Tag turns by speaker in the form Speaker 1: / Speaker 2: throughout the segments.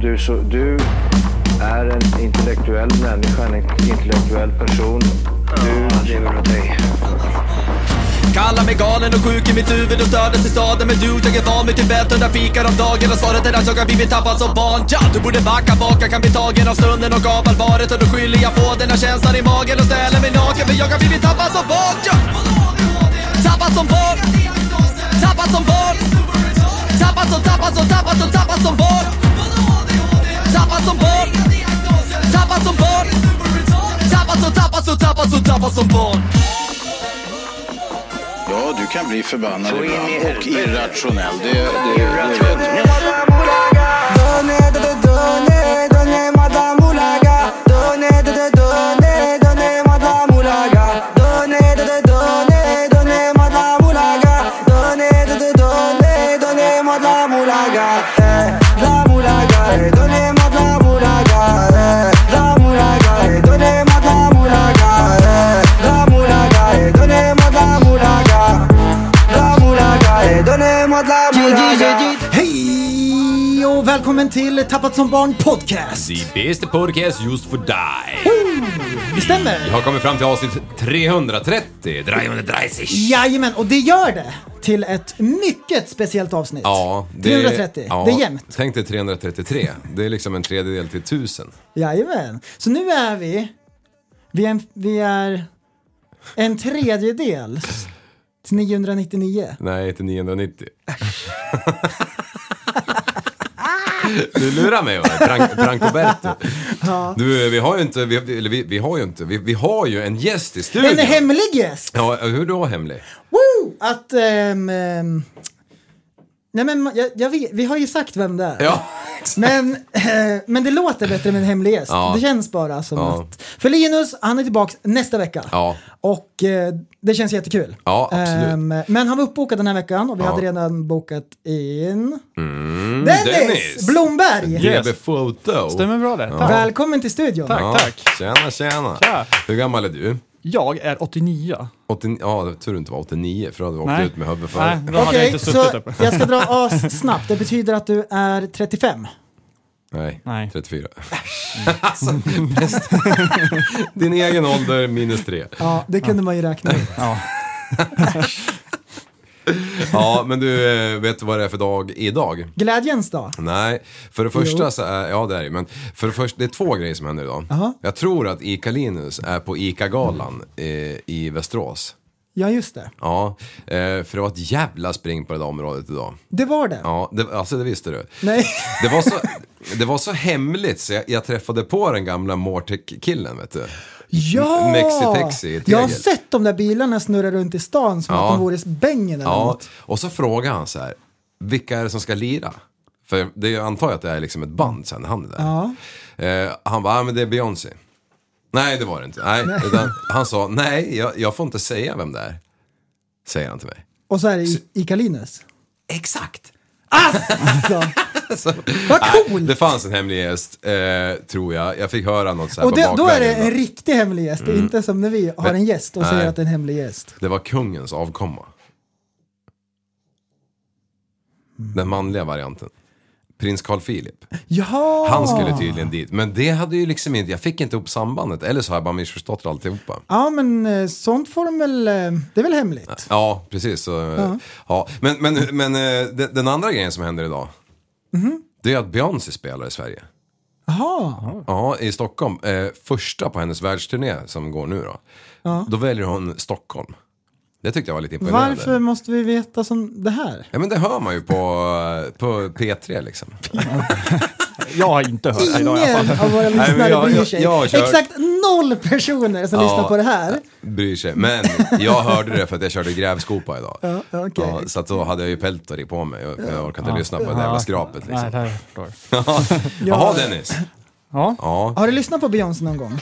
Speaker 1: du, så, du är en intellektuell människa, en intellektuell person. Du lever av dig.
Speaker 2: Kallar mig galen och sjuk i mitt huvud och stördes i staden Men du, jag är van vid Tibet och där fikar om dagen Och svaret är att jag har blivit tappad som barn ja, Du borde backa bak, jag kan bli tagen av stunden och av allvaret Och då skyller jag på den här känslan i magen och ställer mig naken För jag har blivit tappad som barn ja. Tappad som barn Tappad som barn Tappad som, tappad som, tappad som, tappad som barn Tappad som barn Tappad som barn Tappad som, tappad som, tappad som, tappad som barn
Speaker 3: Ja, du kan bli förbannad
Speaker 1: Så in i
Speaker 3: ibland och
Speaker 1: helvete.
Speaker 3: irrationell. Det, det, det, det.
Speaker 4: Donne, donne, donne, donne, madame Moulaga. Donne, donne, donne, donne, madame Moulaga. Donne, donne, donne, donne, madame Moulaga. Donne, donne, donne, donne, madame Moulaga. Eh, la Moulaga, eh, donne, madame Moulaga. Eh, la Moulaga, eh, donne, madame Moulaga. Eh, la Moulaga, eh, donne, madame Moulaga. La Moulaga, eh, donne, madame Moulaga.
Speaker 5: Hej och välkommen till Tappat som barn podcast.
Speaker 6: The bästa podcast just för dig.
Speaker 5: Det
Speaker 6: Vi
Speaker 5: stämmer.
Speaker 6: har kommit fram till avsnitt 330. 330.
Speaker 5: Jajamän, och det gör det till ett mycket speciellt avsnitt.
Speaker 6: Ja,
Speaker 5: 330, det är jämnt.
Speaker 6: Tänk dig 333. Det är liksom en tredjedel till 1000.
Speaker 5: Jajamän. Så nu är vi, vi är en, vi är en tredjedel till 999.
Speaker 6: Nej, till 990. Du lurar mig, va? Frank, Francoberto. Du, vi har ju inte, vi, eller vi, vi har ju inte, vi, vi har ju en gäst i studion.
Speaker 5: En hemlig gäst!
Speaker 6: Ja, hur då hemlig?
Speaker 5: Woo! Att, ehm, ehm, nej men jag, jag vet, vi har ju sagt vem det är.
Speaker 6: Ja,
Speaker 5: Men, eh, men det låter bättre med en hemlig gäst.
Speaker 6: Ja.
Speaker 5: Det känns bara som
Speaker 6: Ja.
Speaker 5: att... För Linus, han är tillbaka nästa vecka.
Speaker 6: Ja.
Speaker 5: Och eh, det känns jättekul.
Speaker 6: Ja, absolut.
Speaker 5: Ehm, men han var uppbokad den här veckan och vi
Speaker 6: Ja.
Speaker 5: hade redan bokat in... Dennis,
Speaker 6: Mm, Dennis!
Speaker 5: Blomberg!
Speaker 6: GB Foto.
Speaker 7: Stämmer bra det. Tack.
Speaker 5: Välkommen till studion.
Speaker 7: Tack,
Speaker 6: Ja,
Speaker 7: tack.
Speaker 6: Tjena, tjena.
Speaker 7: Tja.
Speaker 6: Hur gammal är du?
Speaker 7: Jag är 89.
Speaker 6: 89, ja, det var tur du inte var 89 för då hade du åkt
Speaker 7: Nej.
Speaker 6: ut med huvudet för.
Speaker 7: Nej, då hade jag
Speaker 5: Okej,
Speaker 7: inte suttit
Speaker 5: så
Speaker 7: upp.
Speaker 5: jag ska dra as snabbt. Det betyder att du är 35.
Speaker 6: Nej,
Speaker 7: Nej.
Speaker 6: 34. alltså, bäst. Din egen ålder minus tre.
Speaker 5: Ja, det kunde man ju räkna ut.
Speaker 7: Ja.
Speaker 6: Ja, men du, eh, vet du vad det är för dag idag?
Speaker 5: Glädjens dag.
Speaker 6: Nej, för det första så är, ja det är det men för det första, det är två grejer som händer idag.
Speaker 5: Aha.
Speaker 6: Jag tror att Ica Linus är på Ica-galan eh, i Västerås.
Speaker 5: Ja, just det.
Speaker 6: Ja, eh, för det var ett jävla spring på det där området idag.
Speaker 5: Det var det.
Speaker 6: Ja, det, alltså det visste du.
Speaker 5: Nej.
Speaker 6: Det var, så, det var så hemligt så jag, jag träffade på den gamla Mortec-killen vet du.
Speaker 5: Ja!
Speaker 6: Mexi-Texi i ett
Speaker 5: Jag har
Speaker 6: tegel.
Speaker 5: sett de där bilarna snurra runt i stan som
Speaker 6: Ja.
Speaker 5: att de vore bängen eller
Speaker 6: Ja,
Speaker 5: något.
Speaker 6: och så frågade han så här, vilka är det som ska lira? För det jag antar jag att det är liksom ett band sen när han är där. Eh, han bara, ah, men det är Beyoncé. Nej, det var det inte. Nej, utan han sa, nej, jag, jag får inte säga vem det är. Säger han till mig.
Speaker 5: Och så är det I- Ica Linus.
Speaker 6: Exakt.
Speaker 5: Alltså, vad coolt!
Speaker 6: Det fanns en hemlig gäst, eh, tror jag. Jag fick höra något så här
Speaker 5: Och
Speaker 6: på
Speaker 5: det, då är det
Speaker 6: bakvägen. Mm.
Speaker 5: en riktig hemlig gäst, Det är inte som när vi har en gäst och
Speaker 6: Nej.
Speaker 5: säger att det är en hemlig gäst.
Speaker 6: Det var kungens avkomma. Den manliga varianten. Prins Carl Philip.
Speaker 5: Jaha!
Speaker 6: Han skulle tydligen dit. Men det hade ju liksom inte, jag fick inte upp sambandet. Eller så har jag bara missförstått alltihopa.
Speaker 5: Ja, men eh, sånt får de väl... eh, Det är väl hemligt?
Speaker 6: Ja, precis. Så, ja. Ja. Men, men, men eh, de- den andra grejen som händer idag. Det är att Beyoncé spelar i Sverige.
Speaker 5: Mhm. Jaha!
Speaker 6: Ja, i Stockholm. Eh, första på hennes världsturné som går nu då. Då väljer hon Stockholm. Det tyckte jag var lite imponerande.
Speaker 5: Varför måste vi veta som det här?
Speaker 6: Ja men det hör man ju på, på P3 liksom.
Speaker 7: Jag har inte hört det idag i alla fall.
Speaker 5: Ingen av våra lyssnare
Speaker 6: jag-
Speaker 5: bryr
Speaker 6: jag-
Speaker 5: sig.
Speaker 6: jag har kört-
Speaker 5: Exakt noll personer som lyssnar på det här.
Speaker 6: Bryr sig. Men jag hörde det för att jag körde grävskopa idag.
Speaker 5: Ja, okej.
Speaker 6: så att då hade jag ju Peltori på mig. Jag, jag orkar inte lyssna på det där jävla skrapet
Speaker 7: Nej,
Speaker 6: liksom.
Speaker 7: det här förstår jag.
Speaker 6: Jaha Dennis.
Speaker 7: Ja.
Speaker 6: Ja.
Speaker 5: Har du lyssnat på Beyoncé någon gång?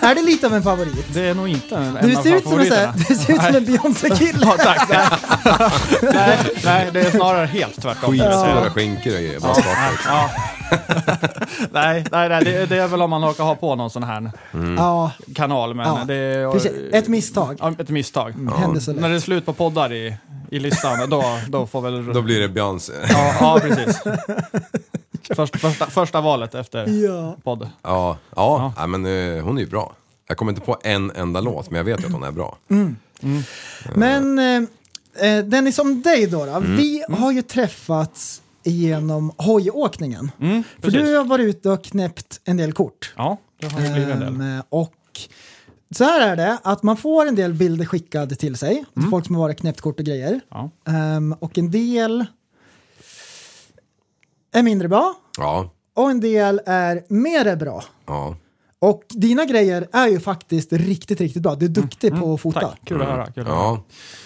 Speaker 5: är det lite av en favorit?
Speaker 7: Det är nog inte en
Speaker 5: Du
Speaker 7: en av
Speaker 5: ser ut som en, sån här-
Speaker 7: favoriterna.
Speaker 5: du ser ut som en Beyoncé-kille.
Speaker 7: Ja, tack. Nej. nej, nej, det är snarare helt tvärtom.
Speaker 6: Skitstora skinkor och grejer. Bara skakar, liksom.
Speaker 7: Ja. nej, nej, nej det, det är väl om man råkar ha på någon sån här
Speaker 5: Ja,
Speaker 7: kanal, men
Speaker 5: Ja,
Speaker 7: det Mm. är...
Speaker 5: precis. Ett misstag.
Speaker 7: Ja, ett misstag.
Speaker 5: Hände så lätt.
Speaker 7: När det är slut på poddar i, i listan, då, då får väl...
Speaker 6: Då blir det Beyoncé.
Speaker 7: Ja, ja, precis. Först, första, första valet efter
Speaker 5: Ja.
Speaker 7: podd.
Speaker 6: Ja, ja, ja. men eh, hon är ju bra. Jag kommer inte på en enda låt, men jag vet ju att hon är bra.
Speaker 5: Mm. Men eh, eh, Dennis, om dig då. då.
Speaker 7: Mm.
Speaker 5: Vi har ju träffats genom hojåkningen. För
Speaker 7: Mm, precis.
Speaker 5: du har varit ute och knäppt en del kort.
Speaker 7: Ja, det har ju blivit en del.
Speaker 5: Ehm, och så här är det, att man får en del bilder skickade till sig. till
Speaker 7: Mm.
Speaker 5: Folk som har varit knäppt kort och grejer.
Speaker 7: Ja.
Speaker 5: Ehm, och en del är mindre bra
Speaker 6: Ja,
Speaker 5: och en del är mer bra.
Speaker 6: ja.
Speaker 5: Och dina grejer är ju faktiskt riktigt, riktigt bra. Du är duktig på att fota.
Speaker 7: Mm, Tack, kul att höra. Kul att höra.
Speaker 6: Ja,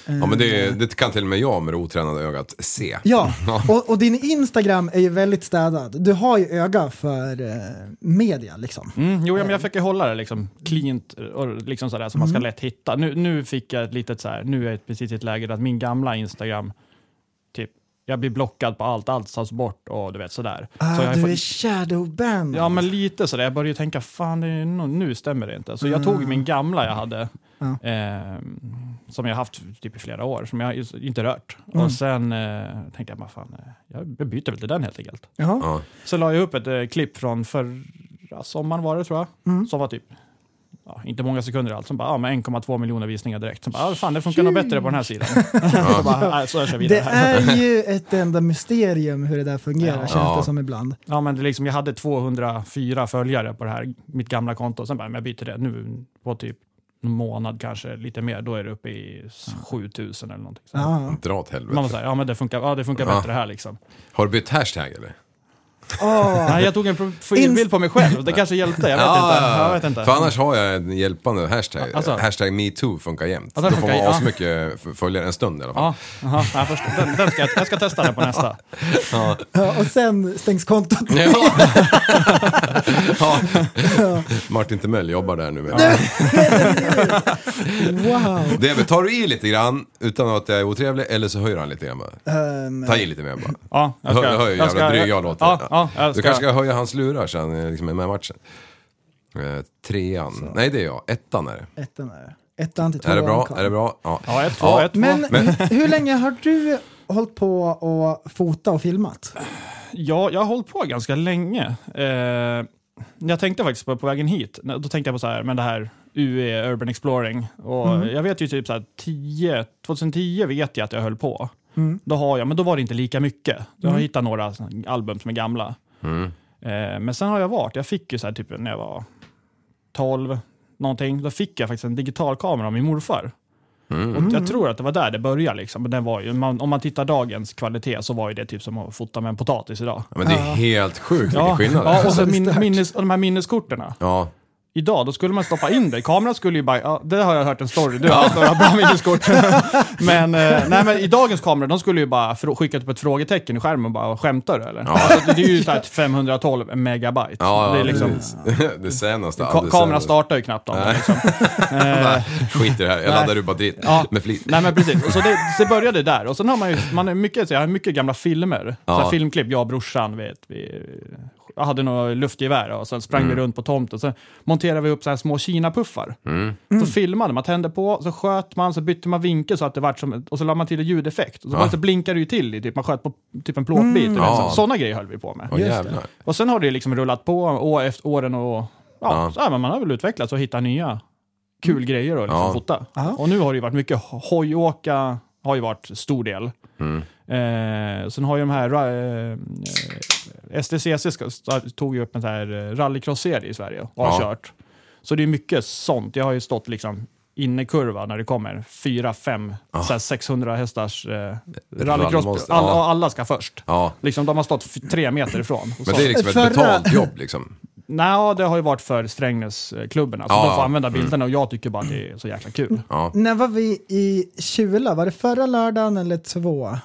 Speaker 6: ja men det, det kan till och med jag med det otränade ögat se.
Speaker 5: Ja, och, och din Instagram är ju väldigt städad. Du har ju öga för eh, media liksom.
Speaker 7: Mm, jo, ja, men jag fick ju hålla det liksom cleant och liksom sådär som man
Speaker 5: Mm.
Speaker 7: ska lätt hitta. Nu, nu fick jag ett litet så här, nu är jag precis i ett läge där att min gamla Instagram, typ, jag blir blockad på allt, allt tas bort och du vet sådär. så jag
Speaker 5: Ah,
Speaker 7: har
Speaker 5: du
Speaker 7: fått-
Speaker 5: är shadowbanned.
Speaker 7: Ja, men lite sådär. Jag började ju tänka, fan det är nog- nu stämmer det inte. Så jag tog min gamla jag hade,
Speaker 5: Mm. Ja.
Speaker 7: eh, som jag haft typ i flera år, som jag ju- inte rört.
Speaker 5: Mm.
Speaker 7: Och sen eh, tänkte jag, bara, fan, eh, jag byter väl till den helt enkelt.
Speaker 5: Jaha.
Speaker 6: Ja.
Speaker 7: Så la jag upp ett eh, klipp från förra sommaren var det tror jag,
Speaker 5: Mm.
Speaker 7: som var typ Ja, inte många sekunder alls, som bara ja, men 1,2 miljoner visningar direkt. Som bara, ja, fan det funkar nog bättre på den här sidan. så bara, nej, så jag kör vidare.
Speaker 5: Det
Speaker 7: här.
Speaker 5: är ju ett enda mysterium hur det där fungerar känns
Speaker 6: Ja.
Speaker 5: det som ibland.
Speaker 7: Ja, men det är liksom, jag hade 204 följare på det här, mitt gamla konto. Sen bara, men jag byter det nu på typ en månad kanske, lite mer. Då är det uppe i 7000 eller någonting. Så
Speaker 5: Ja.
Speaker 6: Dra åt
Speaker 7: Man
Speaker 6: helvete.
Speaker 7: var såhär, ja men det funkar, ja, det funkar
Speaker 6: Ja.
Speaker 7: bättre här liksom.
Speaker 6: Har du bytt hashtag eller?
Speaker 5: Ah. Åh,
Speaker 7: Nej, jag tog en profilbild på mig själv, det kanske hjälpte. Jag vet inte. Jag vet inte.
Speaker 6: För annars har jag en hjälpande hashtag.
Speaker 7: Alltså.
Speaker 6: hashtag metoo funkar jämt.
Speaker 7: Ja,
Speaker 6: Då
Speaker 7: den
Speaker 6: får
Speaker 7: funkar-
Speaker 6: man
Speaker 7: ja.
Speaker 6: asmycket f- följare en stund i alla fall.
Speaker 7: Ja, aha, jag förstår. Den, den ska, jag- jag ska testa den på nästa.
Speaker 5: ja, och sen stängs kontot.
Speaker 6: Ja. Martin Timell jobbar där nu. Med.
Speaker 5: Wow.
Speaker 6: Det, tar du i lite grann utan att jag är otrevlig eller så höjer han lite grann bara.
Speaker 5: Ehm,
Speaker 6: Ta i lite mer bara.
Speaker 7: Ja, jag ska,
Speaker 6: Hör, hör hur
Speaker 7: jag
Speaker 6: jävla
Speaker 7: ska-
Speaker 6: dryg jag låter.
Speaker 7: Ja, ja, jag
Speaker 6: du
Speaker 7: ska,
Speaker 6: kanske ska höja hans lurar sen eh, liksom, med matchen. Eh, trean. Nej, det är jag. Ettan är det.
Speaker 5: ettan är det. Ettan till
Speaker 6: Är det
Speaker 5: tvåan,
Speaker 6: bra?
Speaker 5: Carl.
Speaker 6: Är det bra? Ja.
Speaker 7: Ja, ett, två,
Speaker 6: Ja.
Speaker 7: ett, två.
Speaker 5: Men hur, hur länge har du hållit på och fota och filmat?
Speaker 7: Ja, jag har hållit på ganska länge. Eh, jag tänkte faktiskt på, på vägen hit, när- då tänkte jag på så här, men det här UE, Urban Exploring. Och Jag vet ju typ så här, 10, 2010 vet jag att jag höll på. Då har jag, men då var det inte lika mycket. Jag har hittat några sån- album som är gamla. Eh, men sen har jag varit, jag fick ju så här typ när jag var 12, någonting, då fick jag faktiskt en digital kamera av min morfar. Och jag tror att det var där det började. Liksom. Men den var ju, man, om man tittar dagens kvalitet så var ju det typ som att fota med en potatis idag.
Speaker 6: Ja, Men det är helt sjukt vilken
Speaker 7: Ja,
Speaker 6: skillnad det
Speaker 7: ja
Speaker 6: är.
Speaker 7: och, så min, minnes, och de här minneskorten.
Speaker 6: Ja.
Speaker 7: Idag, då skulle man stoppa in det. Kameran skulle ju bara, ja, det har jag hört en story, du har haft några bra minneskort. men, eh, nej, men i dagens kameror, de skulle ju bara frå- skicka upp ett frågetecken i skärmen och bara, skämtar du eller? Alltså, det är ju så här 512 megabyte.
Speaker 6: Ja,
Speaker 7: det
Speaker 6: ja,
Speaker 7: är liksom,
Speaker 6: precis. det senaste. ja,
Speaker 7: ka-
Speaker 6: det
Speaker 7: kameran
Speaker 6: senaste.
Speaker 7: startar ju knappt om det. Liksom. Eh,
Speaker 6: Skit i det här, jag laddar upp batteriet
Speaker 7: Ja.
Speaker 6: med flit.
Speaker 7: Nej men precis, Och så det, så det började där. Och sen har man ju man är mycket, så jag har mycket gamla filmer. Så
Speaker 6: Ja.
Speaker 7: här filmklipp, jag och brorsan, vet, vi jag hade några luftgevär och sen sprang
Speaker 6: Mm.
Speaker 7: vi runt på tomten. Sen monterade vi upp så här små kinapuffar.
Speaker 6: Mm.
Speaker 7: Så filmade man, tände på, så sköt man, så bytte man vinkel så att det vart som, och så la man till en ljudeffekt. Och så,
Speaker 6: Ja.
Speaker 7: bara, så blinkade det ju till, i typ, man sköt på typ en plåtbit. Mm.
Speaker 6: Ja.
Speaker 7: Sådana grejer höll vi på med.
Speaker 6: Åh jävlar.
Speaker 7: Och sen har det liksom rullat på år efter åren och ja,
Speaker 6: Ja. Mm.
Speaker 7: Så här, men man har väl utvecklats och hittat nya kul grejer att liksom
Speaker 6: Ja.
Speaker 7: fota. Och nu har det ju varit mycket ho- hojåka, har ju varit stor del.
Speaker 6: Mm.
Speaker 7: Eh, sen har ju de här, ra- eh, STCC ska, sta- tog ju upp en sån här eh, rallycross-serie i Sverige och har
Speaker 6: Ja.
Speaker 7: kört. Så det är mycket sånt. Jag har ju stått liksom innekurva när det kommer fyra, fem, så här 600 hästars eh, rallycross.
Speaker 6: rallymonster,
Speaker 7: All,
Speaker 6: ja.
Speaker 7: och alla ska först.
Speaker 6: Ja.
Speaker 7: Liksom, de har stått f- tre meter ifrån. Och
Speaker 6: Men
Speaker 7: så-
Speaker 6: det är liksom ett
Speaker 5: Förra-
Speaker 6: betalt jobb liksom.
Speaker 7: Nej, det har ju varit för Strängnäsklubben. Alltså,
Speaker 6: Ja, Mm.
Speaker 7: de får
Speaker 6: ja.
Speaker 7: använda bilderna och jag tycker bara att det är så jäkla kul.
Speaker 6: Ja.
Speaker 5: När var vi i Kjula? Var det förra lördagen eller två?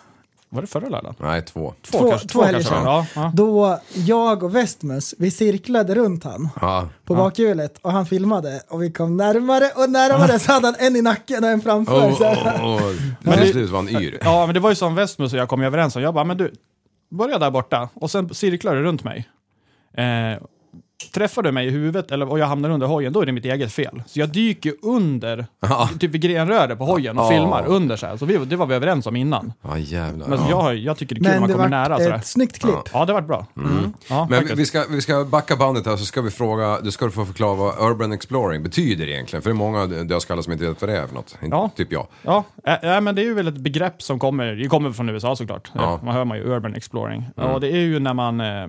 Speaker 7: Var det förra lördagen?
Speaker 6: Nej, två.
Speaker 5: Två- två helger
Speaker 7: kanske.
Speaker 5: sedan.
Speaker 7: Ja, ja.
Speaker 5: Då jag och Westmus, vi cirklade runt han
Speaker 6: Ja.
Speaker 5: på bakhjulet och han filmade och vi kom närmare och närmare så hade han en i nacken och en framför.
Speaker 6: Oh,
Speaker 5: så här.
Speaker 6: oh, oh. Men till slut var han yr.
Speaker 7: ja, men det var ju som Westmus och jag kom ju överens om. Jag bara, men du, börja där borta och sen cirklar du runt mig. Eh, Träffar du mig i huvudet eller, och jag hamnar under hojen, då är det mitt eget fel. Så jag dyker under,
Speaker 6: Ja.
Speaker 7: typ vid grenröret på hojen och
Speaker 6: Ja.
Speaker 7: filmar under så här. Så vi, det var vi överens om innan.
Speaker 6: Ja, jävlar.
Speaker 7: Men
Speaker 6: ja.
Speaker 7: jag, har- jag tycker det är kul när
Speaker 5: Men
Speaker 7: man
Speaker 5: det
Speaker 7: kommer
Speaker 5: var
Speaker 7: nära.
Speaker 5: ett
Speaker 7: Sådär.
Speaker 5: snyggt klipp.
Speaker 7: Ja, det var bra. Mm. Ja,
Speaker 6: Mm. Men vi-
Speaker 7: faktiskt.
Speaker 6: vi ska, vi ska backa bandet här så ska vi fråga, du ska du få förklara vad Urban Exploring betyder egentligen. För det är många dödskallar som inte vet vad det är för något. Inte-
Speaker 7: Ja.
Speaker 6: Typ jag.
Speaker 7: Ja, äh, äh, men det är ju väl ett begrepp som kommer, det kommer från USA såklart.
Speaker 6: Ja. Mm.
Speaker 7: Eh, Man hör man ju urban exploring. Och det är ju när man, eh,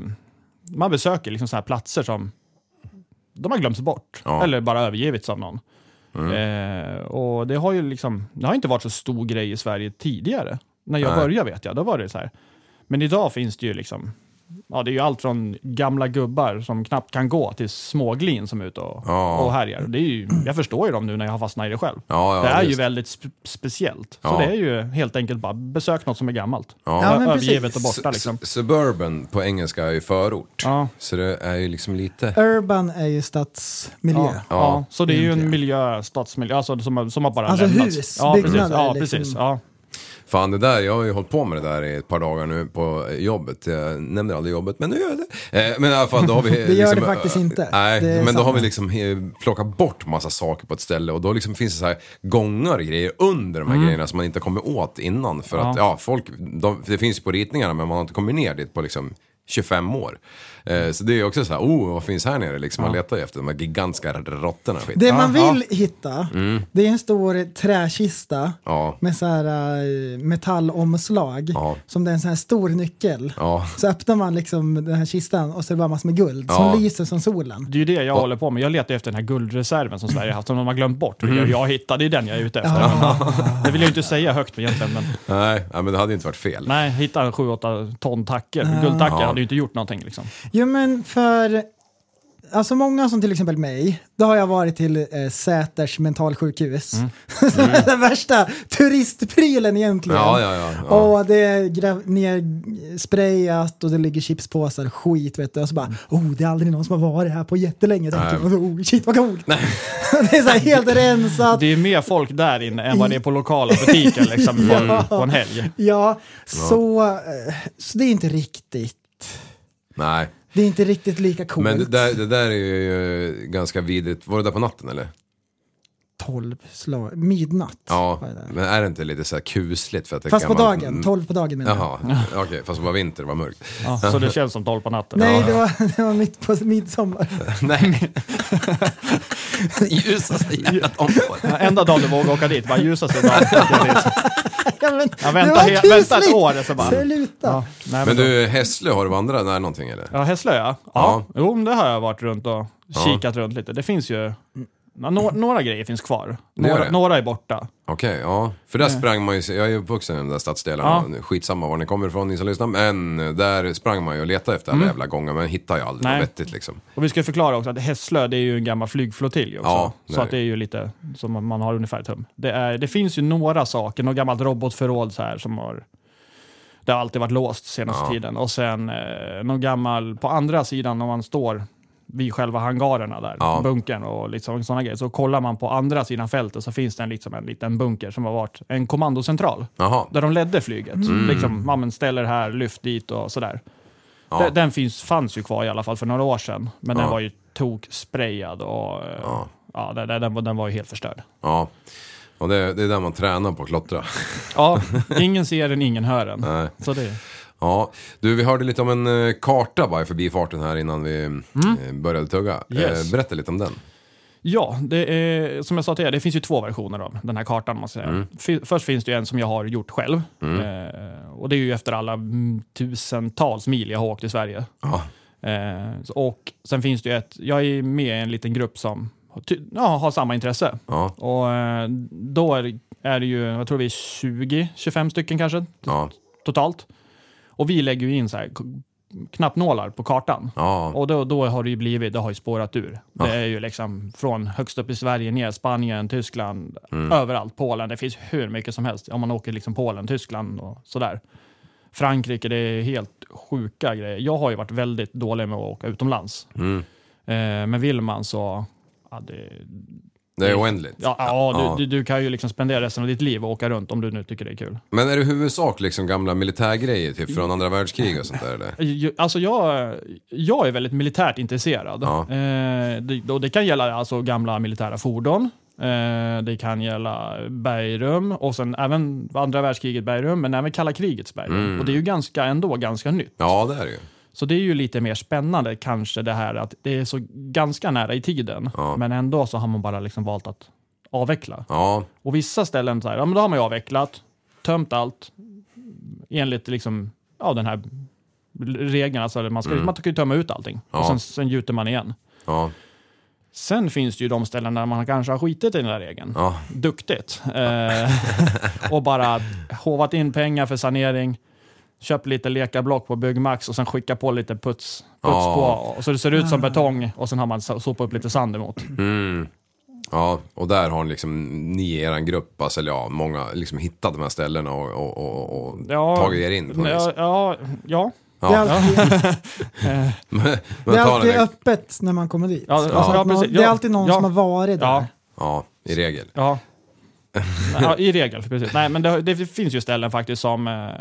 Speaker 7: man besöker liksom såna här platser som de har glömts bort
Speaker 6: Ja. Mm.
Speaker 7: eller bara övergivits av någon. Eh, och det har ju liksom, det har inte varit så stor grej i Sverige tidigare. När jag
Speaker 6: Nej.
Speaker 7: började vet jag, då var det så här. Men idag finns det ju liksom, ja det är ju allt från gamla gubbar som knappt kan gå till småglin som är ute och,
Speaker 6: Ja.
Speaker 7: och härjar. Det är ju, jag förstår ju dem nu när jag har fastnat i det själv.
Speaker 6: Ja, ja,
Speaker 7: det är ju
Speaker 6: visst.
Speaker 7: väldigt spe- speciellt. Så
Speaker 6: Ja.
Speaker 7: det är ju helt enkelt bara besök något som är gammalt.
Speaker 6: Ja.
Speaker 5: Ja, men
Speaker 7: Övergivet
Speaker 5: precis.
Speaker 7: och borta liksom.
Speaker 6: S- Suburban på engelska är ju förort.
Speaker 7: Ja.
Speaker 6: Så det är ju liksom lite...
Speaker 5: Urban är ju stadsmiljö.
Speaker 7: Ja, ja, så det är ju en miljö, stadsmiljö, alltså som, har- som har bara
Speaker 5: Alltså
Speaker 7: lämnats.
Speaker 5: hus,
Speaker 7: ja, precis.
Speaker 5: byggnader,
Speaker 7: Ja,
Speaker 5: liksom.
Speaker 7: precis. Ja.
Speaker 6: Fan det där, jag har ju hållit på med det där i ett par dagar nu på jobbet. Jag nämner aldrig jobbet, men nu gör jag det. Eh, Men i alla fall, då har vi... det
Speaker 5: gör det faktiskt inte.
Speaker 6: Nej,
Speaker 5: Det är
Speaker 6: men då har
Speaker 5: samma.
Speaker 6: vi liksom eh, plockat bort massa saker på ett ställe och då liksom finns det så här gångar och grejer under de här
Speaker 5: Mm.
Speaker 6: grejerna som man inte kommer åt innan. För att, ja, folk, de, det finns ju på ritningarna men man har inte kommit ner dit på liksom 25 år. Eh, Så det är ju också så här, oh, vad finns här nere liksom? Man letar ju efter de här gigantiska råttorna och skit. Mm.
Speaker 5: Det man vill hitta, det är en stor träkista
Speaker 6: Ja.
Speaker 5: med så här eh, metallomslag.
Speaker 6: Ja.
Speaker 5: Som det är en sån här stor nyckel.
Speaker 6: Ja.
Speaker 5: Så öppnar man liksom den här kistan och så är det bara massor med guld
Speaker 6: Ja.
Speaker 5: som lyser som solen.
Speaker 7: Det är ju det jag håller på med. Jag letar efter den här guldreserven som Sverige har haft, som de har glömt bort. Mm. Jag, jag hittade, det är den jag är ute efter. Det vill jag ju inte säga högt egentligen, men
Speaker 6: Nej, ja, men det hade ju inte varit fel.
Speaker 7: nej, hitta en 7-8 ton tacker. Guldtacker hade ju inte gjort någonting liksom.
Speaker 5: Jo men för Alltså många som till exempel mig, då har jag varit till eh, Säters mentalsjukhus.
Speaker 6: Mm.
Speaker 5: Den värsta turistprylen egentligen.
Speaker 6: Ja, ja, ja, ja.
Speaker 5: Och det är gra- nersprayat och det ligger chipspåsar och skit vet du. Och så
Speaker 6: Mm.
Speaker 5: bara, oh det är aldrig någon som har varit här på jättelänge. tänker jag. Oh, shit vad coolt. det är så här helt rensat.
Speaker 7: Det är mer folk där inne än vad det är på lokala butiker liksom, på, en, på en helg.
Speaker 5: Ja, så, eh, så det är inte riktigt.
Speaker 6: Nej.
Speaker 5: Det är inte riktigt lika coolt.
Speaker 6: Men det där, det där är ju ganska vidrigt. Var det där på natten eller?
Speaker 5: 12 slag, midnatt.
Speaker 6: Ja,
Speaker 5: var det där.
Speaker 6: men är det inte lite så här kusligt? För att det är
Speaker 5: Fast på
Speaker 6: gammal-
Speaker 5: dagen, 12 på dagen menar jag.
Speaker 6: Mm. Jaha, okej, fast det var vinter, det var mörkt.
Speaker 7: Så det känns som 12 på natten.
Speaker 5: Nej, det var, det var mitt på midsommar.
Speaker 6: Nej. Ljusaste jävla området.
Speaker 7: Ja, Enda dagen du vågar åka dit, bara ljusaste dagen.
Speaker 5: Ja, men,
Speaker 7: Jag väntar,
Speaker 5: det var
Speaker 7: he- väntar ett
Speaker 5: kusligt.
Speaker 7: år. Så bara.
Speaker 5: Sluta.
Speaker 7: Ja,
Speaker 6: Men
Speaker 7: nej, men då-
Speaker 6: du, Hässlö, har du vandrat där någonting eller?
Speaker 7: Ja, Hässlö ja.
Speaker 6: Ja.
Speaker 7: ja. Jo, men det har jag varit runt och kikat runt lite. Det finns ju... Några, några grejer finns kvar.
Speaker 6: Det gör
Speaker 7: Några,
Speaker 6: det.
Speaker 7: några är borta.
Speaker 6: Okej, ja. För där sprang man ju, jag är ju uppvuxen i den där stadsdelen,
Speaker 7: Ja.
Speaker 6: och skitsamma var ni kommer ifrån ni som lyssnar, men där sprang man ju och letade efter alla
Speaker 5: Mm.
Speaker 6: jävla gånger, men hittar ju aldrig
Speaker 7: Nej.
Speaker 6: något vettigt liksom.
Speaker 7: Och vi ska förklara också att Hässlö det är ju en gammal flygflottilj också.
Speaker 6: Ja,
Speaker 7: så
Speaker 6: nej.
Speaker 7: att det är ju lite som man har ungefär ett hum. Det, är, det finns ju några saker, något gammalt robotförråd så här som har... Det har alltid varit låst senaste tiden. Och sen eh, någon gammal, på andra sidan när man står vid själva hangarerna där,
Speaker 6: Ja.
Speaker 7: bunkern och liksom sådana grejer, så kollar man på andra sidan fältet så finns det en, liksom en liten bunker som har varit en kommandocentral.
Speaker 6: Jaha,
Speaker 7: Där de ledde flyget.
Speaker 6: Mm.
Speaker 7: Liksom, ja, men ställer här, lyft dit och sådär.
Speaker 6: Ja.
Speaker 7: Den, den finns, fanns ju kvar i alla fall för några år sedan. Men
Speaker 6: Ja.
Speaker 7: den var ju toksprayad och eh, ja. den, den, den, var- den var ju helt förstörd.
Speaker 6: ja. Och det, det är där man tränar på att klottra.
Speaker 7: Ja, ingen ser den, ingen hör den.
Speaker 6: Nej.
Speaker 7: Så det,
Speaker 6: Ja, du vi hörde lite om en eh, karta bara i förbifarten här innan vi eh, började tugga.
Speaker 7: Mm. Yes.
Speaker 6: Eh, Berätta lite om den.
Speaker 7: ja, det är, som jag sa till er, det finns ju två versioner av den här kartan. om Man säger.
Speaker 6: Mm.
Speaker 7: Fi- Först finns det ju en som jag har gjort själv. Eh, och det är ju efter alla mm, tusentals mil jag har åkt i Sverige.
Speaker 6: Ja,
Speaker 7: Eh, så- och sen finns det ju ett, jag är med i en liten grupp som har ty- ja, har samma intresse.
Speaker 6: ja,
Speaker 7: Och eh, då är, är det ju, jag tror vi är 20-25 stycken kanske
Speaker 6: ja,
Speaker 7: totalt. Och vi lägger ju in så här k- knappnålar på kartan.
Speaker 6: ja,
Speaker 7: Och då, då har det ju blivit, det har ju spårat ur. Det är ju liksom från högst upp i Sverige ner, Spanien, Tyskland,
Speaker 6: Mm.
Speaker 7: överallt. Polen, det finns hur mycket som helst. Om man åker liksom Polen, Tyskland och sådär. Frankrike, det är helt sjuka grejer. Jag har ju varit väldigt
Speaker 6: Mm.
Speaker 7: dålig med att åka utomlands. Eh, men vill man så, ja, det,
Speaker 6: Det är oändligt.
Speaker 7: Ja, ja,
Speaker 6: Ja.
Speaker 7: Du, du, du kan ju liksom spendera resten av ditt liv och åka runt om du nu tycker det är kul.
Speaker 6: Men är det i huvudsak liksom gamla militärgrejer typ från andra världskrig och sånt där eller?
Speaker 7: Ju- Alltså jag, jag är väldigt militärt intresserad.
Speaker 6: Ja.
Speaker 7: Eh, det, och det kan gälla alltså gamla militära fordon. Eh, det kan gälla bergrum och sen även andra världskriget bergrum, men även kalla krigets bergrum.
Speaker 6: Mm.
Speaker 7: Och det är ju ganska, ändå ganska nytt.
Speaker 6: Ja, det är det ju.
Speaker 7: Så det är ju lite mer spännande kanske det här att det är så ganska nära i tiden,
Speaker 6: Ja.
Speaker 7: men ändå så har man bara liksom valt att avveckla.
Speaker 6: Ja,
Speaker 7: Och vissa ställen så här, ja men då har man ju avvecklat, tömt allt enligt liksom, ja den här regeln, alltså man, ska, man kan ju tömma ut allting
Speaker 6: Mm. Ja.
Speaker 7: och sen, sen gjuter man igen.
Speaker 6: ja,
Speaker 7: Sen finns det ju de ställen där man kanske har skitit i den där regeln.
Speaker 6: ja.
Speaker 7: Duktigt. Eh, och bara hovat in pengar för sanering, köpt lite lekablock på Byggmax och sen skicka på lite puts, puts
Speaker 6: Ja.
Speaker 7: på. Och så det ser ut som betong och sen har man so- sopat upp lite sand emot.
Speaker 6: Ja, och där har ni liksom, ni i eran grupp, alltså, eller ja, många liksom hittat de här ställena och, och, och, och
Speaker 7: Ja,
Speaker 6: tagit er in på något
Speaker 7: ja,
Speaker 6: vis.
Speaker 7: ja, ja,
Speaker 5: Det är
Speaker 6: Ja,
Speaker 5: alltid,
Speaker 6: men,
Speaker 5: det är
Speaker 6: ta den
Speaker 5: alltid
Speaker 6: där,
Speaker 5: öppet när man kommer dit.
Speaker 7: Ja,
Speaker 5: Alltså
Speaker 7: ja,
Speaker 5: att
Speaker 7: ja,
Speaker 5: man,
Speaker 7: precis.
Speaker 5: det är
Speaker 7: Ja,
Speaker 5: alltid någon
Speaker 7: ja.
Speaker 5: som har varit där.
Speaker 7: ja.
Speaker 6: ja, i regel.
Speaker 7: Ja. Nej, ja, i regel. Precis. Nej, men det, det finns ju ställen faktiskt som... eh, eh,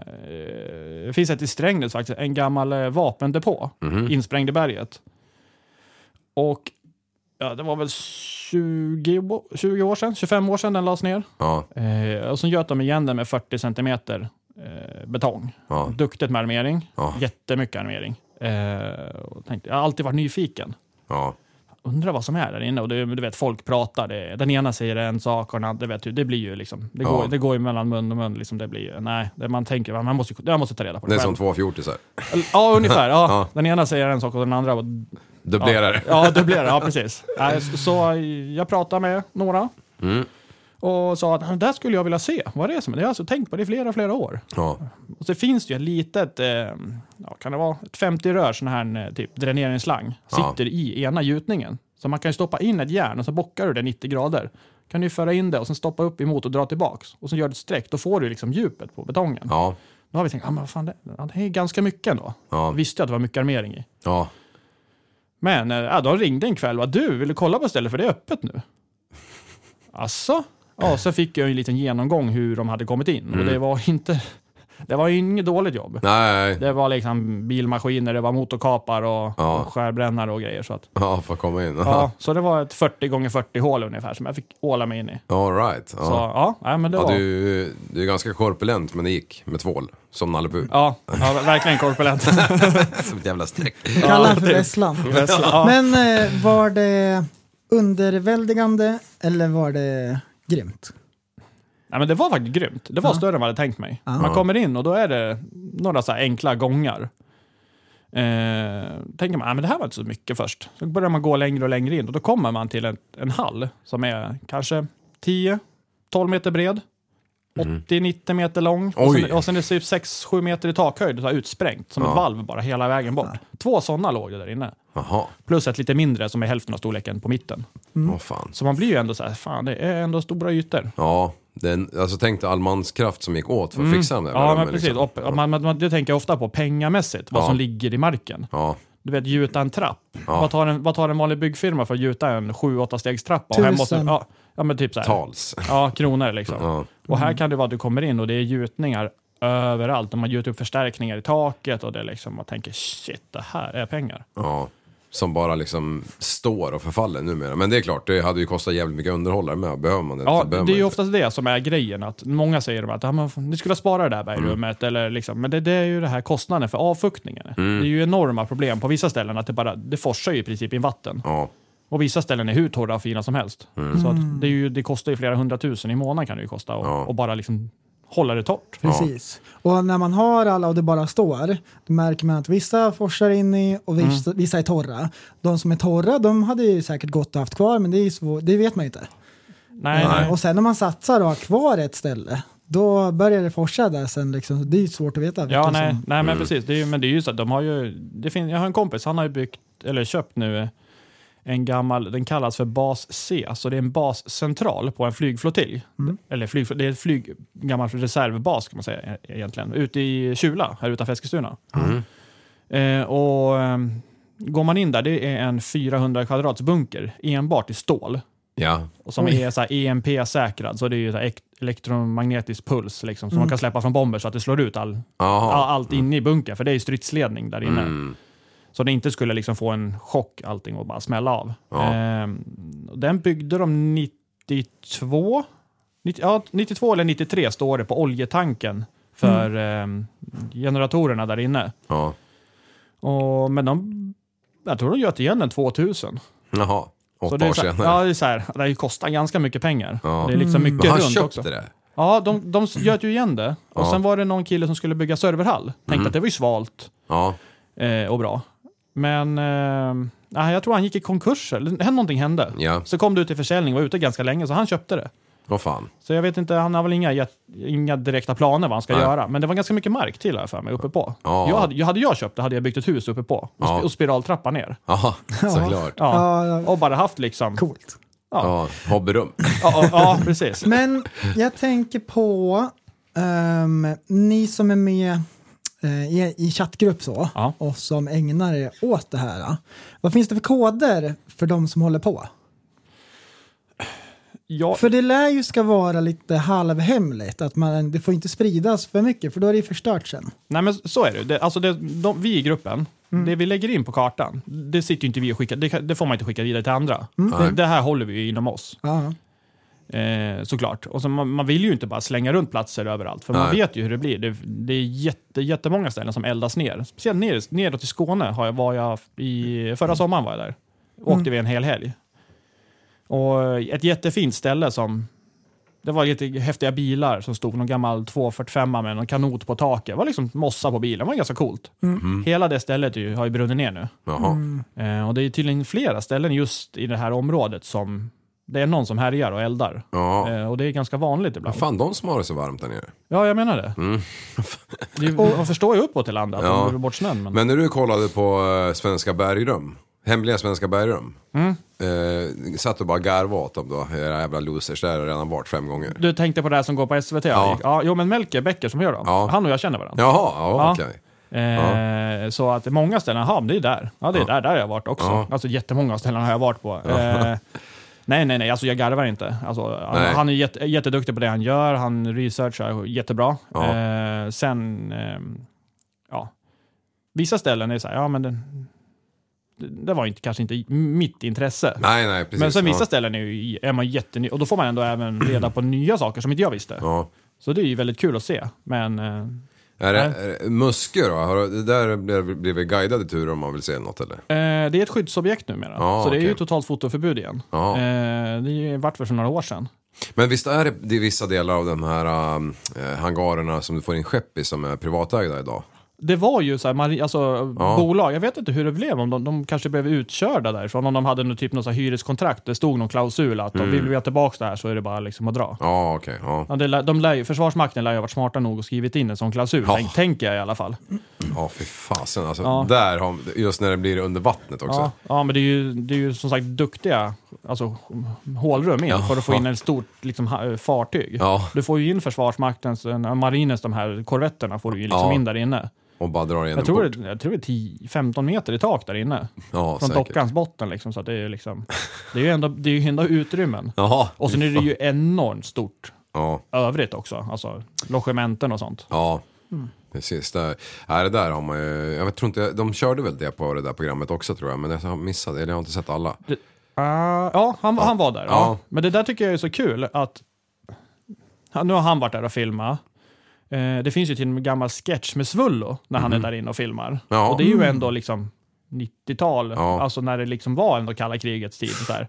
Speaker 7: Det finns ett i Strängnäs faktiskt, en gammal eh, vapendepå
Speaker 6: Mhm. Mm.
Speaker 7: insprängd i berget. Och ja, det var väl 20, år- 20 år sedan, 25 år sedan den lades ner.
Speaker 6: Ja,
Speaker 7: Eh, och så göt de igen den med 40 centimeter eh, betong.
Speaker 6: ja,
Speaker 7: Duktigt med armering,
Speaker 6: Ja.
Speaker 7: jättemycket armering. Eh, och tänkte, jag har alltid varit nyfiken
Speaker 6: ja,
Speaker 7: undrar vad som är där inne. Och det, du vet, folk pratar. Det, den ena säger en sak och den andra, vet du, det blir ju liksom, det,
Speaker 6: Ja.
Speaker 7: går, det går ju mellan mun och mun. Liksom, det blir ju, nej, det, man tänker, man måste, jag måste ta reda på det,
Speaker 6: det är som
Speaker 7: själv.
Speaker 6: två fjortisar.
Speaker 7: Ja, ungefär. Ja.
Speaker 6: Ja.
Speaker 7: Den ena säger en sak och den andra,
Speaker 6: Dubblerar det.
Speaker 7: ja, det blir det. Ja, precis. Nej, så- Så jag pratade med några.
Speaker 6: Mm.
Speaker 7: Och sa att "Det där skulle jag vilja se. Vad är det som är? Det har jag alltså tänkt på det i flera, flera år.
Speaker 6: Ja,
Speaker 7: Och så finns det ju ett litet, eh, ja, kan det vara, ett 50 rör sån här eh, typ dräneringsslang
Speaker 6: Ja.
Speaker 7: sitter i ena gjutningen. Så man kan ju stoppa in ett järn och så bockar du det 90 grader. Kan du ju föra in det och sen stoppa upp emot och dra tillbaks. Och så gör du ett streck, då får du liksom djupet på betongen.
Speaker 6: ja,
Speaker 7: Då har vi tänkt, ah, men vad fan, det, ja, det är ganska mycket ändå.
Speaker 6: Ja.
Speaker 7: Visste jag att det var mycket armering i.
Speaker 6: ja.
Speaker 7: Men eh, ja, de ringde en kväll och bara, du, vill du kolla på stället för det är öppet nu? Asså? Ja, så fick jag ju en liten genomgång hur de hade kommit in.
Speaker 6: Mm.
Speaker 7: Och det var inte... Det var ju inget dåligt jobb.
Speaker 6: Nej,
Speaker 7: Det var liksom bilmaskiner, det var motorkapar och,
Speaker 6: Ja.
Speaker 7: och skärbrännare och grejer. Så, att,
Speaker 6: ja, får komma in.
Speaker 7: ja, så det var ett 40 gånger 40 hål ungefär som jag fick åla mig in i.
Speaker 6: All right.
Speaker 7: Så
Speaker 6: Ja.
Speaker 7: ja, nej, men det
Speaker 6: Ja,
Speaker 7: var...
Speaker 6: du, du är ganska korpulent men det gick med tvål. Som Nalle Puh.
Speaker 7: Ja, ja, verkligen korpulent.
Speaker 6: Som ett Alltså, jävla streck.
Speaker 5: Kalla
Speaker 7: Ja,
Speaker 5: han för
Speaker 7: typ.
Speaker 5: Vesslan.
Speaker 7: ja.
Speaker 5: Men eh, var det underväldigande eller var det grymt?
Speaker 7: Nej, men det var faktiskt grymt. Det var större än vad jag hade tänkt mig. Man kommer in och då är det några så här enkla gångar. Eh, tänker man, "Ah, men det här var inte så mycket först. Så börjar man gå längre och längre in och då kommer man till en, en hall som är kanske 10-12 meter bred. 80-90 meter lång. Och
Speaker 6: Oj.
Speaker 7: sen, och sen är det typ 6-7 meter i takhöjd, så här utsprängt som ett valv bara hela vägen bort. Två sådana låg det där inne.
Speaker 6: Jaha,
Speaker 7: Plus ett lite mindre som är hälften av storleken på mitten.
Speaker 6: åh fan.
Speaker 7: Så man blir ju ändå så här, fan det är ändå stora ytor.
Speaker 6: Ja, den, alltså tänk dig all manskraft som gick åt för att fixa de där
Speaker 7: Mm. Ja, men
Speaker 6: värmen,
Speaker 7: precis.
Speaker 6: liksom.
Speaker 7: Och- och Man, man, man, det tänker jag ofta på pengamässigt, vad
Speaker 6: Ja.
Speaker 7: som ligger i marken.
Speaker 6: Ja,
Speaker 7: Du vet, gjuta en trapp. Vad, tar en, vad tar en vanlig byggfirma för att gjuta en 7-8 stegs trappa? Och här måste,
Speaker 5: Tusen.
Speaker 7: ja, ja, men typ så här.
Speaker 6: tals.
Speaker 7: Ja, kronor liksom.
Speaker 6: Ja.
Speaker 7: Och här kan det vara att du kommer in och det är gjutningar överallt. Och man gjuter upp förstärkningar i taket och det är liksom, man tänker shit, det här är pengar.
Speaker 6: Ja, som bara liksom står och förfaller numera. Men det är klart, det hade ju kostat jävligt mycket underhållare med. Behöver man det?
Speaker 7: Ja,
Speaker 6: så
Speaker 7: det
Speaker 6: behöver
Speaker 7: är ju
Speaker 6: man
Speaker 7: oftast det som är grejen. Att många säger att ah, men, ni skulle spara det där
Speaker 6: Mm.
Speaker 7: bergrummet. Eller liksom, men det, det är ju det här kostnaden för avfuktningen.
Speaker 6: Mm.
Speaker 7: Det är ju enorma problem på vissa ställen. att Det, bara, det forsar ju i princip in vatten.
Speaker 6: Ja,
Speaker 7: Och vissa ställen är hur torra och fina som helst.
Speaker 6: Mm.
Speaker 7: Så att det, är ju, det kostar ju flera hundratusen i månaden kan det ju kosta. Och,
Speaker 6: Ja.
Speaker 7: och bara liksom hålla det torrt.
Speaker 5: Precis. Och när man har alla och det bara står, då märker man att vissa forsar in i och vissa,
Speaker 7: Mm.
Speaker 5: vissa är torra. De som är torra, de hade ju säkert gått och haft kvar, men det, är ju svår, det vet man ju inte.
Speaker 7: Nej, nej.
Speaker 5: Eh, Och sen när man satsar och har kvar ett ställe, då börjar det forsa där sen. Liksom. Det är ju svårt att veta.
Speaker 7: Ja,
Speaker 5: vilken
Speaker 7: nej,
Speaker 5: som- Mm.
Speaker 7: nej men precis. Det är ju, men det är ju så att de har ju... Det fin, jag har en kompis, han har ju byggt, eller köpt nu eh, en gammal, den kallas för bas C, så det är en bascentral på en flygflottilj.
Speaker 5: Mm.
Speaker 7: Eller flyg, det är ett flyg, en gammal reservbas kan man säga e- egentligen, ute i Kjula, här utanför Eskilstuna.
Speaker 6: Mm.
Speaker 7: Eh, och eh, går man in där, det är en 400 kvadrats bunker enbart i stål.
Speaker 6: Ja.
Speaker 7: och som är så här EMP-säkrad, så det är ju så här ek- elektromagnetisk puls liksom, som
Speaker 5: Mm.
Speaker 7: man kan släppa från bomber så att det slår ut all,
Speaker 6: Jaha.
Speaker 7: all, allt inne i bunkern, för det är ju stridsledning där inne.
Speaker 6: Mm.
Speaker 7: Så det inte skulle liksom få en chock allting och bara smälla av.
Speaker 6: Ja.
Speaker 7: Ehm, och den byggde de 92, 90, ja, 92 eller 93 står det på oljetanken för
Speaker 6: Mm.
Speaker 7: ehm, generatorerna där inne.
Speaker 6: Ja.
Speaker 7: Och, men de, jag tror de göt igen den 2000.
Speaker 6: Jaha.
Speaker 7: Så
Speaker 6: Åtta
Speaker 7: det är
Speaker 6: år
Speaker 7: så här,
Speaker 6: senare.
Speaker 7: Ja, det är så här, det här kostar ganska mycket pengar.
Speaker 6: Ja. Mm.
Speaker 7: Det är liksom mycket
Speaker 6: Men han
Speaker 7: runt
Speaker 6: köpte
Speaker 7: också.
Speaker 6: det.
Speaker 7: Ja, de, de göt ju igen det. Och
Speaker 6: Ja. Mm.
Speaker 7: sen var det någon kille som skulle bygga serverhall. Tänkte att det var ju svalt
Speaker 6: Ja.
Speaker 7: eh, och bra. Men eh, nej, jag tror han gick i konkurs. eller hände- Någonting hände.
Speaker 6: Ja.
Speaker 7: Så kom det ut till försäljning, var ute ganska länge, så han köpte det.
Speaker 6: Vad fan.
Speaker 7: Så jag vet inte, han har väl inga, jät- inga direkta planer vad han ska
Speaker 6: Nej.
Speaker 7: göra. Men det var ganska mycket mark till här för mig, uppe på.
Speaker 6: Ja.
Speaker 7: Jag hade, jag hade jag köpt det hade jag byggt ett hus uppe på och,
Speaker 6: Ja.
Speaker 7: sp- och spiraltrappa ner.
Speaker 6: Ja, såklart. Ja.
Speaker 7: Ja.
Speaker 5: Ja, ja,
Speaker 7: Och bara haft liksom...
Speaker 5: coolt.
Speaker 6: Hobbyrum.
Speaker 7: Ja, ja, ja precis.
Speaker 5: Men jag tänker på ehm, ni som är med eh, i, i chattgrupp så
Speaker 7: Ja.
Speaker 5: och som ägnar er åt det här. ja. Vad finns det för koder för de som håller på?
Speaker 7: Jag,
Speaker 5: För det lär ju ska vara lite halvhemligt, att man, det får inte spridas för mycket för då är det ju förstört sen.
Speaker 7: Nej, men så är det. det alltså det de, vi i gruppen,
Speaker 5: Mm.
Speaker 7: det vi lägger in på kartan, det sitter ju inte vi och skickar. Det, kan- det får man inte skicka vidare till andra. Det,
Speaker 5: Mm.
Speaker 6: Nej.
Speaker 7: det här håller vi ju inom oss,
Speaker 5: Ja.
Speaker 7: eh, såklart. Och så man, man vill ju inte bara slänga runt platser överallt, för man
Speaker 6: Nej.
Speaker 7: vet ju hur det blir. Det, det är jätte, jättemånga ställen som eldas ner. Speciellt ner, neråt i Skåne har jag, var jag i, förra sommaren var jag där. Åkte vi en hel helg. Och ett jättefint ställe som det var lite häftiga bilar som stod, någon gammal 245 med någon kanot på taket. Det var liksom mossa på bilen, det var ganska coolt. Hela det stället är ju, har ju brunnit ner nu.
Speaker 6: Jaha.
Speaker 7: Eh, och det är tydligen flera ställen just i det här området som det är någon som härjar och eldar.
Speaker 6: Ja.
Speaker 7: Eh, och det är ganska vanligt ibland.
Speaker 6: Fan, de som har det så varmt där nere.
Speaker 7: Ja, jag menar det. det är- man förstår ju uppåt i landet att
Speaker 6: Ja.
Speaker 7: de drog bort snön. Men,
Speaker 6: Men när du kollade på eh, Svenska bergrum, Hemliga Svenska bergrum. Eh, satt och bara garvade åt dem då, era jävla losers. Där har jag redan varit fem gånger.
Speaker 7: Du tänkte på det här som går på SVT? Ja.
Speaker 6: Ja.
Speaker 7: ja jo, men Melker Bäcker som gör dem,
Speaker 6: Ja.
Speaker 7: han och jag känner varandra.
Speaker 6: Jaha, ja,
Speaker 7: Ja.
Speaker 6: okej.
Speaker 7: Eh, Så att många ställen, jaha, men det är där. Ja, det är där, där har jag varit också.
Speaker 6: Ja.
Speaker 7: Alltså jättemånga ställen har jag varit på. Eh, nej, nej, nej, alltså jag garvar inte. Alltså,
Speaker 6: Nej.
Speaker 7: han är jätte, jätteduktig på det han gör, han researchar jättebra.
Speaker 6: Ja.
Speaker 7: Eh, sen, ehm, ja, vissa ställen är så här, ja men det, det var inte, kanske inte mitt intresse.
Speaker 6: Nej, nej, precis.
Speaker 7: men sen vissa
Speaker 6: ja.
Speaker 7: ställen är, ju, är man jätteny, och då får man ändå även reda på nya saker som inte jag visste.
Speaker 6: Ja.
Speaker 7: Så det är ju väldigt kul att se. Men eh,
Speaker 6: Är det, är det Muskö då? Har du- det där blir, blir väl guidade turer om man vill se något eller?
Speaker 7: Eh, det är ett skyddsobjekt numera,
Speaker 6: Ja,
Speaker 7: så det är ju
Speaker 6: okej.
Speaker 7: totalt fotoförbud igen.
Speaker 6: Ja.
Speaker 7: Eh, det är ju- vart väl för några år sedan.
Speaker 6: Men visst är det, det är vissa delar av de här um, eh, hangarerna som du får in skepp i som är privatägda idag?
Speaker 7: Det var ju så här, man, alltså,
Speaker 6: Ja.
Speaker 7: bolag, jag vet inte hur det blev, om de, de kanske blev utkörda därifrån, om de hade någon typ någon så här hyreskontrakt, det stod någon klausul att om vi vill ha tillbaka det här så är det bara liksom att dra.
Speaker 6: Mm. Ja, okej. ja.
Speaker 7: Ja, det, lär- de lär ju, försvarsmakten lär ju ha varit smarta nog och skrivit in en sån klausul,
Speaker 6: Ja.
Speaker 7: tänk, tänker jag i alla fall.
Speaker 6: Ja, fy fasen. Alltså,
Speaker 7: Ja.
Speaker 6: där har, just när det blir under vattnet också.
Speaker 7: Ja, ja, men det är, ju, det är ju som sagt duktiga alltså, hålrum in
Speaker 6: Ja.
Speaker 7: för att få in ett stort liksom, ha- fartyg.
Speaker 6: Ja.
Speaker 7: Du får ju in Försvarsmaktens, eh, marinens, de här korvetterna får du ju liksom
Speaker 6: Ja.
Speaker 7: in där inne.
Speaker 6: Och bara drar igen
Speaker 7: Jag
Speaker 6: en
Speaker 7: tror,
Speaker 6: port.
Speaker 7: det, jag tror det är 10, 15 meter i tak där inne.
Speaker 6: Ja,
Speaker 7: Från
Speaker 6: säkert.
Speaker 7: dockans botten liksom. Så att det är ju liksom, det är ju ändå, det är ju ändå utrymmen.
Speaker 6: Jaha.
Speaker 7: Och sen är det ju enormt stort
Speaker 6: Ja,
Speaker 7: övrigt också. Alltså logementen och sånt.
Speaker 6: ja.
Speaker 7: Mm.
Speaker 6: Precis. Där. Nej, det där har man ju... Jag vet- tror inte, de körde väl det på det där programmet också tror jag. Men jag har missat det. Eller jag har inte sett alla.
Speaker 7: Ah, ja, han, han var där.
Speaker 6: Ja.
Speaker 7: Ja. Men det där tycker jag är så kul att han- nu har han varit där och filmat. Eh, det finns ju till och med en gammal sketch med Svullo när han är där inne och filmar.
Speaker 6: Mhm. Ja. Mm.
Speaker 7: Och det är ju ändå liksom 90-tal,
Speaker 6: Ja.
Speaker 7: alltså när det liksom var ändå kalla krigets tid. Så här.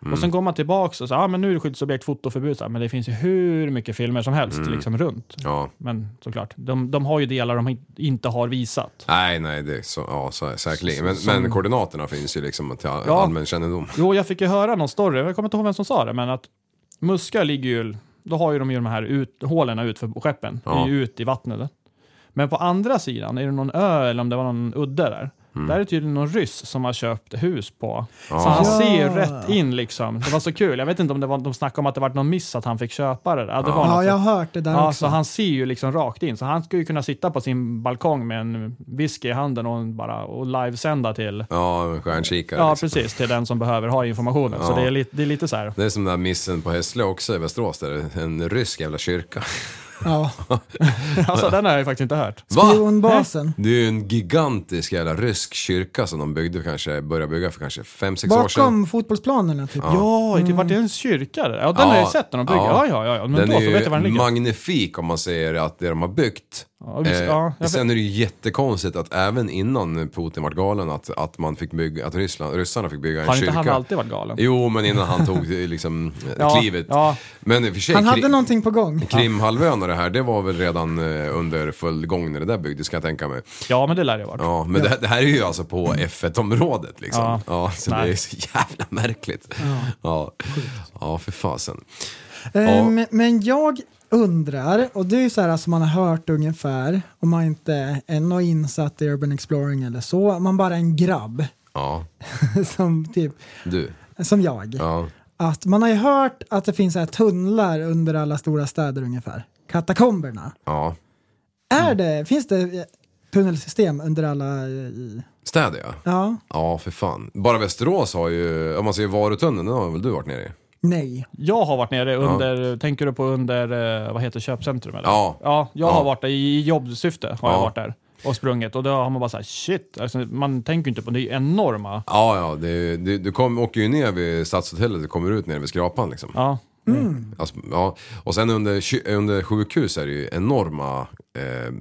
Speaker 7: Och
Speaker 6: Mm.
Speaker 7: sen går man tillbaka och säger ah, men nu är det skyddsobjekt, fotoförbud, så här, men det finns ju hur mycket filmer som helst
Speaker 6: Mm.
Speaker 7: liksom runt.
Speaker 6: Ja.
Speaker 7: Men såklart, de, de har ju delar de in- inte har visat.
Speaker 6: Nej, nej, det är så, ja, så, säkerligen. Men, men koordinaterna finns ju liksom till all,
Speaker 7: Ja.
Speaker 6: allmän kännedom.
Speaker 7: Jo, jag fick ju höra någon story, jag kommer inte ihåg vem som sa det, men att Muskö ligger ju, då har ju de ju de här ut, hålen ut för skeppen,
Speaker 6: Ja.
Speaker 7: det är ju ut i vattnet. Men på andra sidan, är det någon ö eller om det var någon udde där, Där är tydligen någon ryss som har köpt hus på. Så han
Speaker 5: Ja.
Speaker 7: ser rätt in liksom. Det var så kul. Jag vet inte om det var, de snackade om att det var någon miss att han fick köpa det. Ja, det var
Speaker 5: Ja,
Speaker 7: något
Speaker 5: jag
Speaker 7: sånt.
Speaker 5: har hört det där
Speaker 7: Ja,
Speaker 5: också.
Speaker 7: så han ser ju liksom rakt in. Så han skulle ju kunna sitta på sin balkong med en whisky i handen och, bara, och livesända till
Speaker 6: Ja, en stjärnkikare.
Speaker 7: Ja,
Speaker 6: liksom.
Speaker 7: precis. Till den som behöver ha informationen. Så
Speaker 6: Ja.
Speaker 7: det är, lite, det är lite så här.
Speaker 6: Det är som den där missen på Hässlö också i Västerås, där en rysk jävla kyrka.
Speaker 5: Ja.
Speaker 7: Alltså, den har jag ju faktiskt inte hört.
Speaker 6: Va?
Speaker 5: Spionbasen.
Speaker 6: Det är ju en gigantisk jävla rysk kyrka som de byggde kanske, började bygga för kanske 5-6 år sedan.
Speaker 5: Bakom fotbollsplanerna typ.
Speaker 7: Ja, det vart det en kyrka där? Ja, den har jag ju sett när de bygger. Ja, ja, ja. ja. Men
Speaker 6: den
Speaker 7: då
Speaker 6: är
Speaker 7: så
Speaker 6: ju
Speaker 7: vet jag var den ligger.
Speaker 6: magnifik om man säger att det de har byggt. Eh,
Speaker 7: Ja, visst, ja, jag
Speaker 6: sen är det ju jättekonstigt att även innan Putin var galen att, att, man fick bygga, att Ryssland, ryssarna fick bygga en
Speaker 7: Har inte
Speaker 6: kyrka.
Speaker 7: han alltid varit galen?
Speaker 6: Jo, men innan han tog eh, liksom, eh,
Speaker 7: Ja,
Speaker 6: klivet.
Speaker 7: ja.
Speaker 6: Men i och för sig,
Speaker 5: Han
Speaker 6: kri-
Speaker 5: hade någonting på gång.
Speaker 6: Krimhalvön och det här, det var väl redan eh, under full gång när det där byggdes kan jag tänka mig.
Speaker 7: Ja, men det lär det ha varit.
Speaker 6: Ja, men Det, här, det här är ju alltså på F1-området liksom. Ja,
Speaker 7: Ja.
Speaker 6: så det
Speaker 7: Nej.
Speaker 6: är så jävla märkligt. Ja, ja för fasen.
Speaker 5: Ehm, men jag undrar, och det är ju så här som man har hört ungefär, om man inte är något insatt i Urban Exploring eller så, om man bara är en grabb
Speaker 6: Ja,
Speaker 5: som, typ,
Speaker 6: du.
Speaker 5: som jag.
Speaker 6: Ja.
Speaker 5: Att man har ju hört att det finns så här tunnlar under alla stora städer ungefär, katakomberna.
Speaker 6: Ja.
Speaker 5: Är det, finns det eh, tunnelsystem under alla... eh, i-
Speaker 6: Städer ja.
Speaker 5: Ja,
Speaker 6: Ja, för fan. Bara Västerås har ju, om man säger Varutunneln, den har väl du varit nere i?
Speaker 5: nej.
Speaker 7: Jag har varit nere under, tänker du på under, eh, vad heter köpcentrum eller?
Speaker 6: Ja.
Speaker 7: Ja, jag
Speaker 6: Ja.
Speaker 7: har varit där i jobbsyfte har
Speaker 6: Ja.
Speaker 7: jag varit där och sprungit och då har man bara såhär shit, alltså, man tänker ju inte på det, det är ju enorma.
Speaker 6: Ja, ja. Det, är ju- du du kom, åker ju ner vid Stadshotellet och kommer ut nere vid Skrapan liksom.
Speaker 7: Ja.
Speaker 6: Alltså, ja. Och sen under, ky- under sjukhus är det ju enorma eh,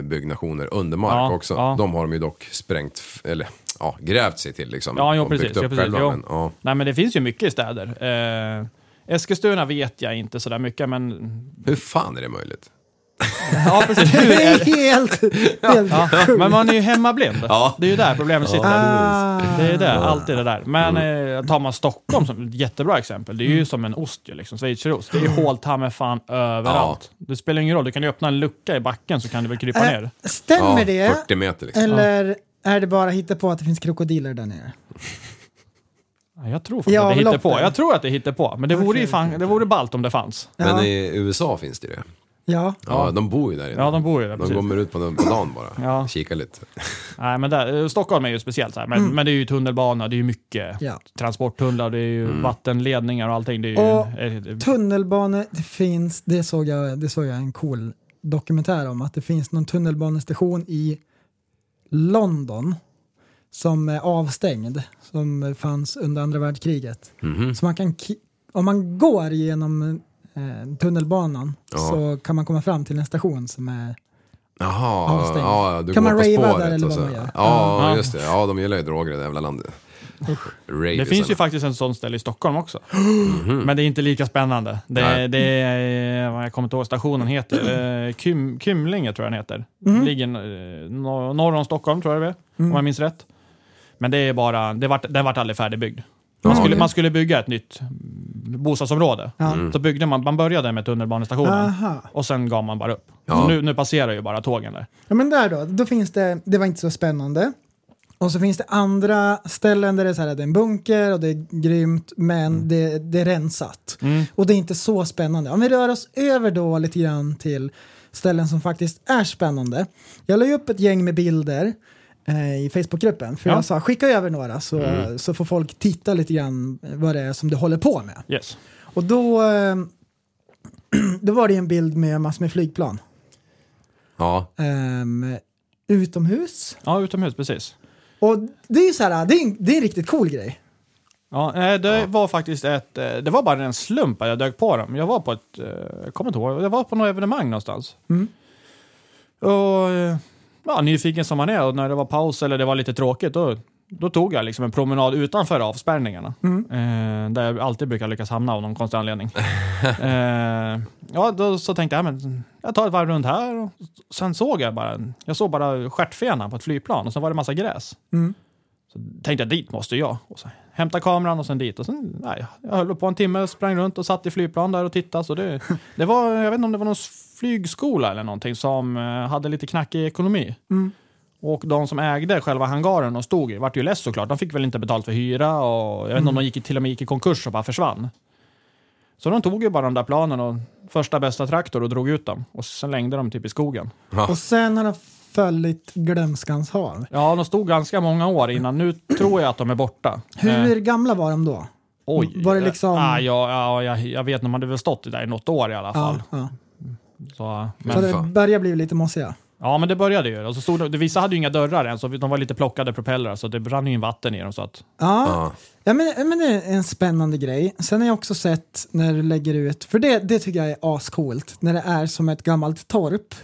Speaker 6: byggnationer under mark
Speaker 7: Ja,
Speaker 6: också.
Speaker 7: ja.
Speaker 6: De har de ju dock sprängt, f- eller ja, grävt sig till liksom.
Speaker 7: Ja, jo,
Speaker 6: och byggt
Speaker 7: precis,
Speaker 6: upp
Speaker 7: ja, precis,
Speaker 6: själva,
Speaker 7: jo.
Speaker 6: men, ja.
Speaker 7: Nej men det finns ju mycket i städer. Eh, Eskilstuna vet jag inte sådär mycket men...
Speaker 6: Hur fan är det möjligt?
Speaker 7: Ja precis, hur
Speaker 5: Det
Speaker 7: är
Speaker 5: är helt, helt
Speaker 7: Ja, men man är ju hemmablind. Det är ju där problemet sitter.
Speaker 5: Ah.
Speaker 7: Det är det, alltid det där. Men
Speaker 5: Mm.
Speaker 7: eh, tar man Stockholm som ett jättebra exempel, det är ju som en ost ju, liksom, schweizerost. Det är ju
Speaker 5: Mm.
Speaker 7: hål ta mig fan överallt. Det spelar ingen roll, du kan ju öppna en lucka i backen så kan du väl krypa
Speaker 5: Eh,
Speaker 7: ner.
Speaker 5: Stämmer
Speaker 6: ja,
Speaker 5: det?
Speaker 6: 40 meter liksom.
Speaker 5: Eller är det bara hitta på att det finns krokodiler där nere?
Speaker 7: Ja, Jag tror faktiskt
Speaker 5: Ja,
Speaker 7: att det hittar
Speaker 5: loppen.
Speaker 7: på. Jag tror att det hittar på. Men det vore ju fan, det vore ballt om det fanns.
Speaker 6: Men
Speaker 5: Ja.
Speaker 6: i USA finns det ju det.
Speaker 5: Ja.
Speaker 6: Ja, de bor ju där inne.
Speaker 7: Ja, de bor ju där.
Speaker 6: De
Speaker 7: Precis.
Speaker 6: kommer ut på den- på dagen bara,
Speaker 7: Ja.
Speaker 6: kika lite.
Speaker 7: Nej, men där, eh, Stockholm är ju speciellt så här. Men, men det är ju tunnelbana, det är ju mycket
Speaker 5: Mm. Ja. Mm.
Speaker 7: transporttunnlar, det är ju vattenledningar och allting. Det är ju,
Speaker 5: Och
Speaker 7: eh,
Speaker 5: Tunnelbane, det finns, det såg, jag, det såg jag en cool dokumentär om, att det finns någon tunnelbanestation i London som är avstängd, som fanns under andra världskriget.
Speaker 6: Mhm.
Speaker 5: Så man kan, ki- om man går genom eh, tunnelbanan
Speaker 6: Ja.
Speaker 5: så kan man komma fram till en station som är...
Speaker 6: Jaha,
Speaker 5: Avstängt.
Speaker 6: ja, du
Speaker 5: Kan
Speaker 6: går
Speaker 5: man
Speaker 6: på
Speaker 5: rava
Speaker 6: spåret
Speaker 5: där eller
Speaker 6: och
Speaker 5: vad
Speaker 6: så.
Speaker 5: man gör?
Speaker 6: Ja,
Speaker 7: Ja.
Speaker 6: just det. Ja, de gillar ju droger i det jävla landet. Rave
Speaker 7: Det finns ju
Speaker 6: sen.
Speaker 7: faktiskt en sån ställe i Stockholm också. Men det är inte lika spännande.
Speaker 6: Mhm. Nej.
Speaker 7: Det, det är, vad jag kommer inte ihåg vad stationen heter, Eh, Kym, Kymlinge tror jag den heter.
Speaker 5: Mhm.
Speaker 7: Ligger eh, nor- norr om Stockholm tror jag det är,
Speaker 5: Mm.
Speaker 7: om jag minns rätt. Men det är bara, det vart, den vart aldrig färdigbyggd. Man
Speaker 6: Ja,
Speaker 7: skulle,
Speaker 6: det- Mm.
Speaker 7: man skulle bygga ett nytt bostadsområde.
Speaker 5: Ja.
Speaker 7: Så byggde man, man började med tunnelbanestationen
Speaker 5: Aha.
Speaker 7: och sen gav man bara upp.
Speaker 6: Ja.
Speaker 7: Så nu, nu passerar ju bara tågen där.
Speaker 5: Ja men där då, då finns det, det var inte så spännande. Och så finns det andra ställen där det är, så här, det är en bunker och det är grymt men det, det är rensat. Och det är inte så spännande. Om vi rör oss över då lite grann till ställen som faktiskt är spännande. Jag la ju upp ett gäng med bilder eh, i Facebookgruppen för
Speaker 7: Ja.
Speaker 5: jag sa skicka över några så, så får folk titta lite grann vad det är som du håller på med.
Speaker 7: Yes.
Speaker 5: Och då, eh, då var det en bild med massor med flygplan.
Speaker 6: Ja,
Speaker 5: Ehm, utomhus.
Speaker 7: Ja, utomhus precis.
Speaker 5: Och det är ju så här, det är, en, det är en riktigt cool grej.
Speaker 7: Ja, nej, det var faktiskt ett... eh, Det var bara en slump att jag dök på dem. Jag var på ett... eh, Jag kommer inte ihåg. Jag var på något evenemang någonstans. Och... eh, Ja, nyfiken som man är och när det var paus eller det var lite tråkigt då, då tog jag liksom en promenad utanför avspärrningarna. Eh, där jag alltid brukar lyckas hamna av någon konstig anledning. eh, ja, då så tänkte jag, ja, men jag tar ett varv runt här. Och sen såg jag bara, en- jag såg bara stjärtfenan på ett flygplan och sen var det massa gräs. Så tänkte jag, dit måste jag. Och så hämta kameran och sen dit. Och sen, nej, jag höll på en timme, sprang runt och satt i flygplan där och tittade. Så det, det var, jag vet inte om det var någon flygskola eller någonting som eh, hade lite knackig ekonomi. Och de som ägde själva hangaren och stod i vart ju less såklart. De fick väl inte betalt för hyra och jag vet inte om de gick, till och med gick i konkurs och bara försvann. Så de tog ju bara de där planen och första bästa traktor och drog ut dem. Och sen längde de typ i skogen.
Speaker 5: Och sen har de följt glömskans hav.
Speaker 7: Ja, de stod ganska många år innan. Nu tror jag att de är borta.
Speaker 5: Hur
Speaker 7: Eh,
Speaker 5: gamla var de då?
Speaker 7: oj.
Speaker 5: var det liksom-
Speaker 7: Ah, ja, ja, jag, jag vet, de hade väl stått där i något år i alla fall.
Speaker 5: Ja, ja.
Speaker 7: Så,
Speaker 5: Så
Speaker 7: men,
Speaker 5: det
Speaker 6: fan.
Speaker 5: börjar bli lite mossiga.
Speaker 7: ja, men det började ju. Och så stod de, vissa hade ju inga dörrar än, så de var lite plockade propellrar, så det brann ju in vatten i dem. Så att,
Speaker 5: Ja.
Speaker 6: Ja.
Speaker 5: Ja, men, ja, men det är en spännande grej. Sen har jag också sett när du lägger ut, för det, det tycker jag är ascoolt, när det är som ett gammalt torp.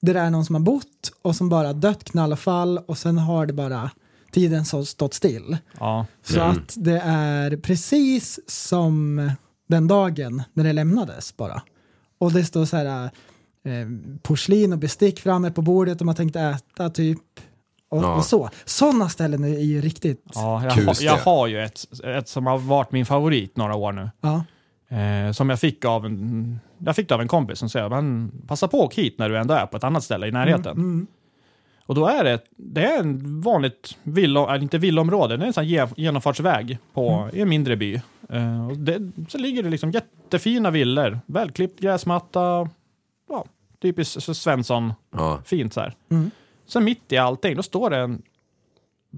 Speaker 5: Där det är någon som har bott och som bara dött knallfall och sen har det bara tiden så stått still.
Speaker 7: ja.
Speaker 5: Så
Speaker 6: Mm.
Speaker 5: att det är precis som den dagen när det lämnades bara. Och det står så här eh, porslin och bestick framme på bordet och man tänkte äta typ. Och,
Speaker 6: Ja.
Speaker 5: och så. Sådana ställen är ju riktigt...
Speaker 7: Ja, jag,
Speaker 6: Kul
Speaker 7: ha, jag
Speaker 6: sten.
Speaker 7: har ju ett, ett som har varit min favorit några år nu.
Speaker 5: Ja.
Speaker 7: Eh, som jag fick, av en, jag fick det av en kompis som säger men passa på att åka hit när du ändå är på ett annat ställe i närheten.
Speaker 5: Mm.
Speaker 7: Och då är det, det är en vanligt villa, eller inte villaområde, det är en sån här ge- genomfartsväg på, i en mindre by. Eh, och det, så ligger det liksom jättefina villor, välklippt gräsmatta, ja, typiskt s- Svensson,
Speaker 6: Ja.
Speaker 7: fint så här. Sen mitt i allting, då står det en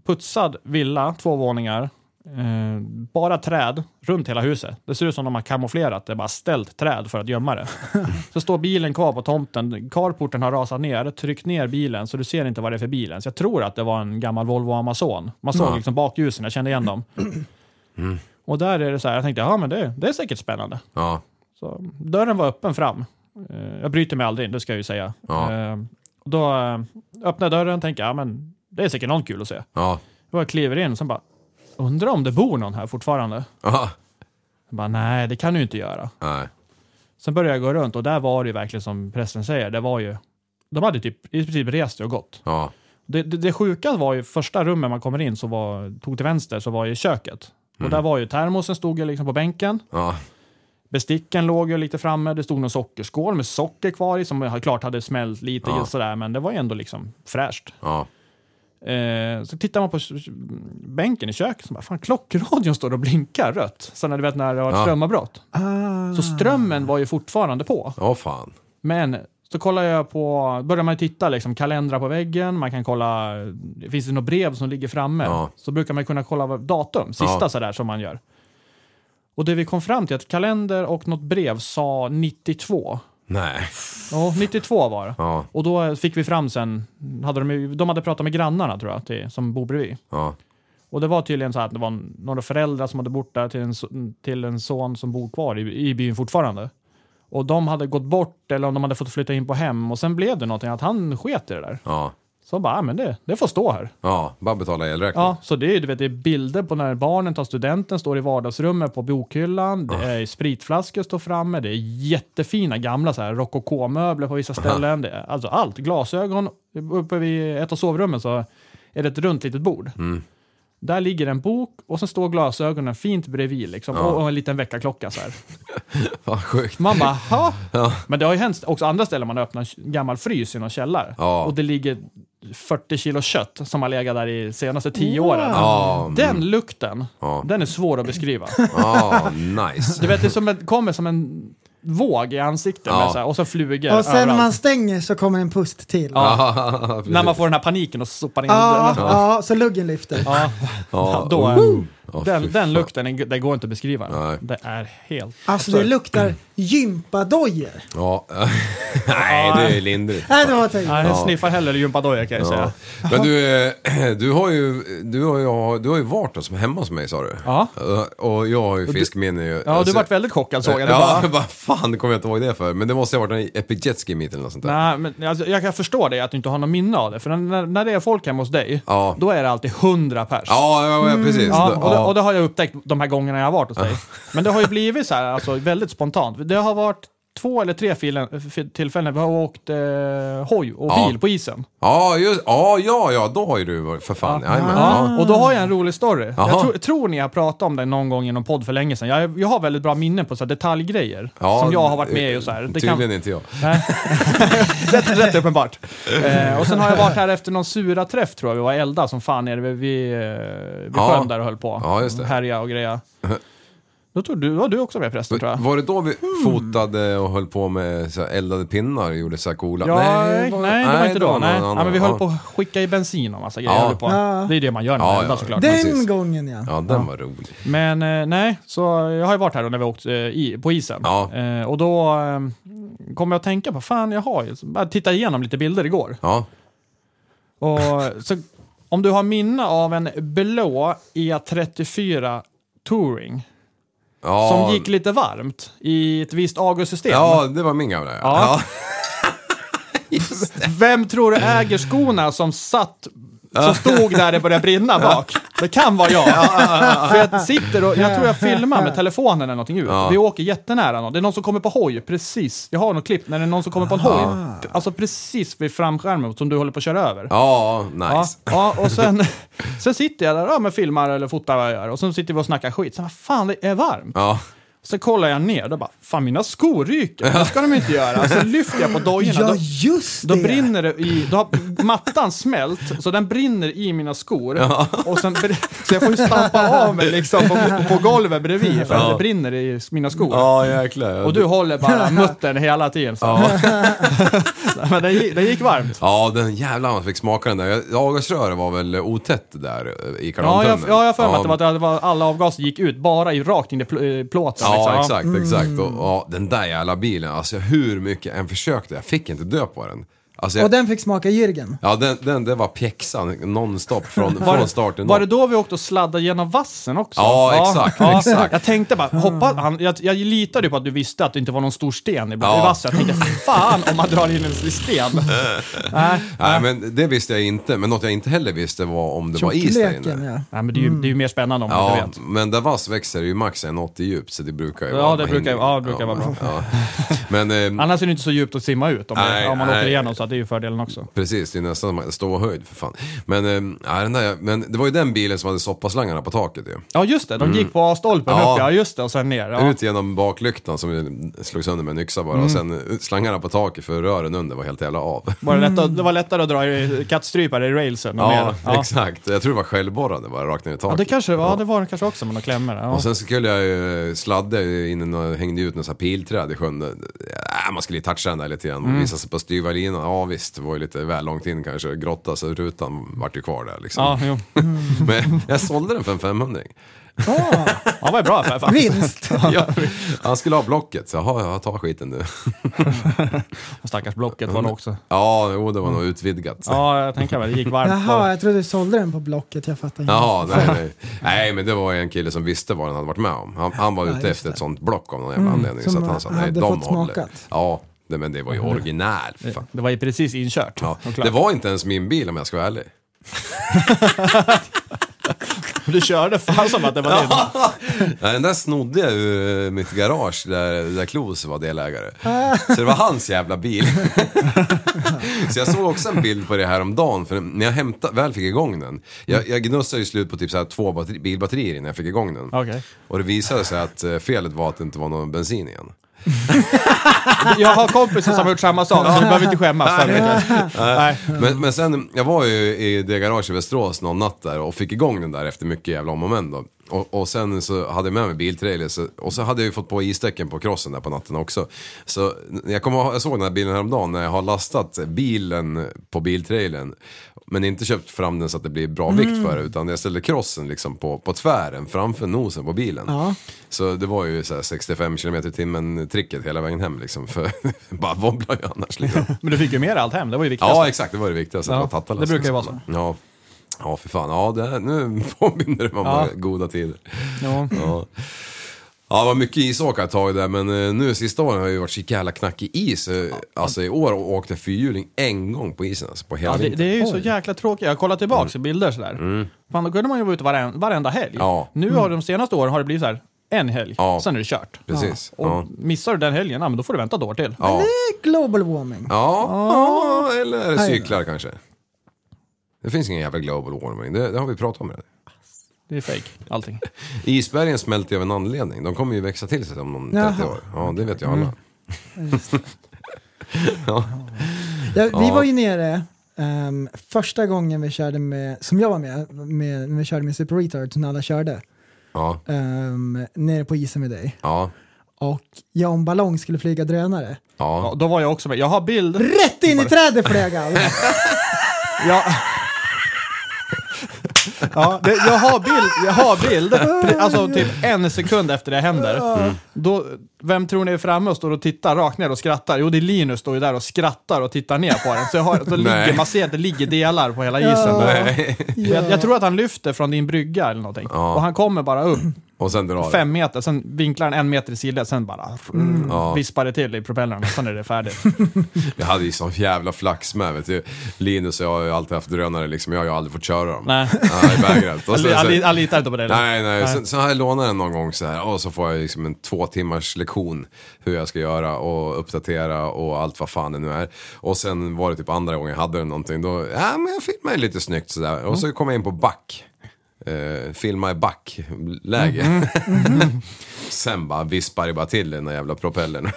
Speaker 7: putsad villa, två våningar, eh, bara träd runt hela huset. Det ser ut som de har kamouflerat det, bara ställt träd för att gömma det. så står bilen kvar på tomten, carporten har rasat ner, tryckt ner bilen så du ser inte vad det är för bilen. Så jag tror att det var en gammal Volvo Amazon. Man såg
Speaker 6: Ja.
Speaker 7: liksom bakljusen, jag kände igen dem. Och där är det så här, jag tänkte, ja men det, det är säkert spännande.
Speaker 6: Ja.
Speaker 7: Så dörren var öppen fram. Eh, Jag bryter mig aldrig in, det ska jag ju säga.
Speaker 6: Ja.
Speaker 7: Eh, och Då eh, öppnar jag dörren och tänker, ja men det är säkert någon kul att se.
Speaker 6: Ja.
Speaker 7: Och jag kliver in och sen bara, undrar om det bor någon här fortfarande?
Speaker 6: Ja.
Speaker 7: Jag bara, nej det kan du ju inte göra.
Speaker 6: Nej.
Speaker 7: Sen började jag gå runt och där var det ju verkligen som prästen säger, det var ju, de hade typ, i princip rest och gått.
Speaker 6: Ja.
Speaker 7: Det, det, det sjuka var ju första rummet man kommer in så var, tog till vänster så var ju köket. Och där var ju termosen stod ju liksom på bänken.
Speaker 6: Ja.
Speaker 7: Besticken låg ju lite framme, det stod någon sockerskål med socker kvar i som jag klart hade smält lite
Speaker 6: Ja.
Speaker 7: sådär, men det var ju ändå liksom fräscht.
Speaker 6: Ja.
Speaker 7: Eh, så tittar man på s- s- bänken i köket, så bara, fan klockradion står och blinkar rött. Sen när du vet när det var
Speaker 6: Ja.
Speaker 7: strömavbrott.
Speaker 5: Ah.
Speaker 7: Så strömmen var ju fortfarande på.
Speaker 6: Åh fan.
Speaker 7: Men så kollar jag på, börjar man titta liksom kalendrar på väggen, man kan kolla, det finns det något brev som ligger framme?
Speaker 6: Ja.
Speaker 7: Så brukar man kunna kolla vad- datum, sista
Speaker 6: Ja.
Speaker 7: sådär som man gör. Och det vi kom fram till, att kalender och något brev sa 92.
Speaker 6: Nej.
Speaker 7: Ja, 92 var det.
Speaker 6: Ja.
Speaker 7: Och då fick vi fram sen, hade de, ju- de hade pratat med grannarna tror jag, till, som bor bredvid.
Speaker 6: Ja.
Speaker 7: Och det var tydligen så här att det var n- några föräldrar som hade bott där till en, so- till en son som bor kvar i, i byn fortfarande. Och de hade gått bort eller om de hade fått flytta in på hem och sen blev det någonting att han sket i det där.
Speaker 6: Ja.
Speaker 7: Så bara, "Ah, men det, det får stå här.
Speaker 6: Ja. Bara betala elräkningen.
Speaker 7: Ja, så det är ju, du vet, det är bilder på när barnen tar studenten, står i vardagsrummet på bokhyllan, det är spritflaskor står framme, det är jättefina gamla så här rokoko-möbler på vissa ställen, det är, alltså allt, glasögon. Uppe vid ett av sovrummen så är det ett runt litet bord. Där ligger en bok och sen står glasögonen fint bredvid liksom, och, och en liten väckarklocka så här.
Speaker 6: Fan sjukt.
Speaker 7: Man bara, ha? Men det har ju hänt också andra ställen man öppnar en gammal frys i någon källare
Speaker 6: Ja.
Speaker 7: och det ligger 40 kilo kött som har legat där i senaste 10 åren.
Speaker 5: Mm.
Speaker 6: Ja.
Speaker 7: Den lukten,
Speaker 6: Ja.
Speaker 7: den är svår att beskriva.
Speaker 6: Ja. Nice.
Speaker 7: Du vet, det som en, kommer som en våg i ansiktet
Speaker 6: Ja.
Speaker 7: med så här, och så flugor
Speaker 5: Och sen när man
Speaker 7: överallt.
Speaker 5: stänger så kommer en pust till. Ja,
Speaker 6: Ja.
Speaker 7: När man får den här paniken och sopar in
Speaker 5: ja,
Speaker 7: den.
Speaker 5: så luggen lyfter.
Speaker 7: Ja,
Speaker 6: Ja.
Speaker 7: då är,
Speaker 6: Ja, fy
Speaker 7: den, den
Speaker 6: fan.
Speaker 7: lukten, den- det går inte att beskriva.
Speaker 6: Nej.
Speaker 7: Det är helt...
Speaker 5: Alltså det luktar gympadojor.
Speaker 6: Ja. Nej, det är lindrigt.
Speaker 5: Nej, det var vad jag tänkte.
Speaker 7: Nej, jag sniffar hellre gympadoja kan jag säga.
Speaker 6: Men du, eh, du har ju, du har ju, du har ju varit hos, hemma hos mig sa du.
Speaker 7: Ja.
Speaker 6: Eh, Och jag har ju fiskminne ju.
Speaker 7: Ja, du vart väldigt chockad såg jag. Du
Speaker 6: Ja,
Speaker 7: bara,
Speaker 6: jag bara fan, det kommer jag inte ihåg det för. Men det måste ha varit en Epic Jet Ski Meet eller något sånt där.
Speaker 7: Nej, men alltså, jag kan förstå dig att du inte har någon minne av det. För när, när det är folk hemma hos dig,
Speaker 6: Ja.
Speaker 7: då är det alltid 100 pers.
Speaker 6: Ja, ja, ja precis.
Speaker 7: Ja, och, det,
Speaker 6: Ja.
Speaker 7: och det har jag upptäckt de här gångerna jag har varit hos dig. Men det har ju blivit så här, alltså, väldigt spontant. Det har varit två eller tre filen, f- tillfällen vi har åkt eh, hoj och
Speaker 6: Ja.
Speaker 7: bil på isen.
Speaker 6: Ja, just, ja, ja, ja, då har ju du varit, för fan. Ja. jajamän, Ja.
Speaker 7: Och då har jag en rolig story.
Speaker 6: Jaha.
Speaker 7: Jag tror, tror ni jag pratade om den någon gång i någon podd för länge sedan. Jag, jag har väldigt bra minnen på så här detaljgrejer
Speaker 6: Ja, eh,
Speaker 7: som jag har varit med i. Och så här. Det
Speaker 6: Tydligen
Speaker 7: kan,
Speaker 6: inte jag.
Speaker 7: Nej. rätt, rätt uppenbart. Eh, och sen har jag varit här efter någon sura träff tror jag. Vi var elda som fan nere vid, vid, eh, vid
Speaker 6: Ja.
Speaker 7: sjön där och höll på.
Speaker 6: Ja, just det.
Speaker 7: Härja och greja. Då tror du, var du också med förresten tror jag. Hmm.
Speaker 6: Var det då vi fotade och höll på med så här eldade pinnar och gjorde så här coola?
Speaker 7: Ja, nej,
Speaker 6: var-
Speaker 7: nej, det var inte då.
Speaker 6: någon
Speaker 7: nej.
Speaker 6: annan.
Speaker 7: ja, men vi höll
Speaker 6: Ja.
Speaker 7: på att skicka i bensin och massa grejer.
Speaker 6: Ja.
Speaker 7: höll På.
Speaker 5: Ja.
Speaker 7: Det är det man gör när
Speaker 6: Ja,
Speaker 7: man
Speaker 6: ja,
Speaker 7: eldar
Speaker 6: ja.
Speaker 7: såklart.
Speaker 5: Den
Speaker 6: precis.
Speaker 5: gången ja.
Speaker 6: Ja, den var rolig.
Speaker 7: Men eh, nej, så jag har ju varit här då när vi åkt eh, i, på isen.
Speaker 6: Ja.
Speaker 7: Eh, och då eh, kom jag att tänka på, fan jag har ju, så bara titta igenom lite bilder igår.
Speaker 6: Ja,
Speaker 7: Och, så, om du har minne av en blå E34 Touring
Speaker 6: ja.
Speaker 7: som gick lite varmt i ett visst August-system.
Speaker 6: Ja, det var min gamla ja.
Speaker 7: Ja. Vem tror du äger skorna som satt som stod där det började brinna bak. Det kan vara jag. För jag sitter och, jag tror jag filmar med telefonen eller någonting ut.
Speaker 6: Ja.
Speaker 7: Vi åker jättenära någon. Det är någon som kommer på hoj, precis. Jag har något klipp när det är någon som kommer på en hoj. Alltså precis vid framskärmen som du håller på att köra över.
Speaker 6: Ja, nice.
Speaker 7: Ja, ja, och sen, sen sitter jag där ja, men filmar eller fotar vad jag gör och sen sitter vi och snackar skit. Sen vad fan, det är varmt.
Speaker 6: Ja.
Speaker 7: Så kollar jag ner och då bara, fan mina skor ryker. Det ska de inte göra. Så lyfter jag på dojorna.
Speaker 5: Ja
Speaker 7: då,
Speaker 5: just
Speaker 7: då
Speaker 5: det!
Speaker 7: brinner det i, då har mattan smält, så den brinner i mina skor. Och sen, br- så jag får ju stampa av mig liksom på, på golvet bredvid för att det brinner i mina skor.
Speaker 6: Ja, jäklar.
Speaker 7: Och du håller bara muttern hela tiden. Så. Men det, gick- det gick varmt.
Speaker 6: Ja, den jävla man fick smaka den där. Avgasröret var väl otätt där eh, i
Speaker 7: Ja, jag,
Speaker 6: karantänen?
Speaker 7: ja, jag har för mig att det var, att det var alla avgaser gick ut bara i rakt in i pl- eh, plåten.
Speaker 6: Ja,
Speaker 7: liksom.
Speaker 6: exakt, exakt. Och, ja, den där jävla bilen, alltså hur mycket jag än försökte, jag fick inte dö på den. Alltså, jag,
Speaker 5: Och den fick smaka Jürgen.
Speaker 6: Ja, den, den, det var pjäxan nonstop från, från starten.
Speaker 7: Var det då vi åkte och sladdade genom vassen också?
Speaker 6: Ja, exakt, exakt.
Speaker 7: Jag tänkte bara, hoppa, han, jag, jag litade ju på att du visste att det inte var någon stor sten i,
Speaker 6: Ja.
Speaker 7: i vassen. Jag tänkte, fan om man drar in en sten. Nej,
Speaker 6: Nej, men det visste jag inte. Men något jag inte heller visste var om det var is där
Speaker 5: Tjockleken ja.
Speaker 6: inne.
Speaker 7: Nej, men det är, ju, det är ju mer spännande om man inte
Speaker 6: Ja,
Speaker 7: vet.
Speaker 6: men där vass växer ju max 1,80 djupt så det brukar ju
Speaker 7: Ja,
Speaker 6: vara
Speaker 7: det
Speaker 6: man
Speaker 7: brukar-
Speaker 6: hinner-
Speaker 7: ja, det brukar vara bra.
Speaker 6: Ja. Men eh,
Speaker 7: Annars är det inte så djupt att simma ut om,
Speaker 6: Nej,
Speaker 7: om man åker
Speaker 6: nej.
Speaker 7: igenom, så att det är ju fördelen också.
Speaker 6: precis, det är nästan man- ståhöjd för fan. Men, eh, ja, den där, men det var ju den bilen som hade soppaslangarna på taket ju.
Speaker 7: Ja, just det. De gick på stolpen
Speaker 6: Mm. Ja.
Speaker 7: upp, ja just det, och sen ner. Ja. Mm.
Speaker 6: Ut genom baklyktan som slog sönder med en yxa bara och sen eh, slangarna på taket för rören under var helt jävla av.
Speaker 7: Var det, lätt att, det var lättare att dra i kattstrypare i railsen och
Speaker 6: Ja,
Speaker 7: ner. Ja.
Speaker 6: exakt. Jag tror det var självborrande bara rakt ner i taket.
Speaker 7: Ja, det kanske ja, det var det kanske också med några klämmor. Ja.
Speaker 6: Och sen skulle jag ju eh, sladda in och hängde ut några så här pilträd i sjön. Äh, man skulle ju toucha den där lite grann.
Speaker 7: Mm.
Speaker 6: Visa sig på styva linan. Ja visst, det var ju lite väl långt in kanske. Grotta så rutan vart ju kvar där liksom.
Speaker 7: Ja, jo.
Speaker 6: Men jag sålde den för en 500
Speaker 5: Ah,
Speaker 7: Ja, det var ju bra affär faktiskt.
Speaker 5: vinst!
Speaker 6: Han skulle ha blocket, så jaha, jag tar skiten nu.
Speaker 7: Stackars Blocket var det också.
Speaker 6: Ja, jo, det var nog utvidgat. Ja.
Speaker 7: Ja, jag tänker väl. Det gick varmt.
Speaker 5: Jaha, jag trodde du sålde den på Blocket, jag fattar inte.
Speaker 6: Jaha, nej, nej. nej men det var ju en kille som visste vad han hade varit med om. Han, han var ute
Speaker 5: just Mm,
Speaker 6: efter ett sånt block av någon jävla anledning.
Speaker 5: som
Speaker 6: Så att han sa, nej,
Speaker 5: hade
Speaker 6: de
Speaker 5: fått
Speaker 6: håller.
Speaker 5: smakat.
Speaker 6: Ja, nej, men det var ju original. för Fan.
Speaker 7: Det var ju precis inkört.
Speaker 6: Ja,
Speaker 7: Och klart.
Speaker 6: det var inte ens min bil om jag ska vara ärlig.
Speaker 7: Du körde fan som att det var din.
Speaker 6: Nej, den där snodde jag ur eh, mitt garage där, där Klos var delägare. Så det var hans jävla bil. så jag såg också en bild på det här om dagen för när jag hämta, väl fick igång den. Jag, jag gnussade ju slut på typ så här två batteri, bilbatterier innan jag fick igång den.
Speaker 7: Okej.
Speaker 6: Och det visade sig att eh, felet var att det inte var någon bensin igen.
Speaker 7: Jag har kompisar som har gjort samma sak, så du behöver inte skämmas. För mycket. Nej.
Speaker 6: Men, men sen, jag var ju i det garage i Västerås någon natt där och fick igång den där efter mycket jävla om och men då. Och, och sen så hade jag med mig biltrailer så, och så hade jag ju fått på istäcken på krossen där på natten också. Så n- jag, kommer ihåg- jag såg den här bilen häromdagen när jag har lastat bilen på biltrailern. Men inte köpt fram den så att det blir bra vikt för det utan jag ställde krossen liksom på, på tvären framför nosen på bilen. Så det var ju så här 65 km i timmen tricket hela vägen hem liksom. För bara wobblar ju annars liksom.
Speaker 7: Men du fick ju med dig allt hem, det var ju viktigast.
Speaker 6: Ja, exakt. Det var det viktigaste.
Speaker 7: Ja,
Speaker 6: att vara tattarlös.
Speaker 7: det brukar ju vara så.
Speaker 6: Ja. Ja, för fan. Ja, det här, nu påminner det mig om
Speaker 7: Ja.
Speaker 6: våra goda tider.
Speaker 7: Ja.
Speaker 6: Ja. Ja, det var mycket isåkare ett tag där, men eh, nu sista åren har jag ju varit så jävla knackig is. eh, Alltså i år åkte jag fyrhjuling en gång på isen, alltså på hela
Speaker 7: Ja, det,
Speaker 6: vintern.
Speaker 7: det är ju så jäkla tråkigt. Jag har kollat
Speaker 6: Mm.
Speaker 7: tillbaka i bilder sådär. Fan, då kunde man ju vara ute varen, varenda helg.
Speaker 6: Ja. Mm.
Speaker 7: Nu har de senaste åren har det blivit så här. en helg,
Speaker 6: Ja.
Speaker 7: sen är det kört.
Speaker 6: Precis.
Speaker 7: Och
Speaker 6: Ja.
Speaker 7: missar du den helgen, ja, men då får du vänta ett år till.
Speaker 6: Ja.
Speaker 5: Det är global warming.
Speaker 6: Ja, eller är det
Speaker 5: Nej.
Speaker 6: cyklar kanske? Det finns ingen jävla global warming, det, det har vi pratat om redan.
Speaker 7: Det är fake, allting.
Speaker 6: Isbergen smälter ju av en anledning, de kommer ju växa till sig om någon 30
Speaker 5: Jaha.
Speaker 6: år. Ja, det vet ju
Speaker 7: Mm.
Speaker 6: alla.
Speaker 5: Ja, vi
Speaker 6: Ja.
Speaker 5: var ju nere ehm, första gången vi körde med, som jag var med, med när vi körde med Super Retards när alla körde,
Speaker 6: Ja,
Speaker 5: um, nere på isen med dig.
Speaker 6: ja,
Speaker 5: Och jag och en ballong skulle flyga drönare.
Speaker 7: Ja,
Speaker 6: ja.
Speaker 7: då var jag också med. Jag har bild.
Speaker 5: Rätt in i trädet flög han!
Speaker 7: Ja. Ja, det, jag har bild, jag har bild. Pre- Alltså typ en sekund efter det händer.
Speaker 6: Mm.
Speaker 7: Då, vem tror ni är framme och står och tittar rakt ner och skrattar? Jo, det är Linus står ju där och skrattar och tittar ner på den. Så jag har, så ligger,
Speaker 6: Nej.
Speaker 7: man ser att det ligger delar på hela isen.
Speaker 6: Nej.
Speaker 7: Jag, jag tror att han lyfter från din brygga eller någonting.
Speaker 6: Ja.
Speaker 7: Och han kommer bara upp
Speaker 6: Och sen drar det.
Speaker 7: fem meter, sen vinklar han en meter i sidan, sen bara
Speaker 6: Mm. Ja.
Speaker 7: vispar det till i propellrarna, sen är det färdigt.
Speaker 6: Jag hade ju sån jävla flax med vet du. Linus och jag har ju alltid haft drönare liksom, jag har ju aldrig fått köra dem.
Speaker 7: Nej.
Speaker 6: Nej, vägrat. Och sen-
Speaker 7: Han li- han litar inte på det.
Speaker 6: Nej, nej. Sen, sen har jag lånat den någon gång så här och så får jag liksom en två timmars lektion hur jag ska göra och uppdatera och allt vad fan det nu är. Och sen var det typ andra gången jag hade den någonting då, ja men jag filmade ju lite snyggt sådär. Och så kom jag in på back. Eh, filma i backläge. Sen bara vispar det bara till den där jävla propellern.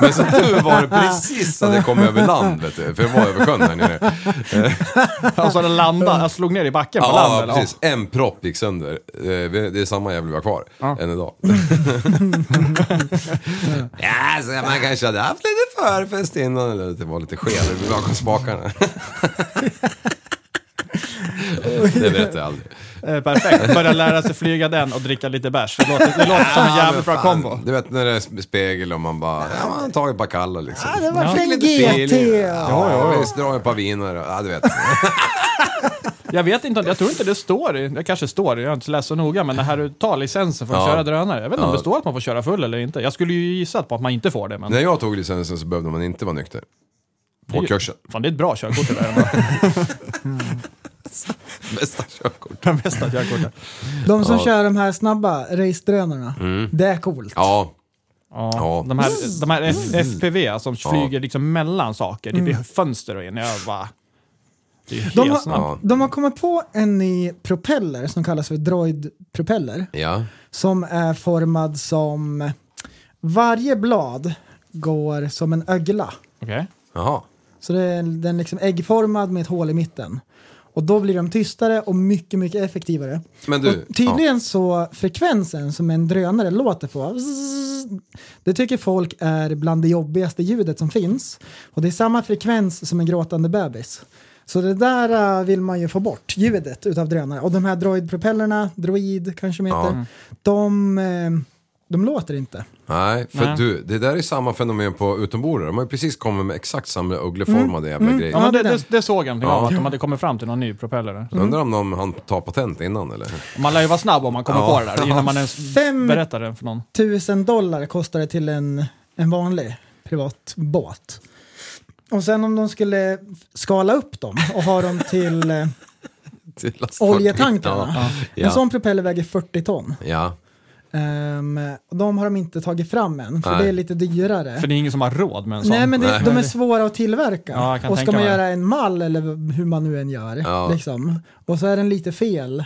Speaker 6: Men som tur var det precis att jag kom över land vet du. För jag var över sjön här nere.
Speaker 7: Alltså den landade, jag slog ner i backen på land.
Speaker 6: Ja,
Speaker 7: eller?
Speaker 6: precis. En propp gick sönder. Eh, vi- Det är samma jävel vi har kvar än idag. ja, så man kanske hade haft lite förfest innan. Eller det var lite skev vi bakom spakarna. det berättar jag aldrig.
Speaker 7: Eh, perfekt. Börja lära sig flyga den och dricka lite bärs. Det låter, det låter som en
Speaker 6: men
Speaker 7: jävligt bra
Speaker 6: fan,
Speaker 7: kombo.
Speaker 6: Du vet när det är spegel och man bara, ja man har tagit Bacalla liksom.
Speaker 5: det var en
Speaker 6: Lite
Speaker 5: GT!
Speaker 6: feeling. Ja, ja, visst, dra ett par viner. Ja, du vet.
Speaker 7: Jag vet inte, om- jag tror inte det står i, det kanske står i, jag har inte läst så noga, men det här du tar licensen för att
Speaker 6: Ja.
Speaker 7: köra drönare. Jag vet inte om
Speaker 6: Ja.
Speaker 7: det står att man får köra full eller inte. Jag skulle ju gissa på att man inte får det, men
Speaker 6: När jag tog licensen så behövde man inte vara nykter. På
Speaker 7: ju-
Speaker 6: kursen.
Speaker 7: fan det är ett bra körkort det där ändå.
Speaker 6: Bästa körkort.
Speaker 7: Det bästa körkortet.
Speaker 5: De som kör de här snabba racedrönarna,
Speaker 7: Mm.
Speaker 5: det är coolt.
Speaker 6: Ja,
Speaker 7: Ja,
Speaker 6: Ja. Mm.
Speaker 7: De här, de här F- FPV som flyger liksom mellan saker, typ i fönster och in. Jag bara... Det är ju
Speaker 5: De
Speaker 7: helt snabbt.
Speaker 5: har, de har kommit på en ny propeller som kallas för droid-propeller.
Speaker 6: ja.
Speaker 5: Som är formad som... Varje blad går som en ögla.
Speaker 7: Okej.
Speaker 6: Jaha.
Speaker 5: Så det är, den är liksom äggformad med ett hål i mitten. Och då blir de tystare och mycket, mycket effektivare.
Speaker 6: Men du,
Speaker 5: och tydligen så frekvensen som en drönare låter på, zzz, det tycker folk är bland det jobbigaste ljudet som finns. Och det är samma frekvens som en gråtande bebis. Så det där äh, vill man ju få bort, ljudet utav drönare. Och de här droidpropellerna, droid kanske de heter, de, eh, de låter inte.
Speaker 6: Nej, för
Speaker 7: Nej.
Speaker 6: du, det där är samma fenomen på utombordare. De har ju precis kommit med exakt samma uggleformade jävla grej.
Speaker 7: Mm. Ja, men
Speaker 5: det
Speaker 7: det,
Speaker 5: är
Speaker 7: det,
Speaker 5: den.
Speaker 7: det såg jag någonting
Speaker 6: Ja.
Speaker 7: av, att de hade kommit fram till någon ny propeller.
Speaker 6: Undrar om de hann ta patent innan eller?
Speaker 7: Man lär ju vara snabb om man kommer
Speaker 6: Ja.
Speaker 7: på det där innan man ens
Speaker 5: Fem-
Speaker 7: berättar det för någon.
Speaker 5: tusen dollar kostar det till en, en vanlig privat båt. Och sen om de skulle skala upp dem och ha dem till eh,
Speaker 6: Till lastfartyg.
Speaker 5: oljetankarna.
Speaker 6: Ja.
Speaker 5: En
Speaker 6: Ja.
Speaker 5: sån propeller väger 40 ton.
Speaker 6: ja.
Speaker 5: Ehm, och de har de inte tagit fram än, för
Speaker 6: Nej.
Speaker 5: det är lite dyrare.
Speaker 7: För det är ingen som har råd med en sån.
Speaker 5: Nej men det,
Speaker 6: Nej.
Speaker 5: de är svåra att tillverka.
Speaker 7: Ja, jag kan
Speaker 5: och ska
Speaker 7: tänka
Speaker 5: man
Speaker 7: mig.
Speaker 5: göra en mall eller hur man nu än gör.
Speaker 6: Ja.
Speaker 5: Liksom. Och så är den lite fel.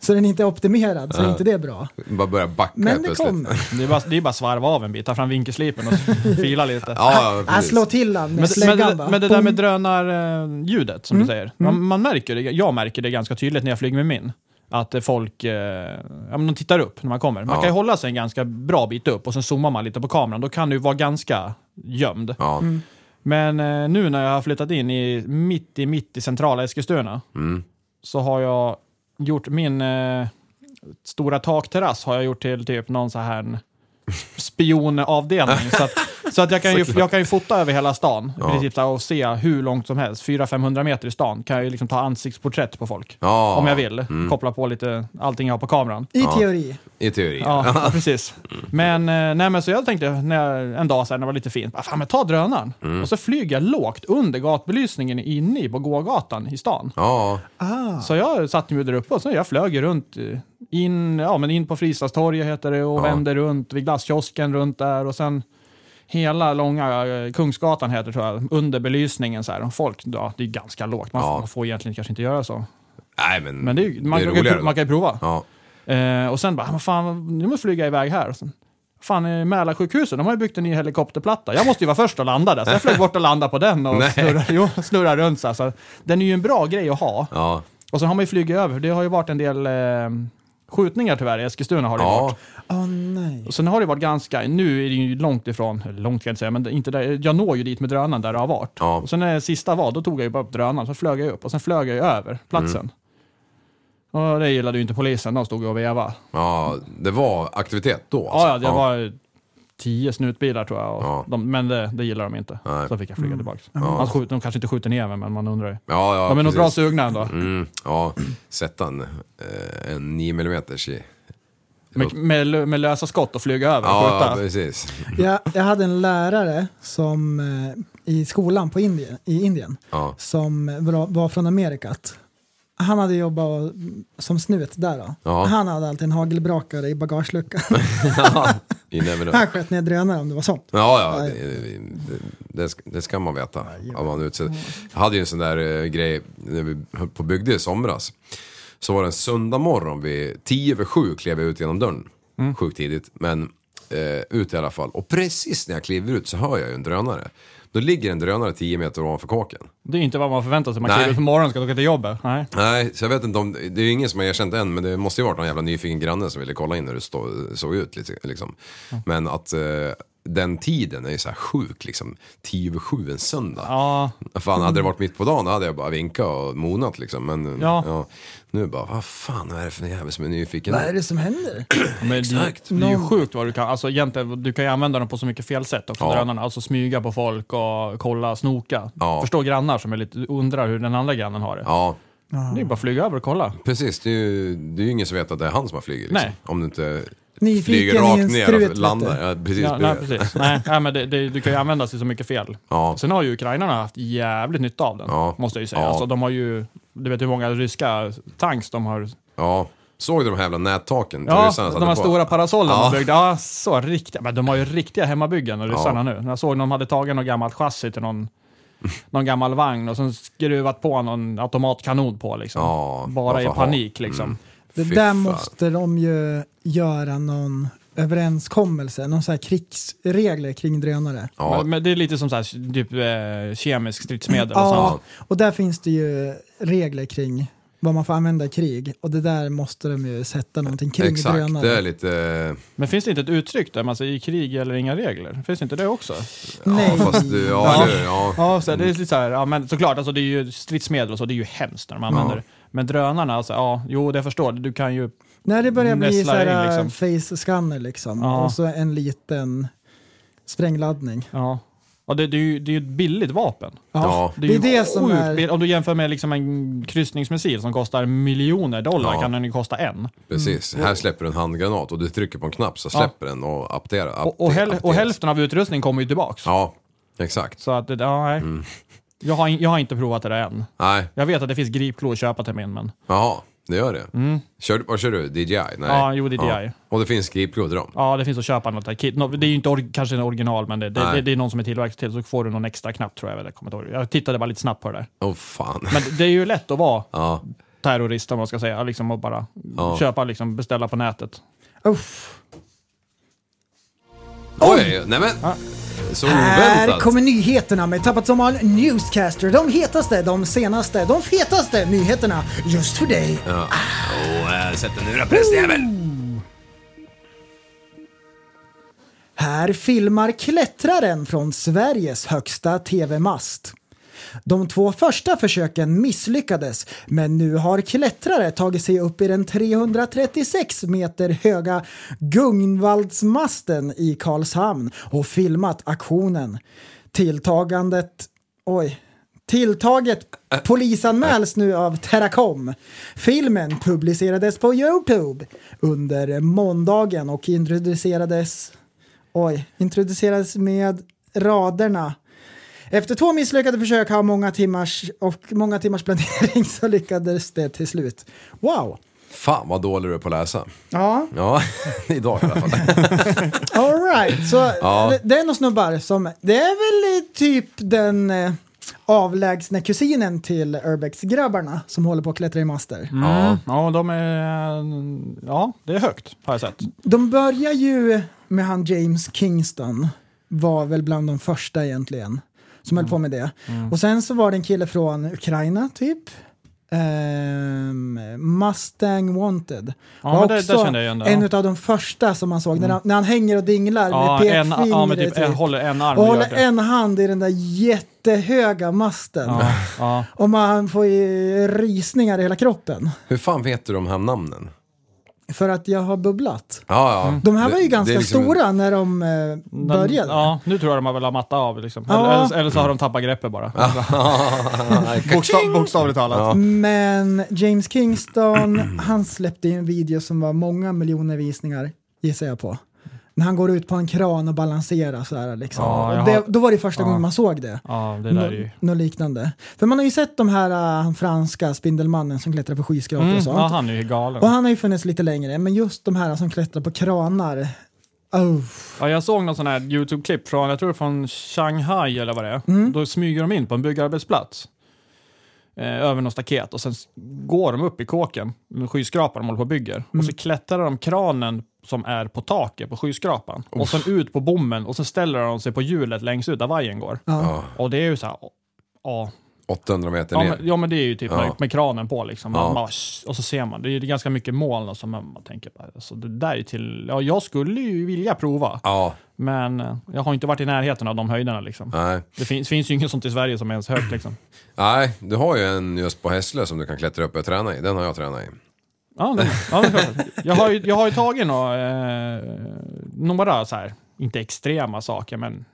Speaker 5: Så den är inte optimerad, så är inte det är bra.
Speaker 6: Bara börja backa
Speaker 5: Men det
Speaker 6: plötsligt.
Speaker 5: kommer.
Speaker 7: Det är bara det är bara att svarva av en bit, ta fram vinkelslipen och fila lite.
Speaker 6: Ja, ja,
Speaker 5: Äh,
Speaker 6: precis.
Speaker 5: slå till den med
Speaker 7: Men, men,
Speaker 5: släggan
Speaker 7: det,
Speaker 5: bara.
Speaker 7: men det där med
Speaker 5: Boom. Mm.
Speaker 7: drönarljudet som du säger. Man, man märker det, jag märker det ganska tydligt när jag flyger med min. Att eh, folk eh, ja, men de tittar upp när man kommer. Man
Speaker 6: Ja.
Speaker 7: kan ju hålla sig en ganska bra bit upp och sen zoomar man lite på kameran. Då kan du vara ganska gömd.
Speaker 6: Ja.
Speaker 5: Mm.
Speaker 7: Men eh, nu när jag har flyttat in i mitt i mitt i centrala Eskilstuna
Speaker 6: Mm.
Speaker 7: så har jag gjort min eh, stora takterrass har jag gjort till typ någon så här en spionavdelning. så att, så att jag, kan ju, jag kan ju fota över hela stan i
Speaker 6: Ja.
Speaker 7: princip, så här, och se hur långt som helst. 400-500 meter i stan kan jag ju liksom ta ansiktsporträtt på folk.
Speaker 6: Ja. Mm.
Speaker 7: Om jag vill. Koppla på lite allting jag har på kameran.
Speaker 5: I teori.
Speaker 6: I teori.
Speaker 7: Ja, ja, precis. Men, eh, nej, men så jag tänkte när, jag- en dag så här, när det var lite fint, bara, fan men ta drönaren.
Speaker 6: Mm.
Speaker 7: Och så flyger jag lågt under gatbelysningen inne i- på gågatan i stan.
Speaker 6: Ja. Ah.
Speaker 7: Så jag satte mig där uppe och så jag flög ju runt eh, in, ja, men in på Fristadstorget heter det och
Speaker 6: Ja.
Speaker 7: vänder runt vid glasskiosken runt där och sen hela långa eh, Kungsgatan heter tror jag, under belysningen så här. Och Folk, ja, det är ganska lågt, man,
Speaker 6: Ja.
Speaker 7: man får egentligen kanske inte göra så.
Speaker 6: Nej men,
Speaker 7: Men det är, ju- man, kan, ju
Speaker 6: roligare
Speaker 7: pro-
Speaker 6: då.
Speaker 7: man kan ju prova.
Speaker 6: Ja.
Speaker 7: Eh, och sen bara, "Men fan, nu måste jag flyga iväg här. Och sen, fan, eh, Mälarsjukhuset, de har ju byggt en ny helikopterplatta. Jag måste ju vara först att landa där. Så jag flög bort och landade på den och
Speaker 6: Nej.
Speaker 7: snurrade, jo, snurrade runt. Så, här, så den är ju en bra grej att ha.
Speaker 6: Ja.
Speaker 7: Och sen har man ju flugit över, för det har ju varit en del eh, skjutningar tyvärr i Eskilstuna. Har det ju
Speaker 6: Ja.
Speaker 7: varit.
Speaker 5: Åh nej.
Speaker 7: Och sen har det varit ganska, nu är det ju långt ifrån, eller långt kan jag inte säga, men det- inte där, jag når ju dit med drönaren där det har varit.
Speaker 6: Ja.
Speaker 7: Och sen när det sista var, då tog jag ju bara upp drönaren, så flög jag ju upp och sen flög jag ju över platsen.
Speaker 6: Mm.
Speaker 7: Och det gillade ju inte polisen, de stod ju och vevade.
Speaker 6: ja, det var aktivitet då alltså.
Speaker 7: Ja, ja, det var tio snutbilar tror jag. Och
Speaker 6: Ja.
Speaker 7: de, men det, det gillar de inte.
Speaker 6: Nej.
Speaker 7: Så fick jag flyga tillbaka. Man skjuter, de kanske inte skjuter ner mig, men man undrar ju.
Speaker 6: Ja, ja,
Speaker 7: de är nog
Speaker 6: precis.
Speaker 7: bra sugna ändå.
Speaker 6: Mm, ja, sätta en, eh, en 9 mm i...
Speaker 7: Med, med, lö- med lösa skott och flyga över och
Speaker 6: Ja,
Speaker 7: skjuta.
Speaker 6: precis.
Speaker 5: Jag, jag hade en lärare som eh, i skolan på Indien, i Indien
Speaker 6: Ja.
Speaker 5: som var, var från Amerikat. Han hade jobbat och- som snut där då.
Speaker 6: Ja.
Speaker 5: Han hade alltid en hagelbrakare i bagageluckan.
Speaker 6: You never know.
Speaker 5: Han sköt ner drönare om det var sånt.
Speaker 6: Ja, ja, det, det, det, ska- det ska man veta. Om man utser. Jag hade ju en sån där eh, grej när vi höll på och byggde i somras. Så var det en söndag morgon vid tio över sju klev jag ut genom dörren. Sjukt tidigt, men eh, ut i alla fall. Och precis när jag kliver ut så hör jag ju en drönare. Då ligger en drönare 10 meter ovanför kåken.
Speaker 7: Det är ju inte vad man förväntar sig. Man
Speaker 6: Nej.
Speaker 7: kliver upp på morgonen och ska åka till jobbet. Nej.
Speaker 6: Nej, så jag vet inte om, det är ju ingen som har erkänt än, men det måste ju varit någon jävla nyfiken granne som ville kolla in hur det stå, såg ut. lite- Liksom. Men att eh, den tiden är ju så här sjuk, liksom. Tio över sju en söndag.
Speaker 7: Ja,
Speaker 6: Fan, hade det varit mitt på dagen då hade jag bara vinkat och monat liksom. Men
Speaker 7: Ja.
Speaker 6: ja. nu bara, vad fan är det för jävel som är nyfiken?
Speaker 5: Vad är det som händer?
Speaker 7: men det,
Speaker 6: Exakt.
Speaker 7: det är ju
Speaker 5: Någon-
Speaker 7: sjukt vad du kan... Alltså egentligen, du kan ju använda dem på så mycket fel sätt också,
Speaker 6: Ja.
Speaker 7: drönarna. Alltså smyga på folk och kolla, snoka.
Speaker 6: Ja.
Speaker 7: Förstå grannar som är lite, undrar hur den andra grannen har det.
Speaker 6: Ja,
Speaker 7: Det är ju bara att flyga över och kolla.
Speaker 6: precis. Det är ju, det är ju ingen som vet att det är han som har flugit. Liksom.
Speaker 7: Nej.
Speaker 6: Om du inte
Speaker 5: Nyfiken
Speaker 6: flyger
Speaker 5: i
Speaker 6: rakt
Speaker 5: en
Speaker 6: ner
Speaker 5: strut, vet
Speaker 6: och
Speaker 5: du.
Speaker 6: landar. Ja, precis.
Speaker 7: Ja, nej, precis. nej, nej, men det, det, du kan ju använda sig så mycket fel.
Speaker 6: Ja.
Speaker 7: Sen har ju ukrainarna haft jävligt nytta av den,
Speaker 6: Ja.
Speaker 7: måste jag ju säga.
Speaker 6: Ja.
Speaker 7: Alltså, de har ju, du vet hur många ryska tanks de har.
Speaker 6: ja. Såg du de här jävla nättaken?
Speaker 7: Ja,
Speaker 6: ryssarna
Speaker 7: de
Speaker 6: satte
Speaker 7: här
Speaker 6: på?
Speaker 7: stora parasollen
Speaker 6: Ja.
Speaker 7: de byggde. Ja, så riktiga, men de har ju riktiga hemmabyggen, ryssarna nu. Jag såg de hade tagit något gammalt chassi till någon, någon gammal vagn och sen skruvat på någon automatkanon på liksom.
Speaker 6: Ja,
Speaker 7: Bara i
Speaker 6: varför ha? Mm.
Speaker 7: panik liksom.
Speaker 5: Det
Speaker 6: Fy
Speaker 5: där
Speaker 6: fan.
Speaker 5: måste de ju göra någon överenskommelse, någon så här krigsregler kring drönare.
Speaker 6: Ja,
Speaker 7: Men, men det är lite som så här, typ eh, kemisk stridsmedel och sånt.
Speaker 5: Ja, och där finns det ju regler kring vad man får använda i krig och det där måste de ju sätta någonting kring
Speaker 6: Exakt,
Speaker 5: drönare.
Speaker 6: det är lite...
Speaker 7: Men finns det inte ett uttryck där man säger i krig eller inga regler? Finns inte det också?
Speaker 5: Nej.
Speaker 6: Ja, fast du, ja,
Speaker 7: Ja.
Speaker 6: eller hur? ja.
Speaker 7: Ja, så det är lite så här, ja, men såklart, alltså, det är ju stridsmedel och så, det är ju hemskt när de använder
Speaker 6: Ja.
Speaker 7: det. Men drönarna, alltså, ja, jo, det förstår du. kan ju...
Speaker 5: När det börjar bli så
Speaker 7: Nästlar in
Speaker 5: här
Speaker 7: liksom.
Speaker 5: face scanner liksom
Speaker 7: Ja.
Speaker 5: och så en liten sprängladdning.
Speaker 7: Ja. Ja, det, det, är ju, det är ju ett billigt vapen.
Speaker 6: Ja.
Speaker 5: Det är det som
Speaker 7: sjukt
Speaker 5: är-
Speaker 7: bill- Om du jämför med liksom en kryssningsmissil som kostar miljoner dollar
Speaker 6: Ja.
Speaker 7: kan den ju kosta en.
Speaker 6: Precis, här släpper du en handgranat och du trycker på en knapp så släpper den och apterar.
Speaker 7: Och, och, häl, och
Speaker 6: apteras.
Speaker 7: hälften av utrustningen kommer ju tillbaks.
Speaker 6: Ja, Mm. exakt.
Speaker 7: Så att, det- ja, nej. Jag, har, in- jag har inte provat det där än.
Speaker 6: Nej,
Speaker 7: Jag vet att det finns gripklo att köpa till min, men...
Speaker 6: jaha, det gör det. Kör, vad kör du? DJI? Nej.
Speaker 7: Mm. Ja, jo, DJI.
Speaker 6: Och det finns gripklo till dem?
Speaker 7: Ja, det finns att köpa något där kit. Nå- Det är ju inte or- kanske en original, men det, det,
Speaker 6: Nej.
Speaker 7: det, det är någon som är tillverkad till, så får du någon extra knapp tror jag. väl, Jag, kommer inte ihåg. jag tittade bara lite snabbt på det där.
Speaker 6: Åh fan.
Speaker 7: Men det- det är ju lätt att vara
Speaker 6: Ja,
Speaker 7: terrorist, om man ska säga, liksom, och bara
Speaker 6: Ja.
Speaker 7: köpa, liksom, beställa på nätet.
Speaker 5: Uff.
Speaker 6: Oj! Nej men! Så
Speaker 5: Här
Speaker 6: oväntat.
Speaker 5: kommer nyheterna med Tappat som all Newscaster. De hetaste, de senaste, de fetaste nyheterna just för dig.
Speaker 6: eh, Sätt den nu då prästjävel!
Speaker 5: Här filmar klättraren från Sveriges högsta tv-mast. De två första försöken misslyckades, men nu har klättrare tagit sig upp i den 336 meter höga Gungvaldsmasten i Karlshamn och filmat aktionen. Tilltagandet... Oj. Tilltaget polisanmäls nu av Teracom. Filmen publicerades på Youtube under måndagen och introducerades Oj, introducerades med raderna. Efter två misslyckade försök har många timmars och många timmars planering så lyckades det till slut. Wow!
Speaker 6: Fan vad dålig du är på att läsa.
Speaker 5: Ja,
Speaker 6: Ja, idag i alla fall.
Speaker 5: alright. Så
Speaker 6: Ja.
Speaker 5: det- det är några snubbar som, det är väl eh, typ den eh, avlägsna kusinen till Urbex-grabbarna som håller på att klättra i master.
Speaker 6: Ja.
Speaker 7: Mm. Ja, de är... Ja, det är högt har jag sett.
Speaker 5: De börjar ju med han James Kingston, var väl bland de första egentligen som höll på
Speaker 7: Mm.
Speaker 5: med det. Och sen så var det en kille från Ukraina typ. Ehm, Mustang Wanted.
Speaker 7: Ja,
Speaker 5: Var
Speaker 7: men det- där
Speaker 5: också
Speaker 7: kände jag igen det,
Speaker 5: en
Speaker 7: ja. Mm.
Speaker 5: av de första som man såg när, han, när han hänger och dinglar
Speaker 7: Ja,
Speaker 5: med
Speaker 7: en,
Speaker 5: pekfingret.
Speaker 7: ja men typ,
Speaker 5: typ.
Speaker 7: en, håller en arm
Speaker 5: och
Speaker 7: i
Speaker 5: håller
Speaker 7: ögat.
Speaker 5: en hand i den där jättehöga masten.
Speaker 7: Ja, ja.
Speaker 5: Och man får ju rysningar i hela kroppen.
Speaker 6: Hur fan vet du de här namnen?
Speaker 5: För att jag har bubblat.
Speaker 6: Ja, ja.
Speaker 5: Mm. De här var
Speaker 6: Det-
Speaker 5: ju
Speaker 6: det är
Speaker 5: ganska
Speaker 6: liksom-
Speaker 5: stora när de eh, började.
Speaker 7: Ja, nu tror jag de har väl mattat av liksom.
Speaker 5: Ja.
Speaker 7: Eller, eller, eller så har de tappat greppet bara. Bokstav, bokstavligt talat.
Speaker 5: Men James Kingston, han släppte ju en video som var många miljoner visningar, gissar jag på. När han går ut på en kran och balanserar så här liksom.
Speaker 7: Ja, jag
Speaker 5: Och det,
Speaker 7: har-
Speaker 5: då var det första
Speaker 7: Ja.
Speaker 5: gången man såg det.
Speaker 7: Ja, det där är ju...
Speaker 5: Nå- Något liknande. För man har ju sett de här eh, han franska spindelmannen som klättrar på skyskrapor
Speaker 7: Mm,
Speaker 5: och sånt.
Speaker 7: ja, han är ju galen.
Speaker 5: Och han har ju funnits lite längre, men just de här som klättrar på kranar. Oh.
Speaker 7: Ja, jag såg någon sån här YouTube-klipp från, jag tror från Shanghai eller vad det är.
Speaker 6: Mm.
Speaker 7: Då smyger de in på en byggarbetsplats. Eh, över något staket och sen s- går de upp i kåken med skyskrapan de håller på och bygger. Och så
Speaker 6: Mm.
Speaker 7: klättrar de kranen som är på taket på skyskrapan. Och sen ut på bommen och så ställer de sig på hjulet längst ut där vajern går.
Speaker 5: Ja.
Speaker 7: Och det är ju så här, ja.
Speaker 6: 800 meter
Speaker 7: Ja
Speaker 6: ner.
Speaker 7: men, ja men det är ju typ
Speaker 6: Ja.
Speaker 7: med, med kranen på liksom. Man,
Speaker 6: Ja.
Speaker 7: bara, "Shh", och så ser man, det är ju ganska mycket moln och så men man tänker bara, alltså, det där är till, ja jag skulle ju vilja prova.
Speaker 6: Ja,
Speaker 7: Men eh, jag har inte varit i närheten av de höjderna. Liksom.
Speaker 6: nej.
Speaker 7: Det finns, finns ju inget sånt i Sverige som är ens högt. Liksom.
Speaker 6: Nej, du har ju en just på Hässlö som du kan klättra upp och träna i. Den har jag tränat i.
Speaker 7: Ja, det, ja, det är klart. jag, har ju, jag har ju tagit några, eh, några så här, inte extrema saker, men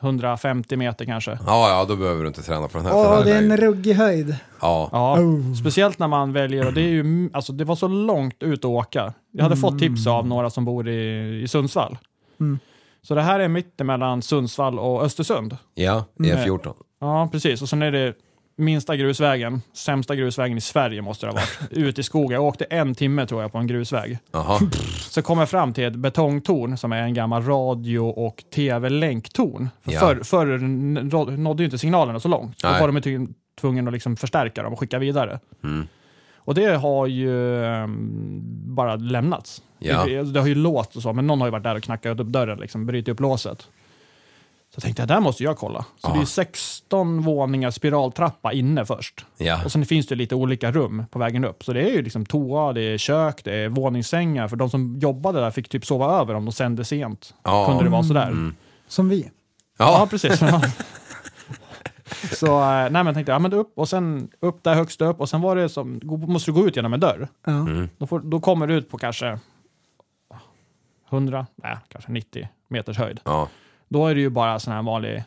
Speaker 7: 150 meter kanske.
Speaker 6: Ja, ja, då behöver du inte träna på den här. för den
Speaker 5: Åh,
Speaker 6: här
Speaker 5: det är en
Speaker 6: lägre.
Speaker 5: ruggig höjd.
Speaker 6: Ja.
Speaker 7: Ja, Speciellt när man väljer, och det, är ju, m- alltså, det var så långt ut att åka. Jag hade fått tips av några som bor i, i Sundsvall. Så det här är mitt emellan Sundsvall och Östersund.
Speaker 6: Ja, E14.
Speaker 7: Ja, precis. Och sen är det minsta grusvägen, sämsta grusvägen i Sverige måste det ha varit. Ut i skogen. Jag åkte en timme tror jag på en grusväg.
Speaker 6: Jaha.
Speaker 7: Så kom jag fram till ett betongtorn som är en gammal radio och tv-länktorn. För
Speaker 6: Ja.
Speaker 7: Förr, förr n- rå- nådde ju inte signalerna så långt. Då
Speaker 6: Nej.
Speaker 7: var de ju ty- tvungna att liksom förstärka dem och skicka vidare.
Speaker 6: Mm.
Speaker 7: Och det har ju ehm, bara lämnats.
Speaker 6: Ja.
Speaker 7: Det, det har ju låst och så, men någon har ju varit där och knackat upp dörren, liksom, brutit upp låset. Så jag tänkte jag, där måste jag kolla. Så det är 16 våningar spiraltrappa inne först.
Speaker 6: Ja.
Speaker 7: Och sen finns det lite olika rum på vägen upp. Så det är ju liksom toa, det är kök, det är våningssängar. För de som jobbade där fick typ sova över om de sände sent.
Speaker 6: Ja.
Speaker 7: Kunde det vara sådär?
Speaker 5: Som vi.
Speaker 7: Ja,
Speaker 6: Ja,
Speaker 7: precis. Ja. Så eh, nej, men jag tänkte ja, men upp och sen upp där högst upp och sen var det som, gå- måste du gå ut genom en dörr.
Speaker 5: Ja.
Speaker 6: Mm.
Speaker 7: Då, får, då kommer du ut på kanske 100, nej, kanske 90 meters höjd.
Speaker 6: ja.
Speaker 7: Då är det ju bara sån här vanlig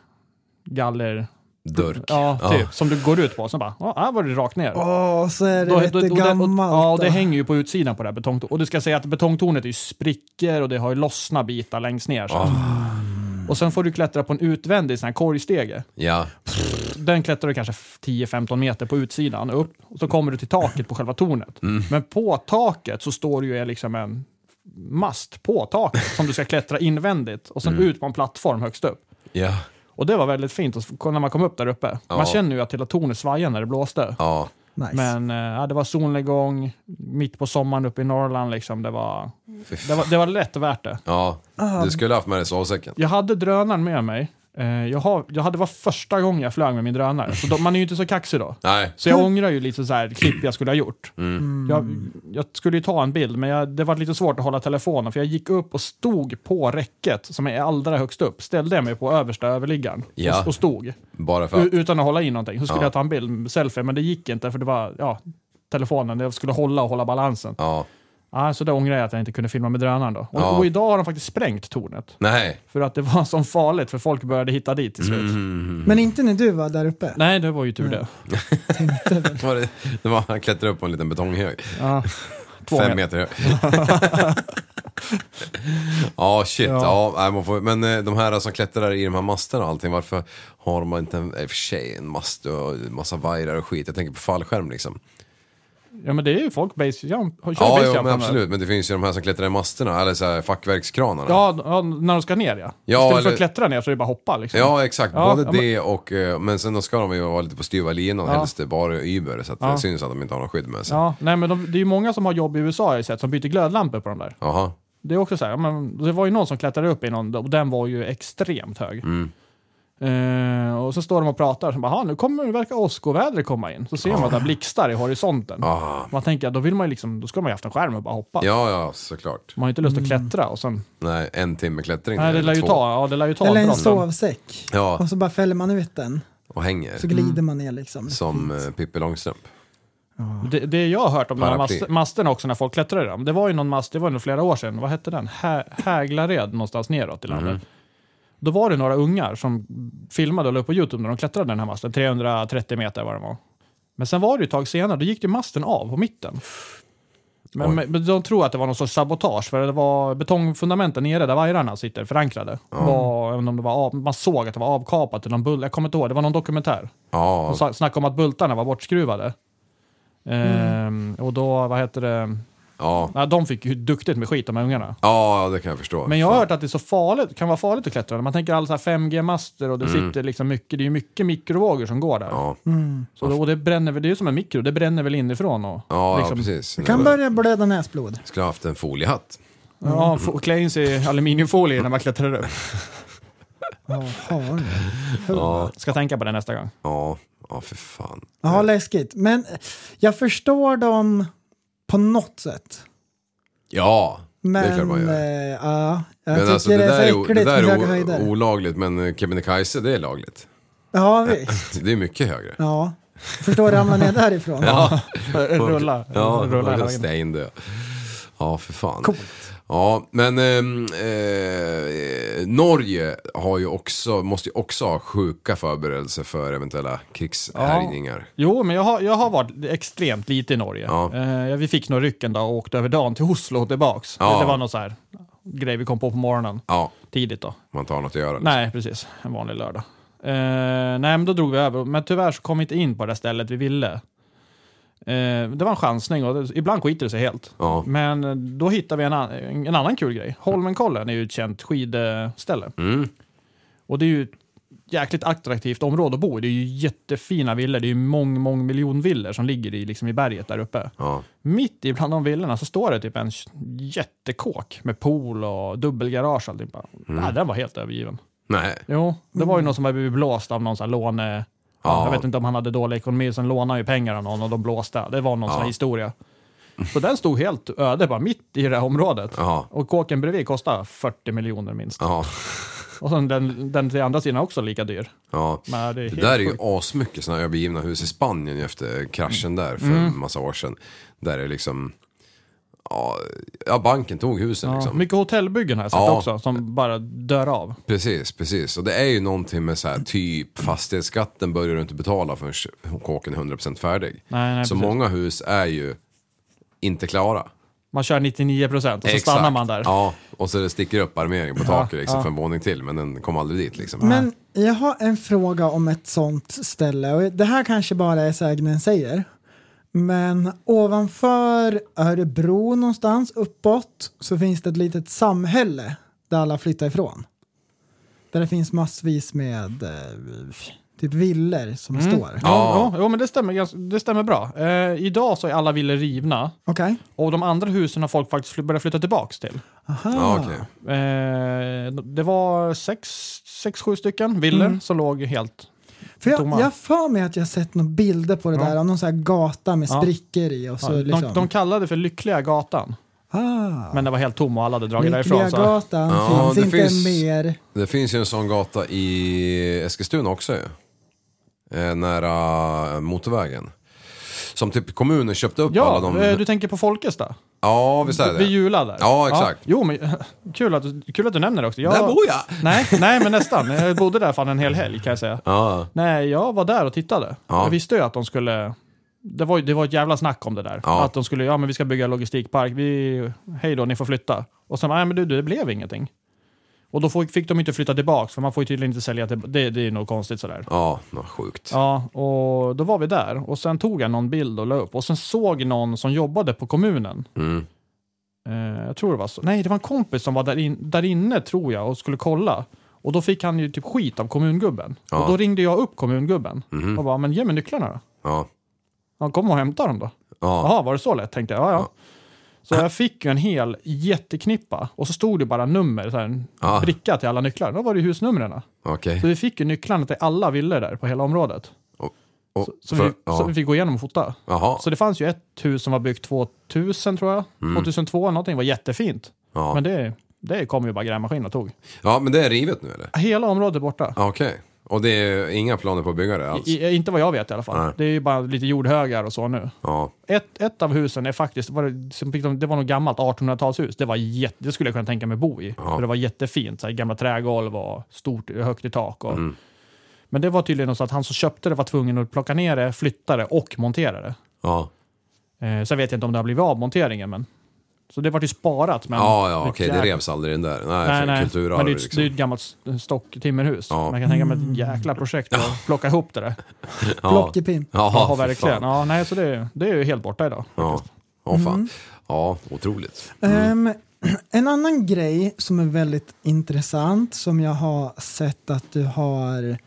Speaker 7: galler...
Speaker 6: Durk.
Speaker 7: Ja, typ. Som du går ut på. Och sen bara, ja, här var det rakt ner.
Speaker 5: Åh, så är det
Speaker 7: Då-
Speaker 5: lite
Speaker 7: då- då-
Speaker 5: gammalt.
Speaker 7: och, ja, och det
Speaker 5: då.
Speaker 7: hänger ju på utsidan på det här betongtornet. Och du ska säga att betongtornet är ju sprickor och det har ju lossna bitar längst ner. Så. Och sen får du klättra på en utvändig sån här korgstege.
Speaker 6: Ja.
Speaker 7: Den klättrar du kanske f- 10-15 meter på utsidan upp. Och så kommer du till taket på själva tornet. Men på taket så står det ju liksom en mast på taket som du ska klättra invändigt. Och sen ut på en plattform högst upp.
Speaker 6: Ja.
Speaker 7: Och det var väldigt fint att f- när man kom upp där uppe. Man
Speaker 6: Ja.
Speaker 7: känner ju att hela tornet svajade när det blåste.
Speaker 6: Ja.
Speaker 5: Nice.
Speaker 7: Men eh, ja, det var solnedgång, mitt på sommaren uppe i Norrland. Liksom, det, var,
Speaker 6: Fy fan.
Speaker 7: det, var, det var lätt och värt det.
Speaker 6: Ja. Du skulle haft med dig sovsäcken.
Speaker 7: Jag hade drönaren med mig. Eh, jag, har, jag hade det var första gången jag flög med min drönare. Så då, man är ju inte så kaxig då.
Speaker 6: Nej.
Speaker 7: Så jag ångrar ju lite så här klipp jag skulle ha gjort.
Speaker 6: Mm.
Speaker 7: Jag, jag skulle ju ta en bild, men jag, det var lite svårt att hålla telefonen. För jag gick upp och stod på räcket som är allra högst upp. Ställde jag mig på översta överliggaren
Speaker 6: Ja.
Speaker 7: och, och stod.
Speaker 6: Bara för
Speaker 7: U-
Speaker 6: att.
Speaker 7: utan att hålla i någonting. Så skulle
Speaker 6: Ja.
Speaker 7: jag ta en bild, selfie, men det gick inte för det var ja, telefonen. Jag skulle hålla och hålla balansen.
Speaker 6: Ja.
Speaker 7: Ah, så då ångrar jag att jag inte kunde filma med drönaren då. Och,
Speaker 6: Ja.
Speaker 7: och idag har de faktiskt sprängt tornet.
Speaker 6: Nej.
Speaker 7: För att det var så farligt, för folk började hitta dit till
Speaker 6: Mm.
Speaker 7: slut. Mm.
Speaker 5: Men inte när du var där uppe?
Speaker 7: Nej, det var ju tur det.
Speaker 6: Var det, det var, han klättrade upp på en liten betonghög.
Speaker 7: Ja. Två
Speaker 6: Fem
Speaker 7: meter.
Speaker 6: meter hög. ja, shit. Ja. nej, man får, men eh, de här som klättrar i de här masterna och allting, varför har man inte en, i och för sig en mast och massa vajrar och skit? Jag tänker på fallskärm liksom.
Speaker 7: Ja men det är ju folk base jump, har- kör
Speaker 6: Ja,
Speaker 7: base
Speaker 6: jo,
Speaker 7: jump
Speaker 6: men
Speaker 7: här.
Speaker 6: absolut. Men det finns ju de här som klättrar i masterna, eller så här fackverkskranarna.
Speaker 7: Ja, d- ja, när de ska ner ja.
Speaker 6: Ja,
Speaker 7: Istället för
Speaker 6: eller-
Speaker 7: att klättra ner så är det bara hoppa liksom.
Speaker 6: Ja, exakt.
Speaker 7: Ja,
Speaker 6: Både
Speaker 7: ja, men-
Speaker 6: det och... eh, Men sen då ska de ju vara lite på styva linan,
Speaker 7: Ja.
Speaker 6: helst bara Uber, så att
Speaker 7: Ja.
Speaker 6: det syns att de inte har någon skydd med sig.
Speaker 7: Ja, nej men de, det är ju många som har jobb i USA har jag ju sett, som byter glödlampor på de där.
Speaker 6: Jaha.
Speaker 7: Det är också så här, ja, men, det var ju någon som klättrade upp i någon, och den var ju extremt hög.
Speaker 6: Mm.
Speaker 7: Eh, och så står de och pratar, och bara, "Ha, nu kommer, verkar åskovädret komma in. Så ser man att det blixtar i horisonten.
Speaker 6: Ah.
Speaker 7: Man tänker, att då vill man ju liksom, då ska man ju haft en skärm och bara hoppa.
Speaker 6: Ja, ja, såklart.
Speaker 7: Man har ju inte lust att klättra och sen,
Speaker 6: Nej, en timme klättring.
Speaker 7: nej det
Speaker 6: eller
Speaker 7: lär ju
Speaker 6: två.
Speaker 7: ta, ja det lär ju ta
Speaker 5: Eller
Speaker 7: ett
Speaker 5: en
Speaker 7: bra tag.
Speaker 5: sovsäck.
Speaker 6: Ja, Mm.
Speaker 5: Och så bara fäller man ut den.
Speaker 6: och
Speaker 5: Så
Speaker 6: hänger.
Speaker 5: glider man ner liksom.
Speaker 6: Som eh, Pippi Långstrump.
Speaker 7: Det, det jag har hört om de här
Speaker 6: Paraply.
Speaker 7: mas- masterna också när folk klättrar i dem, det var ju någon mast, det var ju nog flera år sedan, vad hette den? Hä- Häglared någonstans neråt i
Speaker 6: Mhm.
Speaker 7: landet. Då var det några ungar som filmade och la upp på Youtube när de klättrade den här masten, 330 meter var den var. Men sen var det ju ett tag senare, då gick ju masten av på mitten. Men,
Speaker 6: Oj.
Speaker 7: men men de tror att det var någon sorts sabotage, för det var betongfundamenten nere där vajrarna sitter förankrade. Var, jag vet inte om det var av, man såg att det var avkapat, eller någon bull, jag kommer inte ihåg, det var någon dokumentär.
Speaker 6: Ja,
Speaker 7: Och sa- snackade om att bultarna var bortskruvade. Ehm, och då, vad heter det,
Speaker 6: ja.
Speaker 7: ja, de fick ju duktigt med skit de här ungarna.
Speaker 6: Ja, det kan jag förstå.
Speaker 7: Men jag har
Speaker 6: Fan.
Speaker 7: hört att det är så farligt, kan vara farligt att klättra. Man tänker alla så här 5G-master och det sitter liksom mycket, det är ju mycket mikrovågor som går där.
Speaker 6: Mm. Ja, Mm.
Speaker 7: Så, då- och det bränner väl, det är ju som en mikro, det bränner väl inifrån och
Speaker 6: ja,
Speaker 7: liksom,
Speaker 6: ja precis.
Speaker 5: Du kan börja blöda näsblod.
Speaker 6: Skulle ha haft en foliehatt.
Speaker 7: Ja, få- klä in sig i aluminiumfolie när man klättrar upp.
Speaker 5: Jaha.
Speaker 7: Ska tänka på det nästa gång.
Speaker 6: Ja, ja för fan.
Speaker 5: Ja, läskigt. Men jag förstår dem på något sätt.
Speaker 6: Ja, det är klart
Speaker 5: Men
Speaker 6: man gör.
Speaker 5: eh, ja, jag
Speaker 6: Men
Speaker 5: tycker
Speaker 6: alltså,
Speaker 5: det,
Speaker 6: det,
Speaker 5: är
Speaker 6: där
Speaker 5: så
Speaker 6: är, o-
Speaker 5: äckligt
Speaker 6: det där
Speaker 5: med höga
Speaker 6: är
Speaker 5: höjder.
Speaker 6: o- olagligt, men eh, Kebnekaise det är lagligt.
Speaker 5: ja, visst.
Speaker 6: Det är mycket högre.
Speaker 5: Ja. Förstår att ramla ner därifrån.
Speaker 6: Ja,
Speaker 7: Rulla.
Speaker 6: ja
Speaker 7: rulla hela
Speaker 6: rulla
Speaker 7: vägen.
Speaker 6: steindö. Ja, för fan.
Speaker 5: Coolt.
Speaker 6: Ja, men ehm, eh, Norge har ju också, måste ju också ha sjuka förberedelser för eventuella krigshärjningar.
Speaker 7: Jo, men jag har, jag har varit extremt lite i Norge.
Speaker 6: Ja.
Speaker 7: Eh, vi fick några ryck en dag och åkte över dagen till Oslo och tillbaks.
Speaker 6: Ja.
Speaker 7: Det var någon så här grej vi kom på på morgonen.
Speaker 6: Ja,
Speaker 7: Tidigt då.
Speaker 6: man tar något att göra.
Speaker 7: Nej, precis. En vanlig lördag. Eh, nej, men då drog vi över. Men tyvärr så kom vi inte in på det stället vi ville. Eh, det var en chansning och det, ibland skiter det sig helt.
Speaker 6: Ja.
Speaker 7: Men då hittade vi en, an- en annan kul grej. Holmenkollen är ju ett känt skidställe.
Speaker 6: Mm.
Speaker 7: Och det är ju ett jäkligt attraktivt område att bo i. Det är ju jättefina villor. Det är ju mång, mång miljon villor som ligger i, liksom i berget där uppe.
Speaker 6: Ja,
Speaker 7: Mitt i bland de villorna så står det typ en jättekåk med pool och dubbelgarage och alltihopa. Nej, den var helt övergiven.
Speaker 6: nej.
Speaker 7: Jo, det var ju någon som hade blivit blåst av någon sån här låne...
Speaker 6: Ja.
Speaker 7: Jag vet inte om han hade dålig ekonomi, sen lånade han ju pengar av någon och de blåste. Det var någon sån här historia. Så den stod helt öde, bara mitt i det här området.
Speaker 6: Ja.
Speaker 7: Och kåken bredvid kostade 40 miljoner minst.
Speaker 6: Ja,
Speaker 7: Och sen den, den till andra sidan också lika dyr.
Speaker 6: ja.
Speaker 7: Men det är helt
Speaker 6: Det där är ju
Speaker 7: sjukt.
Speaker 6: asmycket sådana övergivna hus i Spanien ju efter kraschen där för
Speaker 7: Mm.
Speaker 6: en massa år sedan. Där det liksom, ja, ja banken tog husen
Speaker 7: Ja,
Speaker 6: liksom.
Speaker 7: mycket hotellbyggen har jag sett
Speaker 6: Ja.
Speaker 7: också, som bara dör av.
Speaker 6: Precis, precis. Och det är ju någonting med så här typ fastighetsskatten börjar du inte betala förrän kåken är 100% färdig.
Speaker 7: Nej, nej,
Speaker 6: så
Speaker 7: precis.
Speaker 6: många hus är ju inte klara.
Speaker 7: Man kör 99 procent och så stannar man där.
Speaker 6: Ja, och så det sticker upp armering på taket liksom, för en våning till. Men den kom aldrig dit liksom.
Speaker 5: Men jag har en fråga om ett sånt ställe. Och det här kanske bara är sägnen säger. Men ovanför Örebro någonstans uppåt så finns det ett litet samhälle där alla flyttar ifrån. Där det finns massvis med eh, typ villor som står.
Speaker 7: Mm. Ja, jo, men det stämmer, ganska- det stämmer bra. Eh, idag så är alla villor rivna
Speaker 5: Okej.
Speaker 7: och de andra husen har folk faktiskt fly- börjat flytta tillbaka till.
Speaker 6: ja, okej.
Speaker 7: Eh, det var sex, sex sju stycken villor
Speaker 5: Mm.
Speaker 7: som låg helt...
Speaker 5: För jag
Speaker 7: Tomma.
Speaker 5: jag har för mig att jag sett några bilder på det där av någon sån här gata med
Speaker 7: Ja.
Speaker 5: sprickor i. Och så liksom.
Speaker 7: de, de kallade det för Lyckliga gatan,
Speaker 5: ah,
Speaker 7: men det var helt tom och alla hade dragit
Speaker 5: Lyckliga
Speaker 7: därifrån. alltså." Så.
Speaker 5: gatan
Speaker 6: Ja,
Speaker 5: finns
Speaker 6: det
Speaker 5: inte
Speaker 6: finns-
Speaker 5: mer.
Speaker 6: Det finns ju en sån gata i Eskilstuna också ju. Eh, nära motorvägen. Som typ kommunen köpte upp alla
Speaker 7: Ja,
Speaker 6: de...
Speaker 7: eh, du tänker på Folkesta?
Speaker 6: Ja, visst är det
Speaker 7: Vid Jula där?
Speaker 6: Ja, exakt.
Speaker 7: Jo, men kul att, du- kul att du nämner det också. Jag,
Speaker 6: Där bor jag!
Speaker 7: Nej, nej, men nästan. Jag bodde där fan en hel helg kan jag säga.
Speaker 6: Ja,
Speaker 7: Nej, jag var där och tittade.
Speaker 6: Ja.
Speaker 7: Jag visste ju att de skulle... Det var, ju- det var ett jävla snack om det där.
Speaker 6: Ja.
Speaker 7: Att de skulle, ja men vi ska bygga en logistikpark, vi, hej då, ni får flytta. Och sen, nej men du, det blev ingenting. Och då får- fick de inte flytta tillbaka, för man får ju tydligen inte sälja tillbaka. Det, det är nog konstigt sådär.
Speaker 6: Ja, vad sjukt.
Speaker 7: Ja, och då var vi där och sen tog jag någon bild och la upp och sen såg någon som jobbade på kommunen.
Speaker 6: Mm.
Speaker 7: Eh, jag tror det var så. Nej, det var en kompis som var där, in, där inne tror jag och skulle kolla. Och då fick han ju typ skit av kommungubben.
Speaker 6: Ja.
Speaker 7: Och då ringde jag upp kommungubben
Speaker 6: Mhm.
Speaker 7: och bara, men ge mig nycklarna då.
Speaker 6: Ja.
Speaker 7: Han kom och hämtade dem då.
Speaker 6: Ja.
Speaker 7: Jaha, var det så lätt? Tänkte jag. Ja, ja. Så jag fick ju en hel jätteknippa och så stod det bara nummer, så här, en
Speaker 6: Ja.
Speaker 7: bricka till alla nycklar. Då var det ju husnumren.
Speaker 6: Okej.
Speaker 7: Så vi fick ju nycklarna till alla villor där på hela området.
Speaker 6: Och-
Speaker 7: Så,
Speaker 6: för-
Speaker 7: vi, så vi
Speaker 6: ja.
Speaker 7: fick gå igenom och fota.
Speaker 6: Jaha.
Speaker 7: Så det fanns ju ett hus som var byggt 2000 tror jag,
Speaker 6: Mm.
Speaker 7: 2002 eller någonting, var jättefint.
Speaker 6: Ja.
Speaker 7: Men det, det kom ju bara grävmaskin och tog.
Speaker 6: ja, men det är rivet nu eller?
Speaker 7: Hela området borta.
Speaker 6: Ja, Okej. Och det är inga planer på att bygga det alls?
Speaker 7: I, inte vad jag vet i alla fall.
Speaker 6: Nej.
Speaker 7: Det är ju bara lite jordhögar och så nu.
Speaker 6: Ja.
Speaker 7: Ett, ett av husen är faktiskt, var det, som fick de- det var något gammalt 1800-talshus. Det, var jätte, det skulle jag kunna tänka mig bo i.
Speaker 6: Ja.
Speaker 7: För det var jättefint, så här, gamla trägolv och stort, högt i tak. Och,
Speaker 6: Mm.
Speaker 7: Men det var tydligen så att han som köpte det var tvungen att plocka ner det, flytta det och montera det.
Speaker 6: Ja.
Speaker 7: Eh, sen vet jag inte om det har blivit av monteringen. Men... Så det vart ju sparat. Men
Speaker 6: Ja, ja, okej, det
Speaker 7: jäkla-
Speaker 6: revs aldrig den där. Nej,
Speaker 7: Nej,
Speaker 6: för
Speaker 7: nej. Men det
Speaker 6: kulturarv
Speaker 7: är ju ett, det
Speaker 6: liksom.
Speaker 7: är ett gammalt st- stocktimmerhus.
Speaker 6: Ja.
Speaker 7: Man kan tänka mig ett jäkla projekt att plocka ihop det där.
Speaker 6: ja.
Speaker 5: Plockepinn.
Speaker 6: Ja,
Speaker 7: Ja,
Speaker 6: för
Speaker 7: verkligen.
Speaker 6: fan.
Speaker 7: Ja, nej, så det, det är ju helt borta idag.
Speaker 6: Ja, Åh, fan.
Speaker 7: Mm.
Speaker 6: Ja, otroligt.
Speaker 5: Ehm, en annan grej som är väldigt intressant som jag har sett att du har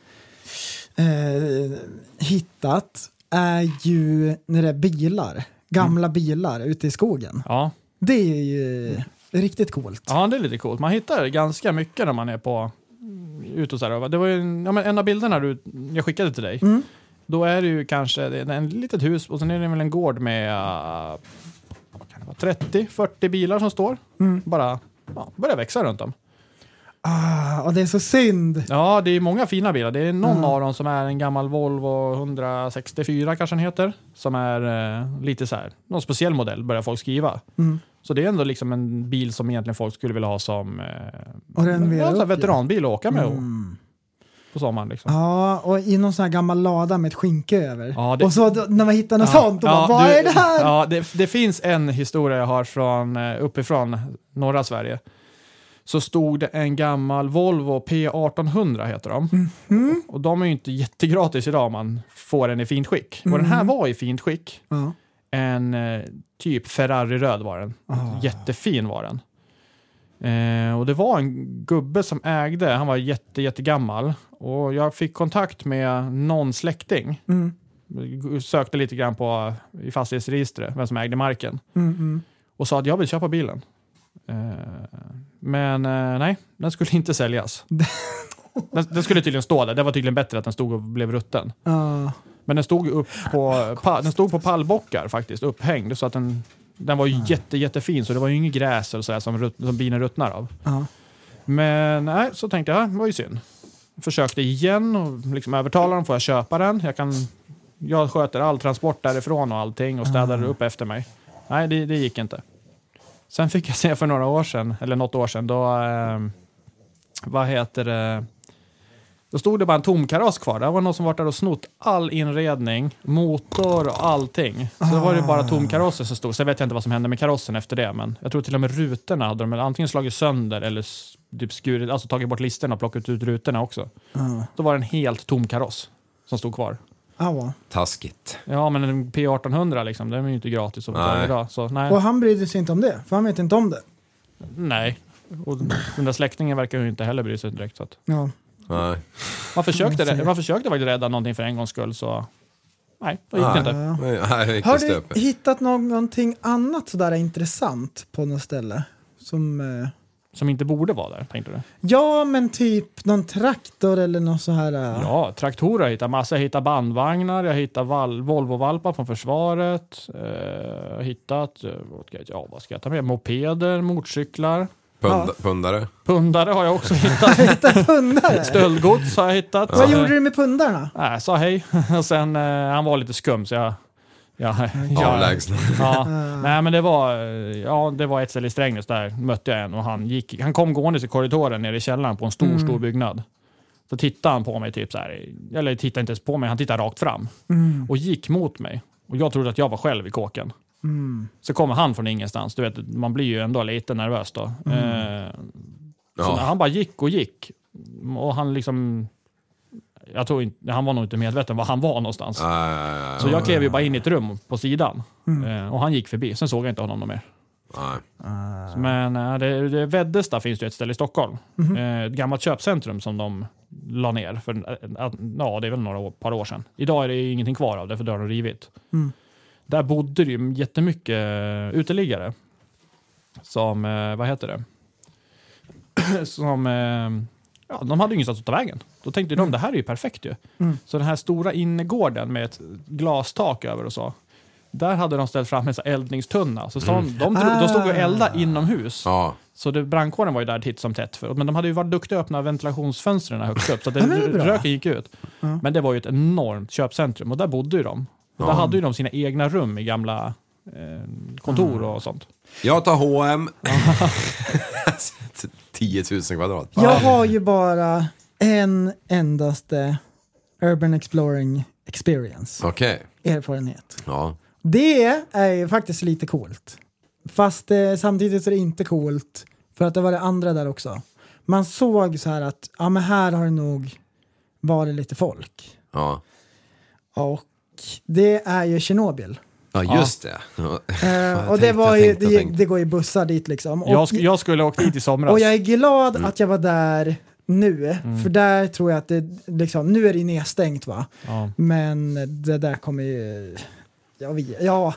Speaker 5: eh, hittat är ju när det är bilar, gamla
Speaker 7: Mm.
Speaker 5: bilar ute i skogen.
Speaker 7: Ja.
Speaker 5: Det är ju riktigt coolt.
Speaker 7: ja, det är lite coolt. Man hittar ganska mycket när man är på ute och så här. Det var ju en, ja, men en av bilderna du, jag skickade till dig. Då är det ju kanske det är en litet hus och sen är det väl en gård med eh, vad kan det vara, 30-40 bilar som står. Bara ja, börjar växa runt dem.
Speaker 5: Ah, och det är så synd.
Speaker 7: Ja, det är många fina bilar. Det är någon av dem som är en gammal Volvo 164 kanske den heter. Som är eh, lite så här, någon speciell modell börjar folk skriva. Så det är ändå liksom en bil som egentligen folk skulle vilja ha som eh,
Speaker 5: Och den vill
Speaker 7: ja, så här
Speaker 5: upp, ja.
Speaker 7: veteranbil att åka med
Speaker 5: Mm.
Speaker 7: och, på sommaren. Liksom.
Speaker 5: Ja, och i någon sån här gammal lada med ett skynke över.
Speaker 7: Ja, det-
Speaker 5: Och så då, när man hittar något sånt, då
Speaker 7: Ja,
Speaker 5: bara, vad
Speaker 7: du-
Speaker 5: är det här?
Speaker 7: Ja, det, det finns en historia jag har från eh, uppifrån norra Sverige. Så stod det en gammal Volvo P1800 heter de.
Speaker 5: Mhm.
Speaker 7: Och de är ju inte jättegratis idag om man får den i fint skick. Och den här var i fint skick.
Speaker 5: Mm. Ja.
Speaker 7: En eh, typ Ferrari-röd var den.
Speaker 5: Ah.
Speaker 7: Jättefin var den. Eh, och det var en gubbe som ägde, han var jätte, jättegammal. Och jag fick kontakt med någon släkting.
Speaker 5: Mm,
Speaker 7: Sökte lite grann på eh, i fastighetsregistret, vem som ägde marken.
Speaker 5: mm,
Speaker 7: Och sa att jag vill köpa bilen. Eh, men eh, nej, den skulle inte säljas. den, den skulle tydligen stå där, det var tydligen bättre att den stod och blev rutten.
Speaker 5: Ja.
Speaker 7: Men den stod, ju upp på, pa, den stod på pallbockar faktiskt, upphängd. Så att den, den var ju jätte, jättefin, så det var ju inget gräs eller sådär som, rut, som bilen ruttnar av.
Speaker 5: Ja.
Speaker 7: Men nej, så tänkte jag, "Ah, det var ju synd. Försökte igen och liksom övertala dem, får jag köpa den? Jag, kan, jag sköter all transport därifrån och allting och städar upp efter mig. Nej, det, det gick inte. Sen fick jag se för några år sedan, eller något år sedan, då... Eh, vad heter det? Då stod det bara en tom kaross kvar. Det var någon som var där och snott all inredning, motor och allting. Så då var det bara tomkarosser som stod. Sen vet jag inte vad som hände med karossen efter det, men jag tror till och med rutorna hade de antingen slagit sönder eller s- typ skurit, alltså tagit bort listerna och plockat ut rutorna också. Då var det en helt tom kaross som stod kvar.
Speaker 5: Ja.
Speaker 6: Taskigt.
Speaker 7: Ja, men en P1800 liksom, den är ju inte gratis att betala
Speaker 6: Nej.
Speaker 7: idag. Så nej.
Speaker 5: Och han brydde sig inte om det, för han vet inte om det.
Speaker 7: nej. Och den där släktingen verkar ju inte heller bry sig direkt. Så att.
Speaker 5: Ja.
Speaker 6: Nej.
Speaker 7: Man försökte, rä- man försökte faktiskt rädda någonting för en gångs skull, så nej, det gick
Speaker 5: Ah.
Speaker 6: Nej.
Speaker 7: inte.
Speaker 6: Nej, här gick det
Speaker 5: Har du
Speaker 6: stöpet.
Speaker 5: hittat någonting annat sådär intressant på något ställe? Som, eh,
Speaker 7: Som inte borde vara där, tänkte du?
Speaker 5: ja, men typ någon traktor eller något så här. eh,
Speaker 7: Ja, traktorer har jag hittat massa. Jag hittar bandvagnar, jag hittar val- Volvo-valpar från försvaret. Eh, jag har hittat, eh, vad ska jag- ja vad ska jag ta med? Mopeder, motorcyklar.
Speaker 6: Pund,
Speaker 5: Ja.
Speaker 6: Pundare.
Speaker 7: Pundare har jag också hittat.
Speaker 5: Pundare?
Speaker 7: Stöldgods har jag hittat. Eh,
Speaker 5: Vad gjorde du med pundarna?
Speaker 7: Nej, sa hej. Och sen, eh, han var lite skum så jag... jag, jag
Speaker 6: Avlägsna.
Speaker 7: ja. Nej, men det var, eh, ja, det var ett ställe i Strängnäs där mötte jag en och han, gick, han kom gåendes i korridoren nere i källaren på en stor, stor byggnad. Så tittade han på mig, typ så här, eller tittade inte ens på mig, han tittade rakt fram och gick mot mig. Och jag trodde att jag var själv i kåken. Så kommer han från ingenstans. Du vet, man blir ju ändå lite nervös då. Eh,
Speaker 6: Ja.
Speaker 7: Så han bara gick och gick. Och han liksom... Jag tror inte, han var nog inte medveten var han var någonstans.
Speaker 6: Nej,
Speaker 7: Så jag klev ju bara in i ett rum på sidan. Eh, Och han gick förbi. Sen såg jag inte honom någon mer.
Speaker 6: nej.
Speaker 7: Men eh, det, det, Veddesta finns det ju ett ställe i Stockholm. Eh, Ett gammalt köpcentrum som de la ner för eh, att- ja, det är väl några år, par år sedan. Idag är det ju ingenting kvar av det, för det har de rivit. Där bodde det ju jättemycket eh, uteliggare. Som, eh, vad heter det? som, eh, ja, de hade ju ingenstans att ta vägen. Då tänkte de, det här är ju perfekt ju. Så den här stora innergården med ett glastak över och så. Där hade de ställt fram en sån här eldningstunna. Så de, de, tro, de stod och eldade inomhus.
Speaker 6: Ja.
Speaker 7: Så det, brandkåren var ju där titt som tätt. För, men de hade ju varit duktiga att öppna ventilationsfönstren högst upp, så att det,
Speaker 5: Ja, men det är bra.
Speaker 7: röken gick ut. Men det var ju ett enormt köpcentrum och där bodde ju de. Och Där hade ju de sina egna rum i gamla eh, kontor och sånt.
Speaker 6: Jag tar H&M 10 000 kvadrat.
Speaker 5: Jag har ju bara en endaste Urban Exploring Experience,
Speaker 6: Okej.
Speaker 5: erfarenhet.
Speaker 6: Ja.
Speaker 5: Det är ju faktiskt lite coolt. Fast eh, samtidigt är det inte coolt för att det var det andra där också. Man såg så här att ja, men här har det nog varit lite folk.
Speaker 6: Ja.
Speaker 5: Och det är ju Tjernobyl.
Speaker 6: ja, just det. Ja.
Speaker 5: Eh,
Speaker 6: jag
Speaker 5: och det,
Speaker 6: tänkte,
Speaker 5: var
Speaker 6: jag
Speaker 5: ju,
Speaker 6: tänkte, jag
Speaker 5: det,
Speaker 6: tänkte.
Speaker 5: det går ju bussar dit liksom. Och
Speaker 7: Jag, sk- jag skulle ha åkt dit i somras.
Speaker 5: Och jag är glad
Speaker 6: Mm.
Speaker 5: att jag var där nu, för där tror jag att det, liksom, nu är det ju nedstängt va.
Speaker 7: Ja.
Speaker 5: Men det där kommer ju, jag vet, ja,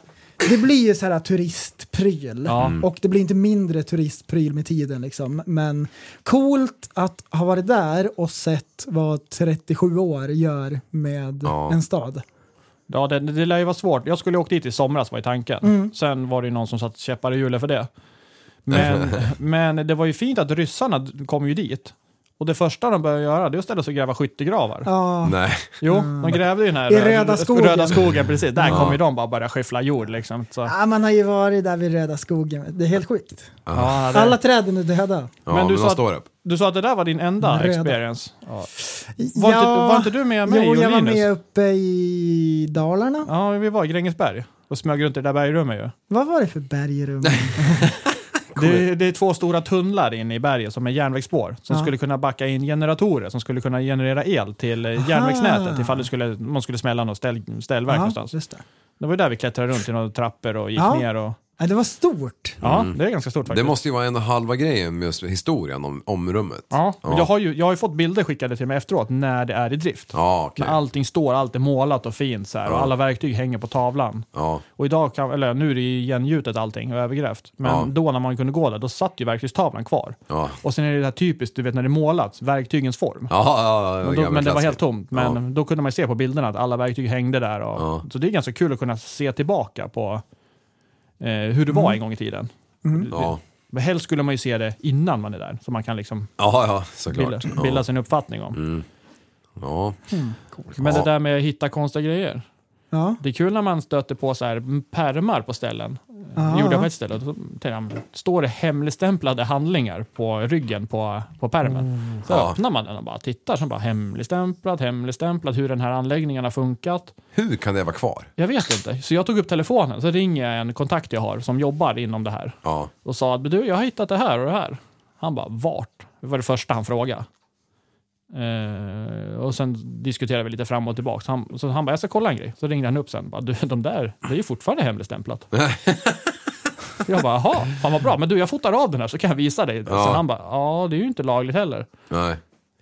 Speaker 5: det blir ju så här turistpryl.
Speaker 7: Ja.
Speaker 5: Och det blir inte mindre turistpryl med tiden liksom. Men coolt att ha varit där och sett vad 37 år gör med
Speaker 6: Ja.
Speaker 5: en stad.
Speaker 7: Ja, det, det lär ju vara svårt. Jag skulle åkt dit i somras var ju tanken.
Speaker 5: Mm.
Speaker 7: Sen var det ju någon som satt käppar i hjulet för det. Men, men det var ju fint att ryssarna d- kom ju dit. Och det första de började göra det är att ställa sig och gräva skyttegravar.
Speaker 5: Ja,
Speaker 6: Nej.
Speaker 7: Jo, de grävde ju den här
Speaker 5: I
Speaker 7: rö-
Speaker 5: Röda
Speaker 7: rö-
Speaker 5: skogen.
Speaker 7: röda skogen precis. Där kom ju de bara börja skyffla jord liksom. Så, ja,
Speaker 5: ja, man har ju varit där vid Röda skogen, det är helt sjukt.
Speaker 7: det,
Speaker 5: Alla träden är döda.
Speaker 6: Ja,
Speaker 7: Men
Speaker 6: men,
Speaker 7: du
Speaker 6: de
Speaker 7: sa att-
Speaker 6: står upp.
Speaker 7: Du sa att det där var din enda
Speaker 5: Röda.
Speaker 7: experience. Ja. Var, inte, var inte du med mig
Speaker 5: Jo,
Speaker 7: och
Speaker 5: jag var
Speaker 7: Linus?
Speaker 5: med uppe i Dalarna.
Speaker 7: Ja, vi var i Grängesberg och smög runt i det där bergrummet ju.
Speaker 5: Vad var det för berg i rummet?
Speaker 7: Det, det är två stora tunnlar inne i berget som är järnvägsspår som
Speaker 5: Ja.
Speaker 7: skulle kunna backa in generatorer som skulle kunna generera el till eh, järnvägsnätet ifall det skulle, man skulle smälla något ställ, ställverk någonstans.
Speaker 5: just det.
Speaker 7: Det var ju där vi klättrade runt i några trappor och gick
Speaker 5: Ja.
Speaker 7: ner. Och,
Speaker 5: Ja, det var stort.
Speaker 7: ja, det är ganska stort
Speaker 6: Det
Speaker 7: faktiskt.
Speaker 6: måste ju vara en och halva grejen med just historien om, om rummet.
Speaker 7: Ja, men
Speaker 6: Ja.
Speaker 7: Jag, har ju, jag har ju fått bilder skickade till mig efteråt när det är i drift.
Speaker 6: Ja, okej.
Speaker 7: När allting står, allt är målat och fint så här, och
Speaker 6: Ja.
Speaker 7: alla verktyg hänger på tavlan.
Speaker 6: Ja.
Speaker 7: Och idag kan, eller nu är det ju igengjutet allting och övergrävt. Men
Speaker 6: Ja.
Speaker 7: då när man kunde gå där, då satt ju verktygstavlan kvar.
Speaker 6: Ja.
Speaker 7: Och sen är det det här typiskt, du vet när det är målat, verktygens form.
Speaker 6: Ja, ja, ja,
Speaker 7: men, då,
Speaker 6: gamla
Speaker 7: men det var
Speaker 6: klassiker.
Speaker 7: helt tomt. Men
Speaker 6: Ja.
Speaker 7: då kunde man ju se på bilderna att alla verktyg hängde där. Och,
Speaker 6: Ja.
Speaker 7: Så det är ganska kul att kunna se tillbaka på eh, hur det var en gång i tiden.
Speaker 6: Ja,
Speaker 7: Men helst skulle man ju se det innan man är där, så man kan liksom
Speaker 6: ja, ja
Speaker 7: bilda,
Speaker 6: såklart.
Speaker 7: bilda
Speaker 6: Ja. Mm.
Speaker 7: sin uppfattning om.
Speaker 6: Ja. Ja.
Speaker 7: Men det där med att hitta konstiga grejer.
Speaker 5: Ja.
Speaker 7: Det är kul när man stöter på så här pärmar på ställen. Det gjorde jag på ett ställe. Då tänkte jag, men, står det hemligstämplade handlingar på ryggen på, på pärmen? Så
Speaker 6: Mm. Ja.
Speaker 7: öppnar man den och bara tittar. Så bara hemligstämplat, hemligstämplat, hur den här anläggningen har funkat.
Speaker 6: Hur kan det vara kvar?
Speaker 7: Jag vet inte. Så jag tog upp telefonen. Så ringer jag en kontakt jag har som jobbar inom det här.
Speaker 6: Ja.
Speaker 7: Och sa att du, jag har hittat det här och det här. Han bara, vart? Det var det första han frågade. Eh, och sen diskuterade vi lite fram och tillbaka. Så han, så han bara, jag ska kolla en grej. Så ringde han upp sen. Bara, du, de där, det är ju fortfarande hemligstämplat. jag bara, jaha, fan vad bra. Men du, jag fotar av den här så kan jag visa dig.
Speaker 6: Ja.
Speaker 7: Så han bara, ja, det är ju inte lagligt heller.
Speaker 6: Nej.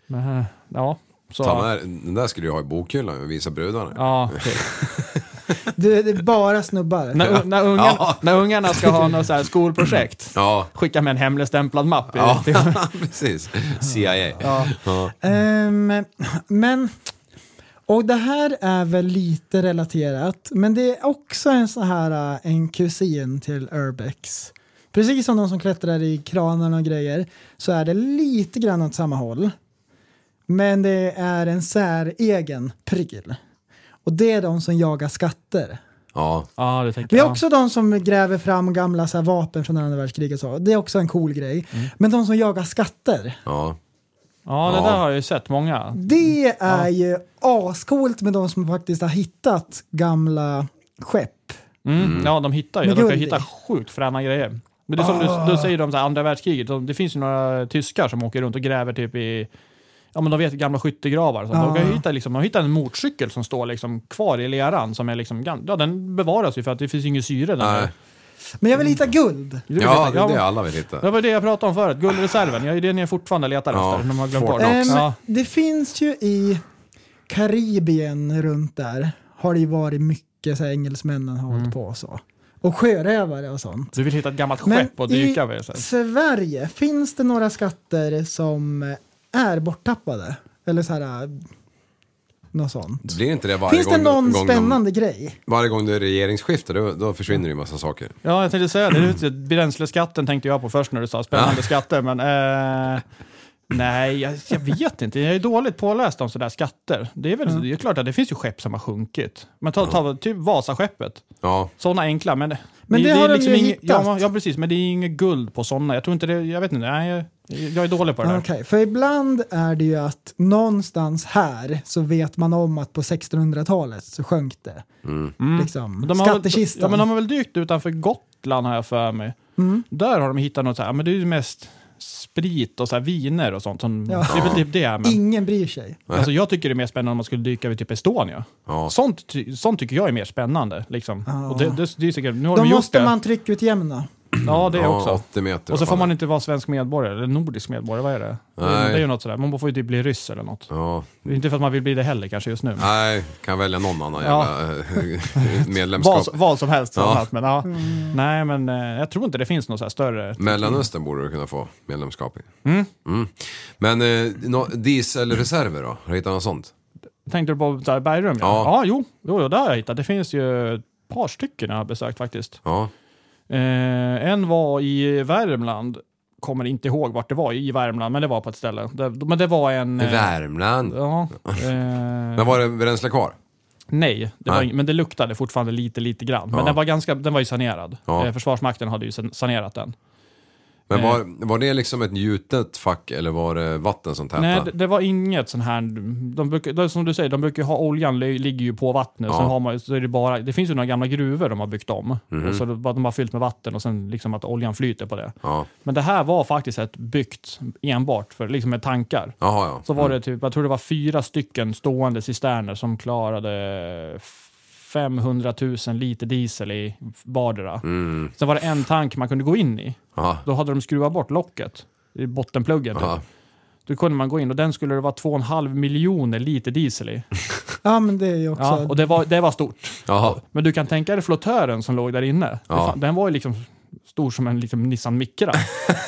Speaker 7: Men, eh, ja, så...
Speaker 6: Ta med, den där skulle du ha i bokhyllan och visa brudarna.
Speaker 7: Ja, typ.
Speaker 5: Du, det är bara snubbar.
Speaker 7: när, när, ungarna,
Speaker 6: Ja.
Speaker 7: när ungarna ska ha något så här skolprojekt,
Speaker 6: Ja,
Speaker 7: skicka med en hemligstämplad mapp. i-
Speaker 6: ja.
Speaker 7: till-
Speaker 6: precis. CIA.
Speaker 5: Ehm, men, och det här är väl lite relaterat, men det är också en sån här, äh, en kusin till Urbex. Precis som de som klättrar i kranarna och grejer så är det lite grann åt samma håll. Men det är en säregen pryl. Och det är de som jagar skatter.
Speaker 6: Ja,
Speaker 7: Ja, det tänker
Speaker 5: Vi
Speaker 7: jag.
Speaker 5: har också de som gräver fram gamla så här, vapen från andra världskriget. Så. Det är också en cool grej. Men de som jagar skatter,
Speaker 6: ja.
Speaker 7: Ja, det
Speaker 6: Ja.
Speaker 7: där har jag ju sett många.
Speaker 5: det
Speaker 7: Mm.
Speaker 5: är ju ascoolt med de som faktiskt har hittat gamla skepp.
Speaker 7: Mm. Ja, de hittar ju.
Speaker 5: Med
Speaker 7: De kan
Speaker 5: guld Ah. i.
Speaker 7: hitta sjukt fräna grejer. Men det är som du, då säger de så här, andra världskriget, de, det finns ju några tyskar som åker runt och gräver typ i Ja men de vet gamla skyttegravar. Så de
Speaker 5: Ah.
Speaker 7: kan ju hitta, liksom, man hittar en motorcykel som står liksom kvar i leran. Som är liksom, gam- ja, den bevaras ju för att det finns ju ingen syre där.
Speaker 6: Nej.
Speaker 5: Men jag vill
Speaker 7: Mm.
Speaker 5: hitta guld.
Speaker 7: Du vet
Speaker 6: Ja, det är
Speaker 7: men-
Speaker 6: det alla vill
Speaker 7: Det
Speaker 6: hitta.
Speaker 7: var det jag pratade om förut, guldreserven. Ja, det är det ni fortfarande letar
Speaker 6: Ja,
Speaker 7: efter. när man har glömt
Speaker 6: Fort
Speaker 7: bort.
Speaker 6: Knox.
Speaker 5: Ehm,
Speaker 7: Ja.
Speaker 5: Det finns ju i Karibien runt där har det ju varit mycket så här, engelsmännen har
Speaker 7: Mm.
Speaker 5: hållit på och så. Och sjörövare och sånt.
Speaker 7: Du vill hitta ett gammalt
Speaker 5: Men
Speaker 7: skepp och dyka
Speaker 5: i
Speaker 7: över. så här.
Speaker 5: Sverige, finns det några skatter som är borttappade? Eller så här, äh, något sånt.
Speaker 6: Blir inte det varje
Speaker 5: Finns det
Speaker 6: gång,
Speaker 5: någon
Speaker 6: gång
Speaker 5: spännande grej?
Speaker 6: De, varje gång det är regeringsskifte, då, då försvinner det ju massa saker.
Speaker 7: Ja, jag tänkte säga det. det. är ju- typ Bränsleskatten tänkte jag på först när du sa spännande skatter, men eh, nej, jag, jag vet inte. Jag är dåligt påläst om sådär skatter. Det är väl
Speaker 5: Mm.
Speaker 7: det är klart att det finns ju skepp som har sjunkit. Men ta, ta typ Vasaskeppet.
Speaker 6: Ja,
Speaker 7: Sådana enkla, men...
Speaker 5: Men det har de ju
Speaker 7: inget-
Speaker 5: hittat.
Speaker 7: liksom Ja, ja, precis. Men det är inget guld på sådana. Jag tror inte det... Jag vet inte. Nej, jag, jag är dålig på det
Speaker 5: Okej,
Speaker 7: där.
Speaker 5: för ibland är det ju att någonstans här så vet man om att på 1600-talet så sjönk det. Liksom,
Speaker 7: De har väl-
Speaker 5: skattekistan. Mm.
Speaker 7: Ja, Mm. men de har väl dykt utanför Gotland har jag för mig. Där har de hittat något så här, men det är ju mest sprit och så här viner och sånt. Som,
Speaker 5: Ja.
Speaker 7: Det är väl typ det. Men,
Speaker 5: Ingen bryr sig.
Speaker 7: alltså, jag tycker det är mer spännande om man skulle dyka vid typ Estonia.
Speaker 6: Ja.
Speaker 7: Sånt, ty- sånt tycker jag är mer spännande. Liksom.
Speaker 5: Ja.
Speaker 7: Och det, det, det är säkert, nu har
Speaker 5: Då
Speaker 7: de gjort
Speaker 5: måste
Speaker 7: det.
Speaker 5: man tryckutjämna.
Speaker 7: Ja, det
Speaker 6: ja
Speaker 7: också.
Speaker 6: 80 meter.
Speaker 7: Och så
Speaker 6: vad
Speaker 7: får
Speaker 6: fan
Speaker 7: man
Speaker 6: det-
Speaker 7: inte vara svensk medborgare, eller nordisk medborgare, vad är det? Det är-
Speaker 6: Nej.
Speaker 7: Det är ju något sådär, man får ju typ bli ryss eller något.
Speaker 6: Ja.
Speaker 7: Inte för att man vill bli det heller kanske just nu. men-
Speaker 6: Nej, kan välja någon annan
Speaker 7: Ja.
Speaker 6: jävla eh, medlemskap.
Speaker 7: Vad, vad som helst
Speaker 6: Ja.
Speaker 7: annat. Men, ja.
Speaker 5: Mm.
Speaker 7: Nej, men eh, jag tror inte det finns något så här större.
Speaker 6: Mellanöstern borde du kunna få medlemskap i. Mm. Men eh, nå- dieselreserver då? Har du hittat något sånt?
Speaker 7: Tänkte du på så här bergrum? Ja,
Speaker 6: Ja.
Speaker 7: ja jo, jo, jo, det har jag hittat. Det finns ju ett par stycken jag har besökt faktiskt.
Speaker 6: Ja.
Speaker 7: Eh, en var i Värmland, kommer inte ihåg vart det var, i Värmland, men det var på ett ställe. Det, men det var en... eh,
Speaker 6: Värmland.
Speaker 7: Ja, eh,
Speaker 6: Men var det bränsle kvar?
Speaker 7: Nej, det var
Speaker 6: Nej.
Speaker 7: ing- men det luktade fortfarande lite, lite grann. Men
Speaker 6: Ja.
Speaker 7: den, var ganska, den var ju sanerad.
Speaker 6: Ja.
Speaker 7: Eh, Försvarsmakten hade ju san- sanerat den.
Speaker 6: Men var, var det liksom ett gjutet fack eller var det vatten som
Speaker 7: Nej,
Speaker 6: tätade?
Speaker 7: det, det var inget sån här... De brukar, det, är som du säger, de brukar ju ha oljan li- ligger ju på vattnet.
Speaker 6: Ja.
Speaker 7: Sen har man, ju- så är det, bara, det finns ju några gamla gruvor de har byggt om.
Speaker 6: Mhm.
Speaker 7: Och så de, de har fyllt med vatten och sen liksom att oljan flyter på det.
Speaker 6: Ja.
Speaker 7: Men det här var faktiskt ett byggt enbart för, liksom med tankar.
Speaker 6: Jaha, ja.
Speaker 7: Så var det typ, jag tror det var fyra stycken stående cisterner som klarade 500 000 liter diesel i vardera.
Speaker 6: Mm.
Speaker 7: Sen var det en tank man kunde gå in i.
Speaker 6: Aha.
Speaker 7: Då hade de skruvat bort locket, i bottenpluggen. Typ.
Speaker 6: Aha.
Speaker 7: Då kunde man gå in och den skulle det vara 2,5 miljoner liter diesel i.
Speaker 5: Ja, men det är ju också...
Speaker 7: Ja, och det var, det var stort.
Speaker 6: Jaha.
Speaker 7: Men du kan tänka dig flottören som låg där inne. Det
Speaker 6: Ja.
Speaker 7: fan- Den var ju liksom stor som en liksom Nissan Micra.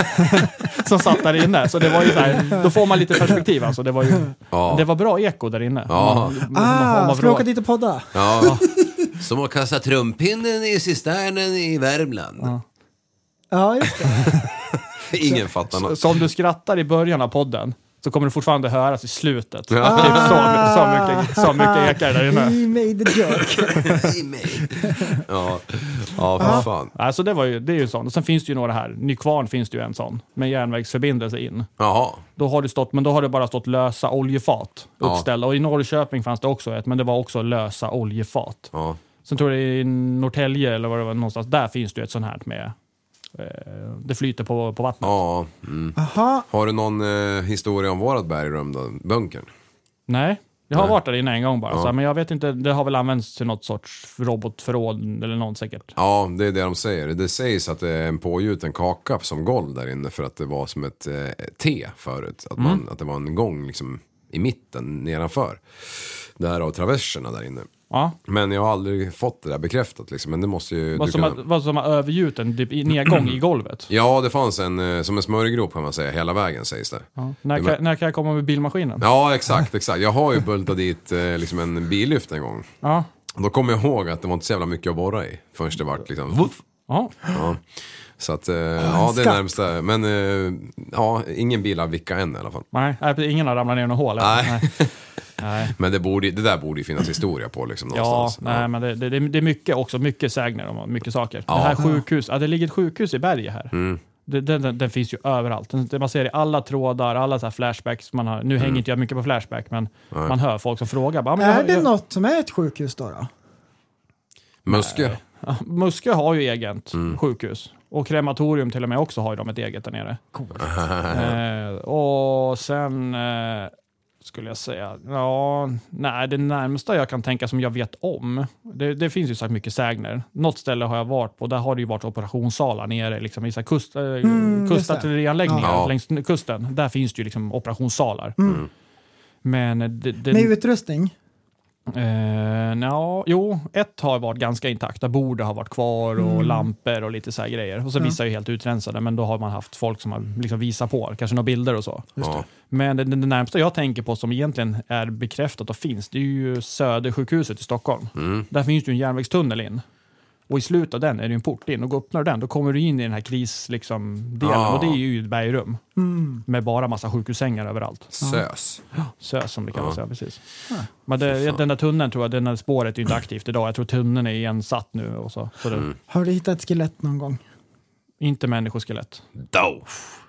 Speaker 7: som satt där inne. Så det var ju så här, då får man lite perspektiv alltså. Det var ju,
Speaker 6: Ja.
Speaker 7: det var bra eko där inne.
Speaker 6: Ja.
Speaker 5: Ah, ska vi åka
Speaker 7: dit?
Speaker 5: dit och podda?
Speaker 6: Ja. Som att kasta trumpinnen i cisternen i Värmland.
Speaker 5: Ja, just det.
Speaker 6: Ingen fattar något.
Speaker 7: Så om du skrattar i början av podden så kommer du fortfarande höras i slutet.
Speaker 6: Ja.
Speaker 7: Typ så, så,
Speaker 5: Ah.
Speaker 7: mycket, så mycket ekar där inne.
Speaker 5: He made the joke.
Speaker 6: Ja, ja för fan.
Speaker 7: Alltså det, var ju, det är ju en sån. Och sen finns det ju några här. Nykvarn finns det ju en sån med järnvägsförbindelse in.
Speaker 6: Jaha.
Speaker 7: Då har det stått, men då har det bara stått lösa oljefat
Speaker 6: Ja.
Speaker 7: uppställda. Och i Norrköping fanns det också ett, men det var också lösa oljefat.
Speaker 6: Ja.
Speaker 7: Sen tror jag i Norrtälje eller var det var någonstans, där finns det ju ett sånt här med... Eh, det flyter på, på vattnet.
Speaker 6: ja. Mm.
Speaker 5: Jaha,
Speaker 6: Har du någon eh, historia om vårat bergrum då? Bunkern?
Speaker 7: Nej, jag har varit där inne en gång bara. Så här, men jag vet inte, det har väl använts till något sorts robotförråd eller något säkert.
Speaker 6: Ja, det är det de säger. Det sägs att det är en pågjuten kaka som golv där inne för att det var som ett eh, T förut. Att, man,
Speaker 7: Mm.
Speaker 6: att det var en gång liksom i mitten nedanför. Därav traverserna där inne.
Speaker 7: Ja.
Speaker 6: Men jag har aldrig fått det där bekräftat liksom. Men det måste ju...
Speaker 7: Vad
Speaker 6: du
Speaker 7: som,
Speaker 6: kunna-
Speaker 7: har, vad som har övergjuten typ, i- nedgång i golvet.
Speaker 6: Ja, det fanns en, eh, som en smörgrop kan man säga, hela vägen sägs det. Ja,
Speaker 7: När, kan, när kan jag komma med bilmaskinen?
Speaker 6: exakt, exakt. Jag har ju bultat dit eh, liksom en billyft en gång.
Speaker 7: Ja.
Speaker 6: Då kommer jag ihåg att det var inte så jävla mycket att borra i förrän det vart liksom... Woof.
Speaker 7: Ja.
Speaker 6: Ja. Så att, eh,
Speaker 7: Ah,
Speaker 6: ja det är
Speaker 5: skatt.
Speaker 6: närmsta. Men eh, ja, ingen bil har vickat än i alla fall.
Speaker 7: Nej, nej, precis. ingen har ramlat ner något hål. eller?
Speaker 6: Nej.
Speaker 7: nej.
Speaker 6: Men det, borde, det där borde ju finnas historia på liksom
Speaker 7: Ja,
Speaker 6: någonstans.
Speaker 7: nej, men det, det, det är mycket också, mycket sägner om mycket saker. Det här sjukhus, ja, det ligger ett sjukhus i berget här.
Speaker 6: Mm.
Speaker 7: Det, den, den, den finns ju överallt. Den, den- man ser i alla trådar, alla så här flashbacks man har. Nu
Speaker 6: Mm.
Speaker 7: hänger inte jag mycket på flashback, men man hör folk som frågar. Bara, men jag,
Speaker 5: är det
Speaker 7: jag,
Speaker 5: något som är ett sjukhus då? då?
Speaker 6: Muskö?
Speaker 7: Muskö har ju eget sjukhus. Och krematorium till och med också har ju de ett eget där nere. Eh, och sen eh, skulle jag säga, ja, nej, det närmsta jag kan tänka som jag vet om, det, det finns ju så här mycket sägner. Något ställe har jag varit på, där har det ju varit operationssalar nere liksom, i så här kust, eh, kustartillerianläggningar
Speaker 6: Ja.
Speaker 7: längs kusten. Där finns det ju liksom operationssalar. Men det, det,
Speaker 5: Med utrustning?
Speaker 7: Eh, nja, jo, ett har varit ganska intakta. Bord har varit kvar och lampor och lite så här grejer. Och så vissa är ju helt utrensade, men då har man haft folk som har liksom visat på, kanske några bilder och så.
Speaker 6: Ja.
Speaker 7: Men det, det närmsta jag tänker på som egentligen är bekräftat och finns, det är ju Södersjukhuset i Stockholm. Där finns det ju en järnvägstunnel in. Och i slutet av den är det ju en port in och går öppnar du den, då kommer du in i den här krisdelen. Liksom, delen.
Speaker 6: Ja.
Speaker 7: Och det är ju ett bergrum med bara massa sjukhussängar överallt.
Speaker 6: Sös.
Speaker 7: Sös som det kallas, ja. precis. Men det, den där tunneln tror jag, den där spåret är ju inte aktivt idag. Jag tror tunneln är igensatt nu och så. så det,
Speaker 6: Mm.
Speaker 5: Har du hittat ett skelett någon gång?
Speaker 7: Inte människoskelett.
Speaker 6: Doff.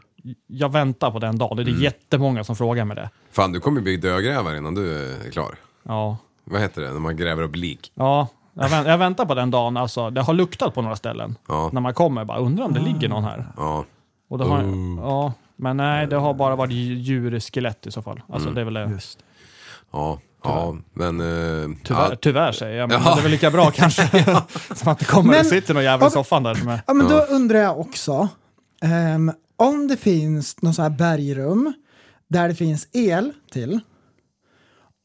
Speaker 7: Jag väntar på den dagen. Det är
Speaker 6: Mm.
Speaker 7: jättemånga som frågar mig det.
Speaker 6: Fan, du kommer bli dödgrävare innan du eh, är klar.
Speaker 7: Ja,
Speaker 6: Vad heter det när man gräver upp lik?
Speaker 7: ja jag, vänt, jag väntar på den dagen. Alltså, det har luktat på några ställen
Speaker 6: Ja.
Speaker 7: när man kommer. Bara, undrar om det ligger någon här.
Speaker 6: Ja.
Speaker 7: Och det har,
Speaker 6: Oh.
Speaker 7: ja, men nej, det har bara varit dj- djurskelett i så fall.
Speaker 6: Mm.
Speaker 7: Alltså, det är väl det.
Speaker 6: Ja. Ja. Men... eh,
Speaker 7: Tyvärr,
Speaker 6: ja.
Speaker 7: tyvärr säger jag, men det är väl lika bra kanske. Som att det kommer
Speaker 5: Men-
Speaker 7: och sitter någon jävel i
Speaker 5: Om-
Speaker 7: soffan där. Med,
Speaker 5: Ja, men då undrar jag också. ehm, om det finns någon sån här bergrum där det finns el till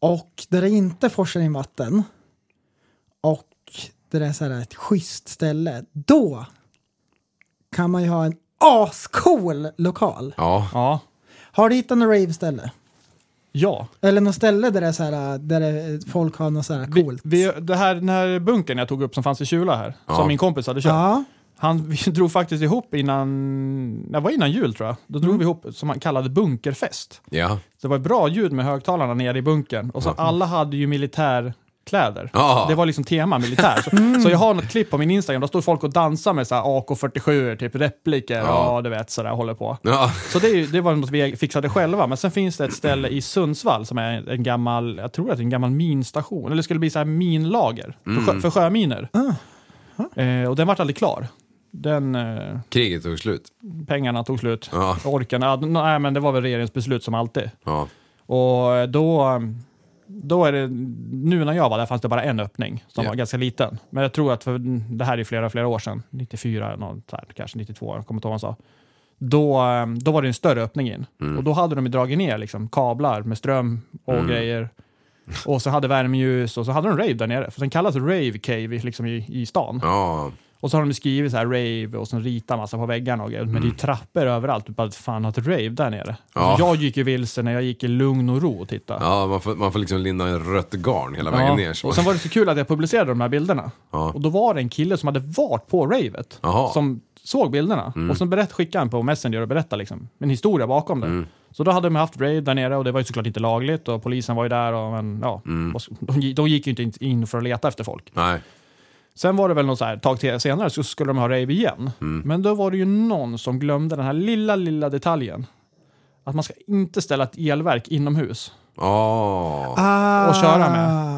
Speaker 5: och där det inte forsar in vatten och där det är så här ett schysst ställe, då kan man ju ha en ascool lokal.
Speaker 6: Ja.
Speaker 7: ja,
Speaker 5: Har du hittat något rave-ställe?
Speaker 7: ja.
Speaker 5: Eller något ställe där det är så här, där det, folk har något så här
Speaker 7: Vi-
Speaker 5: coolt?
Speaker 7: Vi, det här, den här bunkern jag tog upp som fanns i Kjula här, som min kompis hade köpt.
Speaker 5: ja,
Speaker 7: Han vi drog faktiskt ihop innan, det var innan jul tror jag, då
Speaker 5: Mm.
Speaker 7: drog vi ihop som han kallade bunkerfest.
Speaker 6: Ja.
Speaker 7: Så det var bra ljud med högtalarna nere i bunkern och så alla hade ju militärkläder.
Speaker 6: Ja.
Speaker 7: Det var liksom tema militär. Så,
Speaker 5: Mm.
Speaker 7: så jag har något klipp på min Instagram, där står folk och dansar med så här AK47, typ repliker
Speaker 6: Ja.
Speaker 7: och du vet sådär håller på.
Speaker 6: Ja.
Speaker 7: Så det, är ju, det var något vi fixade själva. Men sen finns det ett ställe i Sundsvall som är en gammal, jag tror att det är en gammal minstation. Eller det skulle bli så här minlager för, sjö, för sjöminer. Eh, och den vart aldrig klar. Den, eh,
Speaker 6: Kriget tog slut.
Speaker 7: pengarna tog slut.
Speaker 6: Ja.
Speaker 7: Orken, ah, nej men det var väl regeringens beslut som alltid.
Speaker 6: Ja.
Speaker 7: Och då, då är det, nu när jag var där fanns det bara en öppning som
Speaker 6: Ja.
Speaker 7: var ganska liten. Men jag tror att, för det här är flera, flera år sedan, 94, något så här, kanske 92, jag kommer inte ihåg vad han sa. Då, eh, då var det en större öppning in. Och då hade de ju dragit ner liksom, kablar med ström och grejer. Och så hade värmeljus och så hade de rave där nere. För den kallas Rave Cave liksom, i, i stan.
Speaker 6: Ja.
Speaker 7: Och så har de ju skrivit så här rave och sen ritat massa på väggarna och grejer. Men det är ju trappor överallt. Du bara, fan att rave där nere.
Speaker 6: Mm.
Speaker 7: Alltså,
Speaker 6: Ja.
Speaker 7: Jag gick ju vilse när jag gick i lugn och ro och tittade.
Speaker 6: Ja, man får, man får liksom linda en rött garn hela vägen ner. Så.
Speaker 7: Och sen var det så kul att jag publicerade de här bilderna.
Speaker 6: Ja.
Speaker 7: Och då var det en kille som hade varit på ravet.
Speaker 6: Jaha. Mm.
Speaker 7: Som såg bilderna. Och sen berätt, skickade han på Messenger och berättade liksom, en historia bakom det.
Speaker 6: Mm.
Speaker 7: Så då hade de haft rave där nere och det var ju såklart inte lagligt och polisen var ju där. Och, men, ja,
Speaker 6: Mm.
Speaker 7: och så- de, gi- de gick ju inte in för att leta efter folk.
Speaker 6: Nej.
Speaker 7: Sen var det väl något så här, ett tag till- senare så skulle de ha rave igen.
Speaker 6: Mm.
Speaker 7: Men då var det ju någon som glömde den här lilla, lilla detaljen. Att man ska inte ställa ett elverk inomhus
Speaker 6: Ja.
Speaker 7: och köra med.
Speaker 5: Ah.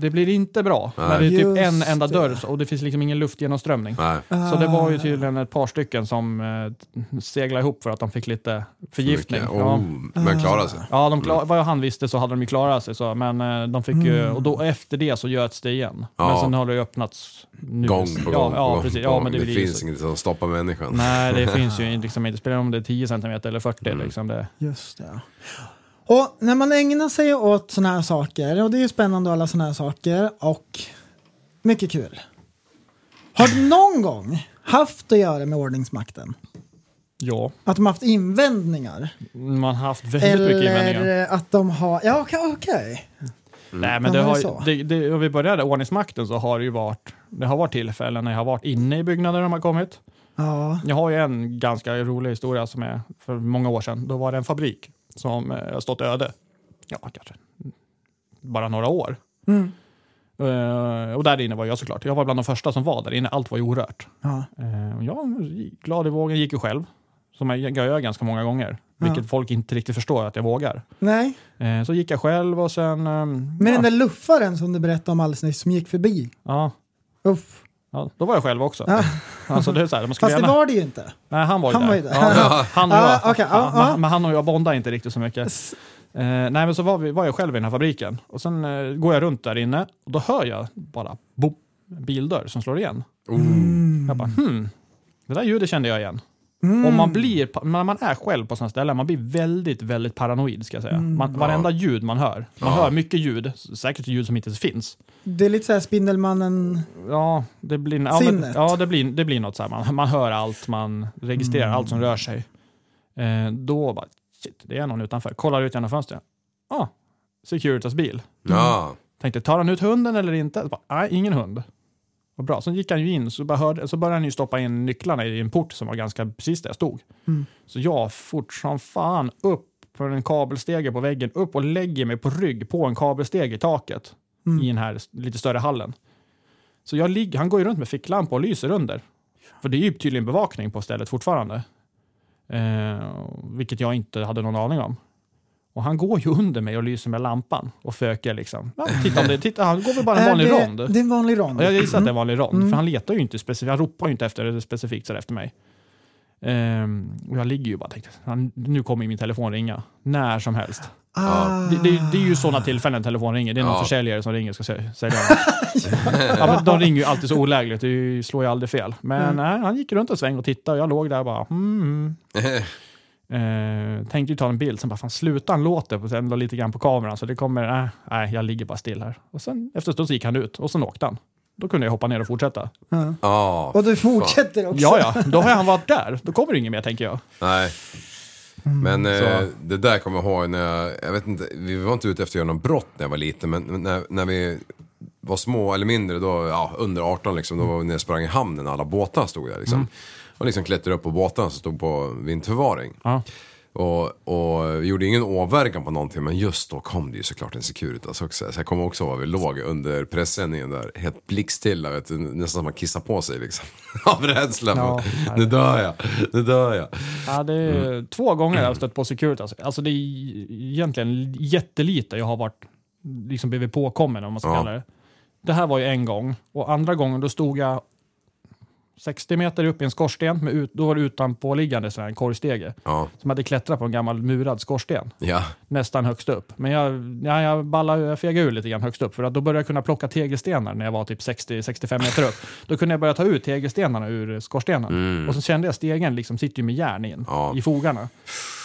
Speaker 7: Det blir inte bra. När det är typ
Speaker 5: Just
Speaker 7: en enda
Speaker 5: det.
Speaker 7: dörr så- och det finns liksom ingen luftgenomströmning.
Speaker 6: Nej.
Speaker 7: Så det var ju tydligen ett par stycken som eh, seglade ihop för att de fick lite förgiftning.
Speaker 6: Mycket.
Speaker 7: Ja.
Speaker 6: Oh, men klara sig.
Speaker 7: Ja, de klar, vad han visste så hade de ju klarat sig, så, men eh, de fick ju,
Speaker 5: Mm.
Speaker 7: och då, efter det så göts det igen. Men
Speaker 6: Ja.
Speaker 7: sen har det ju öppnats nu.
Speaker 6: Gång på gång
Speaker 7: ja,
Speaker 6: på
Speaker 7: ja,
Speaker 6: gång
Speaker 7: precis.
Speaker 6: på
Speaker 7: Ja,
Speaker 6: gång.
Speaker 7: men det,
Speaker 6: det
Speaker 7: blir ju
Speaker 6: finns
Speaker 7: så-
Speaker 6: inget som stoppar människan.
Speaker 7: Nej, det finns ju liksom inte. Spelar om det är 10 cm eller 40. Liksom det.
Speaker 5: Just det. Och när man ägnar sig åt sådana här saker, och det är ju spännande och alla sådana här saker, och mycket kul. Har du någon gång haft att göra med ordningsmakten?
Speaker 7: Ja,
Speaker 5: Att de haft invändningar?
Speaker 7: man har haft väldigt mycket invändningar.
Speaker 5: Eller att de har... Ja, okej. okej.
Speaker 7: Nej, men
Speaker 5: Ja,
Speaker 7: det
Speaker 5: men
Speaker 7: har,
Speaker 5: det är
Speaker 7: ju-
Speaker 5: så.
Speaker 7: det, det, om vi började ordningsmakten så har det ju varit, det har varit tillfällen när jag har varit inne i byggnaden när de har kommit.
Speaker 5: Ja.
Speaker 7: Jag har ju en ganska rolig historia som är för många år sedan. Då var det en fabrik som eh, har stått öde. Ja, kanske bara några år.
Speaker 5: Mm.
Speaker 7: Eh, och där inne var jag såklart. Jag var bland de första som var där inne. Allt var ju orört.
Speaker 5: ja.
Speaker 7: Eh, och jag, gick glad i vågen, gick ju själv. Som jag jag gör ganska många gånger. Vilket folk inte riktigt förstår att jag vågar.
Speaker 5: Nej.
Speaker 7: Eh, så gick jag själv och sen... eh,
Speaker 5: Men
Speaker 7: ja,
Speaker 5: den där luffaren som du berättade om alldeles nyss som gick förbi.
Speaker 7: ja,
Speaker 5: Uff.
Speaker 7: Ja, då var jag själv också. Alltså, det är så här, man skulle
Speaker 5: Fast det
Speaker 7: gärna...
Speaker 5: var det ju inte.
Speaker 7: Nej, han var ju
Speaker 5: Han
Speaker 7: där.
Speaker 5: var ju där.
Speaker 7: Ja, han och
Speaker 5: Ah,
Speaker 7: jag.
Speaker 5: okej,
Speaker 7: Ja,
Speaker 5: ah, ah.
Speaker 7: Men, men han och jag bondade inte riktigt så mycket. Eh, nej, men så var, vi, var jag själv i den här fabriken och sen eh, går jag runt där inne och då hör jag bara boom, en bildörr som slår igen.
Speaker 6: Oh.
Speaker 7: Jag bara hmm, det där ljudet kände jag igen. Och man blir, pa- när man är själv på sådana ställen, man blir väldigt, väldigt paranoid ska jag säga. Man, varenda ljud man hör, man hör mycket ljud, säkert ljud som inte ens finns.
Speaker 5: Det är lite så här Spindelmannen...
Speaker 7: Ja, det blir, ja, men,
Speaker 5: Sinnet.
Speaker 7: ja, det blir, det blir något så här. Man, man hör allt, man registrerar allt som rör sig. Eh, då bara, shit, det är någon utanför. Kollar ut genom fönstret. Ah, Securitas bil.
Speaker 6: Ja.
Speaker 7: Tänkte, tar han ut hunden eller inte? Bara, Nej, ingen hund. Vad bra. Sen gick han ju in, så, bara hörde, så började han ju stoppa in nycklarna i en port som var ganska precis där jag stod.
Speaker 5: Mm.
Speaker 7: Så jag fort som fan upp på en kabelstege på väggen, upp och lägger mig på rygg på en kabelstege i taket
Speaker 5: Mm.
Speaker 7: i den här s- lite större hallen. Så jag ligger, han går ju runt med ficklampa och lyser under. För det är ju tydligen bevakning på stället fortfarande. Eh, vilket jag inte hade någon aning om. Och han går ju under mig och lyser med lampan och föker liksom. Ja, titta om det, titta, han går väl bara en
Speaker 5: Är
Speaker 7: vanlig
Speaker 5: det,
Speaker 7: rond.
Speaker 5: Det är en vanlig rond.
Speaker 7: Och jag gissar att det var en rond, för han letar ju inte specifikt, han ropar ju inte efter det specifikt sådär efter mig. Ehm, och jag ligger ju bara och tänkte, han, nu kommer ju min telefon ringa, när som helst.
Speaker 5: Ah.
Speaker 7: Det, det, det är ju sådana tillfällen telefon ringer, det är någon
Speaker 6: Ja.
Speaker 7: försäljare som ringer och ska sä- sälja något. ja, men De ringer ju alltid så olägligt, det är ju- slår ju aldrig fel. Men nej, han gick runt en sväng och tittade och jag låg där och bara, mm, Eh, tänkte ju ta en bild, sen bara fan sluta han låter på sen la lite grann på kameran så det kommer, nej, nej jag ligger bara still här. Och sen efter en stund så gick han ut och sen åkte han. Då kunde jag hoppa ner och fortsätta.
Speaker 6: Ja.
Speaker 5: Och du fortsätter också.
Speaker 7: Ja, ja, då har han varit där. Då kommer det inget mer tänker jag.
Speaker 6: Nej. Men eh, det där kommer jag ihåg när jag, jag vet inte, vi var inte ute efter att göra något brott när jag var liten men men när, när vi var små eller mindre då, ja under 18 liksom, då var vi nere och sprang i hamnen alla båtar stod där liksom. Och liksom klättrade upp på båtarna som stod på vinterförvaring.
Speaker 7: Ja.
Speaker 6: Och, och vi gjorde ingen åverkan på någonting men just då kom det ju såklart en Securitas också. Så jag kommer också ihåg var vi låg under pressändningen där helt blickstilla, vet du, nästan som man kissar på sig liksom. Av rädsla.
Speaker 7: Ja,
Speaker 6: nu dör jag, nu dör jag.
Speaker 7: Ja, det är Två gånger har jag stött på Securitas. Alltså det är egentligen jättelite jag har varit, liksom blivit påkommen om man ska
Speaker 6: Ja.
Speaker 7: kalla det. Det här var ju en gång och andra gången då stod jag 60 meter upp i en skorsten, med ut, då var det utanpåliggande så här, en korgstege.
Speaker 6: Ja.
Speaker 7: Som hade klättrat på en gammal murad skorsten,
Speaker 6: Ja,
Speaker 7: nästan högst upp. Men jag, ja, jag, ballade, jag fegade ur lite grann högst upp, för att då började jag kunna plocka tegelstenar när jag var typ 60-65 meter upp. Då kunde jag börja ta ut tegelstenarna ur skorstenen. Och så kände jag stegen liksom sitter ju med järn in,
Speaker 6: Mm. Ja.
Speaker 7: i fogarna.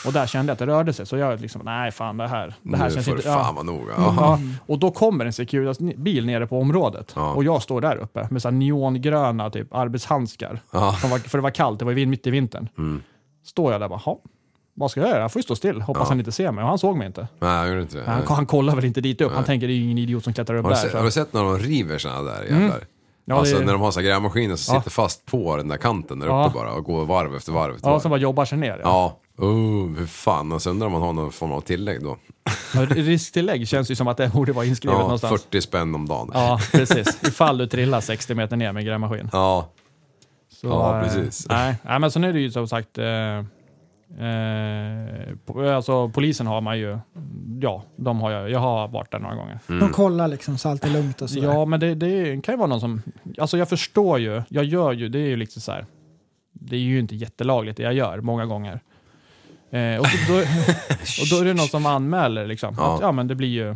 Speaker 7: Och där kände jag att det rörde sig, så jag liksom, nej fan det här, det här
Speaker 6: nu
Speaker 7: känns
Speaker 6: får
Speaker 7: inte...
Speaker 6: det
Speaker 7: ja. Mm.
Speaker 6: fan vara noga.
Speaker 7: Ja, och då kommer en Securitas-bil nere på området
Speaker 6: Mm. Ja.
Speaker 7: och jag står där uppe med så här neongröna typ, arbetshandskar.
Speaker 6: Ja. Mm.
Speaker 7: Som var, för det var kallt, det var ju vin- mitt i vintern. Står jag där och bara, "Ha, vad ska jag göra? Jag får ju stå still. Hoppas han inte ser mig. Och han såg mig inte.
Speaker 6: Nej, jag gjorde inte det.
Speaker 7: Han,
Speaker 6: Nej.
Speaker 7: han kollar väl inte dit upp. Han tänker, det är ju ingen idiot som klättrar upp
Speaker 6: Har du,
Speaker 7: där.
Speaker 6: sett,
Speaker 7: så- Mm.
Speaker 6: har du sett när de river såna där jävlar?
Speaker 7: Ja,
Speaker 6: alltså
Speaker 7: det-
Speaker 6: när de har så här grävmaskiner som
Speaker 7: Ja.
Speaker 6: sitter fast på den där kanten där
Speaker 7: Ja.
Speaker 6: uppe bara och går varv efter varv efter
Speaker 7: Ja,
Speaker 6: varv.
Speaker 7: som bara jobbar sig ner. Ja.
Speaker 6: Ja, oh, hur fan. Alltså undrar om man har någon form av tillägg då.
Speaker 7: Men Risktillägg känns ju som att det borde vara inskrivet
Speaker 6: Ja,
Speaker 7: någonstans.
Speaker 6: 40 spänn om dagen.
Speaker 7: Ja, precis. Ifall du trillar 60 meter ner med grävmaskin.
Speaker 6: Ja.
Speaker 7: Så,
Speaker 6: Ja,
Speaker 7: eh,
Speaker 6: precis.
Speaker 7: Nej, nej, men sen är det ju som sagt, eh, eh, po- alltså polisen har man ju, ja, de har jag, jag har varit där några gånger.
Speaker 6: Mm.
Speaker 5: De kollar liksom så allt är lugnt och sådär.
Speaker 7: Ja, men det, det kan ju vara någon som, alltså jag förstår ju, jag gör ju, det är ju liksom så här, det är ju inte jättelagligt det jag gör många gånger. Eh, och, så, då, och då är det någon som anmäler liksom.
Speaker 6: Ja.
Speaker 7: Att, ja, men det blir ju,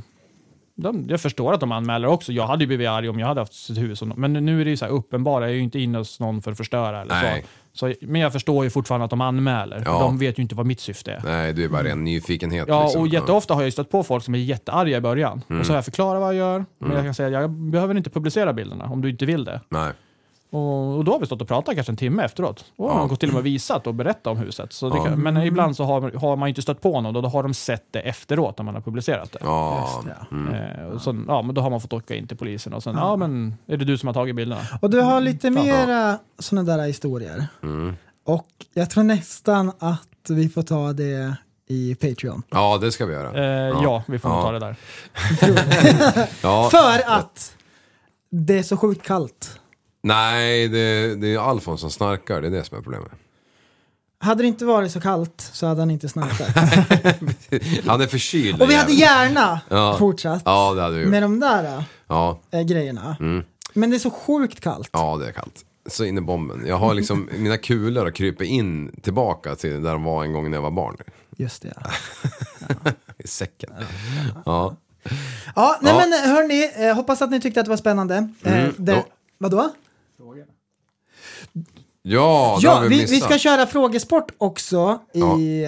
Speaker 7: de, jag förstår att de anmäler också. Jag hade ju blivit arg om jag hade haft sitt huvud som Men nu är det ju så här uppenbara, jag är ju inte inne hos någon för att förstöra eller så.
Speaker 6: Nej.
Speaker 7: så. Men jag förstår ju fortfarande att de anmäler.
Speaker 6: Ja.
Speaker 7: De vet ju inte vad mitt syfte är.
Speaker 6: Nej, du är bara ren nyfikenhet.
Speaker 7: Ja,
Speaker 6: liksom. Mm.
Speaker 7: och jätteofta har jag ju stött på folk som är jättearga i början. Och så har jag förklarat vad jag gör, men jag kan säga jag behöver inte publicera bilderna om du inte vill det.
Speaker 6: Nej.
Speaker 7: Och, och då har vi stått och pratat kanske en timme efteråt. Och har
Speaker 6: Ja.
Speaker 7: de gått till och med visat och berättat om huset. Så det
Speaker 6: Ja. Mm.
Speaker 7: kan, men ibland så har, har man ju inte stött på någon och då har de sett det efteråt när man har publicerat det.
Speaker 6: Ja. Mm.
Speaker 7: Eh, och så, ja, men då har man fått åka in till polisen och sen, ja, men är det du som har tagit bilderna?
Speaker 5: Och du har lite mera sådana där historier.
Speaker 6: Mm.
Speaker 5: Och jag tror nästan att vi får ta det i Patreon.
Speaker 6: ja, det ska vi göra.
Speaker 7: Eh, ja. vi får nog
Speaker 6: Ja.
Speaker 7: ta det där.
Speaker 6: Ja.
Speaker 5: För att det är så sjukt kallt.
Speaker 6: Nej, det, det är Alfons som snarkar. Det är det som är problemet.
Speaker 5: Hade det inte varit så kallt så hade han inte snarkat.
Speaker 6: Han är förkyld.
Speaker 5: Och vi
Speaker 6: den
Speaker 5: hade
Speaker 6: jäveln.
Speaker 5: gärna
Speaker 6: Ja.
Speaker 5: fortsatt
Speaker 6: Ja, det hade vi gjort.
Speaker 5: med de där
Speaker 6: Ja.
Speaker 5: äh, grejerna. Men det är så sjukt kallt.
Speaker 6: Mm. Ja, det är kallt. Så in i bomben. Jag har liksom, mina kulor har krypit in tillbaka till där de var en gång när jag var barn.
Speaker 5: Just det. Ja,
Speaker 6: I säcken. Ja.
Speaker 5: ja nej
Speaker 6: Ja. Mm.
Speaker 5: men hörni, eh, hoppas att ni tyckte att det var spännande. Eh, det,
Speaker 6: då-
Speaker 5: Vadå?
Speaker 6: Ja, det
Speaker 5: Ja,
Speaker 6: har vi,
Speaker 5: vi,
Speaker 6: missat.
Speaker 5: vi ska köra frågesport också i...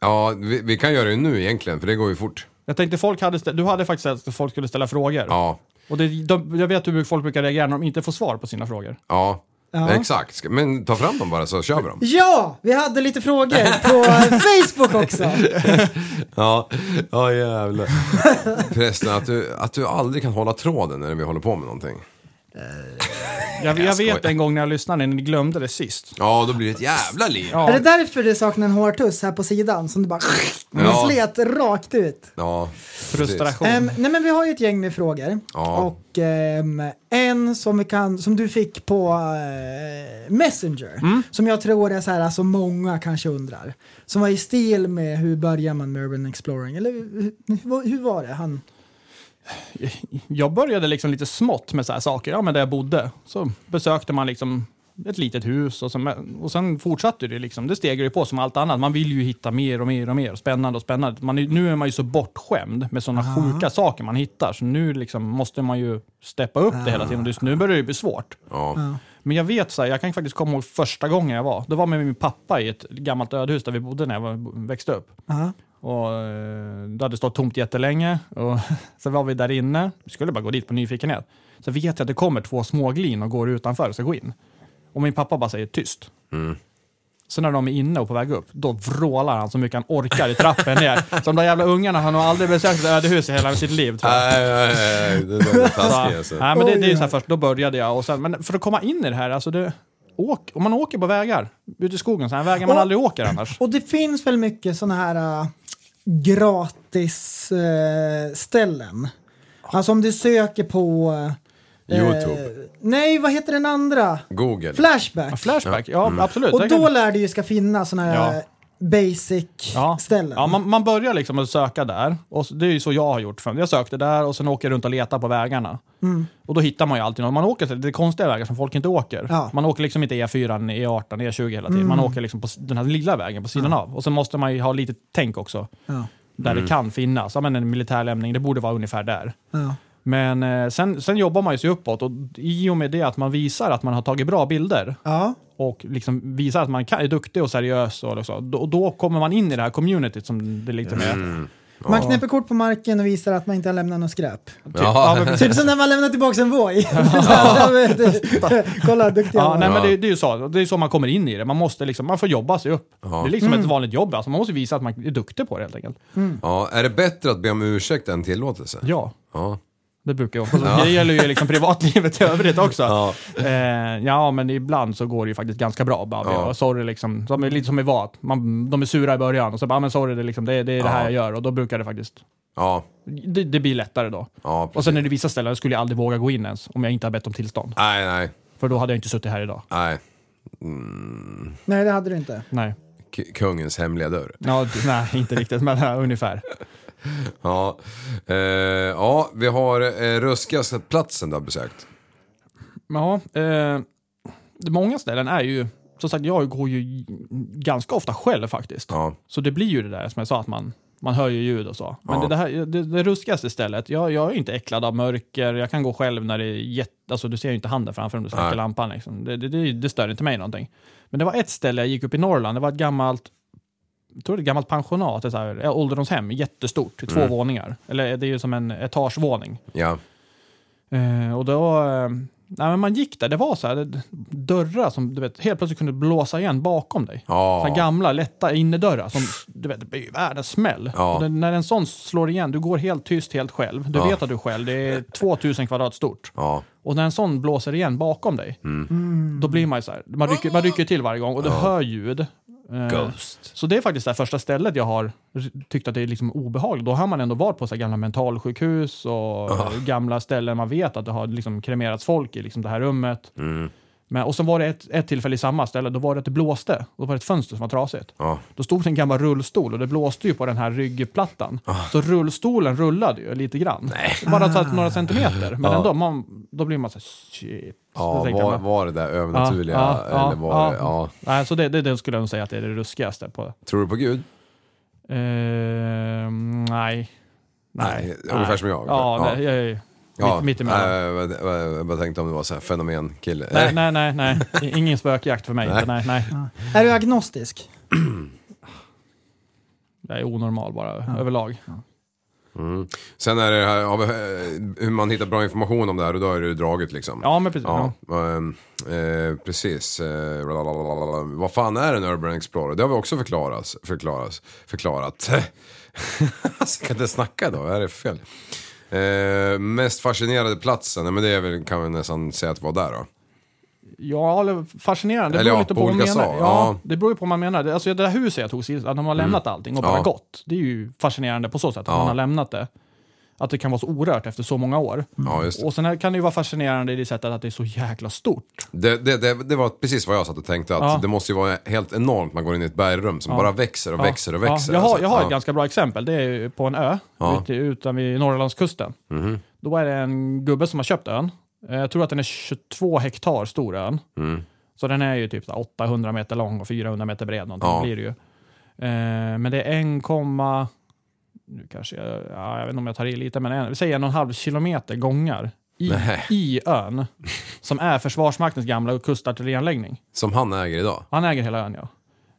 Speaker 6: Ja, vi, vi kan göra det nu egentligen, för det går ju fort.
Speaker 7: Jag tänkte folk hade stä- du hade faktiskt att folk skulle ställa frågor.
Speaker 6: Ja,
Speaker 7: Och det, de, jag vet hur folk brukar reagera när de inte får svar på sina frågor.
Speaker 6: ja.
Speaker 5: Ja.
Speaker 6: Exakt. Ska- Men ta fram dem bara så kör vi dem.
Speaker 5: Ja, vi hade lite frågor på Facebook också.
Speaker 6: Ja, ja jävlar. Förresten, att du, att du aldrig kan hålla tråden när vi håller på med någonting.
Speaker 7: Jag, jag,
Speaker 6: skojar.
Speaker 7: vet en gång när jag lyssnade, när ni glömde det sist.
Speaker 6: Ja, då blir det ett jävla liv. Ja.
Speaker 5: Är det därför du saknar en hårtuss här på sidan som du bara
Speaker 6: Ja.
Speaker 5: slet rakt ut?
Speaker 6: precis.
Speaker 7: Frustration.
Speaker 5: Ehm, nej men vi har ju ett gäng med frågor.
Speaker 6: Ja.
Speaker 5: Och ehm, en som, vi kan, som du fick på eh, Messenger.
Speaker 6: Mm.
Speaker 5: Som jag tror är så här, alltså många kanske undrar. Som var i stil med hur börjar man med Urban Exploring? Eller hur, hur, hur var det? Han,
Speaker 7: Jag började liksom lite smått med så här saker, ja men där jag bodde. Så besökte man liksom ett litet hus och sen, och sen fortsatte det liksom. Det steg ju på som allt annat. Man vill ju hitta mer och mer och mer, spännande och spännande. Man, är- nu är man ju så bortskämd med sådana sjuka saker man hittar, så nu liksom måste man ju steppa upp det hela tiden. Och just nu börjar det ju bli svårt.
Speaker 6: Ja.
Speaker 7: Men jag vet, så här, jag kan faktiskt komma ihåg första gången jag var. Det var med min pappa i ett gammalt ödehus där vi bodde när jag var, växte upp.
Speaker 5: Ja.
Speaker 7: Och, eh, det hade stått tomt jättelänge. Och sen var vi där inne. Vi skulle bara gå dit på nyfikenhet. Så vet jag att det kommer två småglin och går utanför och ska gå in. Och min pappa bara säger tyst. Så när de är inne och på väg upp, då vrålar han så mycket han orkar i trappen ner. Som de jävla ungarna, han har aldrig besökt ett ödehus i hela sitt liv. tror jag.
Speaker 6: Nej, nej, nej, det där är taskigt
Speaker 7: Så,
Speaker 6: alltså.
Speaker 7: nej, men det, det är
Speaker 5: Oj,
Speaker 7: ju så här först, då började jag. Och sen, men för att komma in i det här, alltså det, åk, om man åker på vägar ute i skogen, så här, vägar man
Speaker 5: Och-
Speaker 7: aldrig åker annars.
Speaker 5: och det finns väl mycket sådana här äh, gratis eh, ställen. Alltså om du söker på... eh,
Speaker 6: YouTube.
Speaker 5: nej, vad heter den andra?
Speaker 6: Google.
Speaker 5: Flashback.
Speaker 7: Flashback, ja absolut.
Speaker 5: Och
Speaker 7: det kan-
Speaker 5: då lär det ju ska finnas sådana här äh,
Speaker 7: Ja. ja.
Speaker 5: basic-ställen.
Speaker 7: Ja, man, man börjar liksom att söka där. Och så, det är ju så jag har gjort. Jag sökte där och sen åker jag runt och letar på vägarna.
Speaker 5: Mm.
Speaker 7: Och då hittar man ju alltid något. Man åker till det är konstiga vägar som folk inte åker.
Speaker 5: Ja. Mm.
Speaker 7: Man åker liksom inte E4, E18, E20 E hela tiden. Man åker liksom på s- den här lilla vägen på sidan av. Och sen måste man ju ha lite tänk också.
Speaker 5: Ja.
Speaker 7: Där det kan finnas. Ja, men en militär lämning, det borde vara ungefär där.
Speaker 5: Ja.
Speaker 7: Men eh, sen, sen jobbar man ju sig uppåt och i och med det att man visar att man har tagit bra bilder
Speaker 5: Ja.
Speaker 7: och liksom visar att man kan, är duktig och seriös och så, då, då kommer man in i det här communityt som det liksom är.
Speaker 6: Mm.
Speaker 5: Man knäpper kort på marken och visar att man inte har lämnat något skräp.
Speaker 7: Typ. Ja, men, precis.
Speaker 5: Typ som när man lämnar tillbaka en Voi. Ja, men det- Kolla vad duktig jag
Speaker 7: Ja,
Speaker 5: var.
Speaker 7: nej, men
Speaker 6: Ja.
Speaker 7: det, det är ju så. Det är så man kommer in i det. Man måste liksom, man får jobba sig upp. Det är liksom ett vanligt jobb. Alltså, man måste visa att man är duktig på det helt enkelt.
Speaker 6: Ja, är det bättre att be om ursäkt än tillåtelse?
Speaker 7: Ja,
Speaker 6: Ja.
Speaker 7: det brukar jag också. Det gäller ju liksom privatlivet i övrigt också. Ja. Eh, ja, men ibland så går det ju faktiskt ganska bra. Bara,
Speaker 6: Ja.
Speaker 7: ja. Sorry, liksom. Som, lite som i vad. Man, de är sura i början och så bara, "Ah, men sorry, det är, liksom, det, det är det här
Speaker 6: Ja.
Speaker 7: jag gör. Och då brukar det faktiskt,
Speaker 6: Ja.
Speaker 7: det, det blir lättare då.
Speaker 6: ja precis.
Speaker 7: Och sen är det vissa ställen skulle jag aldrig våga gå in ens om jag inte har bett om tillstånd.
Speaker 6: Nej, nej,
Speaker 7: För då hade jag inte suttit här idag.
Speaker 6: nej. Mm.
Speaker 5: Nej, det hade du inte.
Speaker 7: Nej,
Speaker 6: K- kungens hemliga dörr.
Speaker 7: ja, d- nej inte riktigt, men ja, ungefär.
Speaker 6: Ja, eh, ja vi har eh, ruskigaste platsen du har besökt.
Speaker 7: Ja, eh, många ställen är ju... Som sagt, jag går ju ganska ofta själv faktiskt.
Speaker 6: Ja.
Speaker 7: Så det blir ju det där som jag sa, att man, man hör ju ljud och så. Men
Speaker 6: Ja.
Speaker 7: det, det, här, det, det ruskigaste stället, jag, jag är inte äcklad av mörker, jag kan gå själv när det är jätte... Alltså du ser ju inte handen framför om du släcker
Speaker 6: Nej.
Speaker 7: lampan. Liksom. Det, det, det, det stör inte mig någonting. Men det var ett ställe jag gick upp i Norrland, det var ett gammalt jag tror det är ett gammalt pensionat, ett så här, ja, ålderdomshem, jättestort, i två
Speaker 6: Mm.
Speaker 7: våningar. Eller det är ju som en etagevåning.
Speaker 6: Ja,
Speaker 7: Eh, och då... Eh, nej, men man gick där, det var så här, det- dörrar som du vet, helt plötsligt kunde blåsa igen bakom dig. Så här
Speaker 6: ja.
Speaker 7: gamla, lätta innerdörrar som du vet, det blir ju världens smäll.
Speaker 6: Ja.
Speaker 7: Och det- När en sån slår igen, du går helt tyst, helt själv. Du
Speaker 6: Ja.
Speaker 7: vet att du är själv, det är 2000 kvadrat stort.
Speaker 6: ja.
Speaker 7: Och när en sån blåser igen bakom dig, då blir man ju så här, man rycker, man rycker till varje gång och du hör ljud. Eh,
Speaker 6: Ghost.
Speaker 7: Så det är faktiskt det här första stället jag har r- tyckt att det är liksom obehagligt. Då har man ändå varit på så här gamla
Speaker 6: Mm.
Speaker 7: mentalsjukhus och gamla ställen man vet att det har liksom kremerats folk i liksom det här rummet. Men, och sen var det ett, ett tillfälle i samma ställe, då var det att det blåste. Då var det ett fönster som var trasigt.
Speaker 6: Ja.
Speaker 7: Då stod det en gammal rullstol och det blåste ju på den här ryggplattan.
Speaker 6: Ah.
Speaker 7: Så rullstolen rullade ju lite grann. Bara så att några centimeter. Men ändå, man, då blir man så här, shit. Då
Speaker 6: Ja,
Speaker 7: tänker
Speaker 6: Ah. var,
Speaker 7: man,
Speaker 6: var det där
Speaker 7: ah,
Speaker 6: övernaturliga?
Speaker 7: ja, ja,
Speaker 6: eller var ja. Det,
Speaker 7: ja.
Speaker 6: ja.
Speaker 7: ah. Nej, så det, det, det skulle jag nog säga att det är det ruskigaste. På.
Speaker 6: Tror du på Gud?
Speaker 7: Ehm, nej.
Speaker 6: Nej, ungefär som jag.
Speaker 7: Ja, ja. Jag, jag,
Speaker 6: Ja,
Speaker 7: mitt, mitt emellan.
Speaker 6: eh, vad- vad- Jag bara tänkte om det var så här fenomenkille.
Speaker 7: Nej,
Speaker 6: Eh,
Speaker 7: nej, nej, nej. I- Ingen spökjakt för mig.
Speaker 6: Nej.
Speaker 7: Nej. Nej,
Speaker 5: Är du agnostisk?
Speaker 7: Jag är onormal bara överlag.
Speaker 6: Sen är det här, av, eh, hur man hittar bra information om det här och då är det ju draget liksom.
Speaker 7: Ja, men precis.
Speaker 6: Ja,
Speaker 7: Ja.
Speaker 6: ehm, eh, precis. Eh, blablabla. vad fan är en Urban Explorer? Det har vi också förklaras, förklaras, förklarat. alltså, jag kan inte snacka idag, vad är det för fel? Eh, mest fascinerade platsen, ja, men det är väl, kan vi nästan säga att det var där då.
Speaker 7: Ja, eller fascinerande. Det
Speaker 6: Eller
Speaker 7: beror
Speaker 6: ja,
Speaker 7: lite
Speaker 6: på
Speaker 7: på vad man
Speaker 6: olika
Speaker 7: menar.
Speaker 6: sak. Ja. Mm.
Speaker 7: Ja, det beror ju på vad man menar. Det- Alltså det där huset jag tog sist, att de har lämnat allting och
Speaker 6: Ja.
Speaker 7: bara gått. Det är ju fascinerande på så sätt, att man har lämnat det. Att det kan vara så orört efter så många år.
Speaker 6: Ja, just det.
Speaker 7: Och sen här kan det ju vara fascinerande i det sättet att det är så jäkla stort.
Speaker 6: Det, det, det, det var precis vad jag satt och tänkte, att
Speaker 7: Ja.
Speaker 6: det måste ju vara helt enormt man går in i ett bergrum som bara växer och
Speaker 7: Ja.
Speaker 6: växer och växer. alltså.
Speaker 7: Ja. Jag har, jag har ett
Speaker 6: ja.
Speaker 7: ganska bra exempel. Det är ju på en ö
Speaker 6: Ja. Mhm.
Speaker 7: ute, utan vid Norrlandskusten. Då är det en gubbe som har köpt ön. Eh, Jag tror att den är 22 hektar stor ön.
Speaker 6: Mm.
Speaker 7: Så den är ju typ så här 800 meter lång och 400 meter bred. Någonting
Speaker 6: Ja.
Speaker 7: blir det ju. Eh, Men det är 1, nu kanske jag, ja, jag vet inte om jag tar i lite, men en, vi säger en och en halv kilometer gångar i,
Speaker 6: Nej.
Speaker 7: i ön. Som är Försvarsmaktens gamla kustartillerianläggning.
Speaker 6: Som han äger idag.
Speaker 7: Han äger hela ön ja.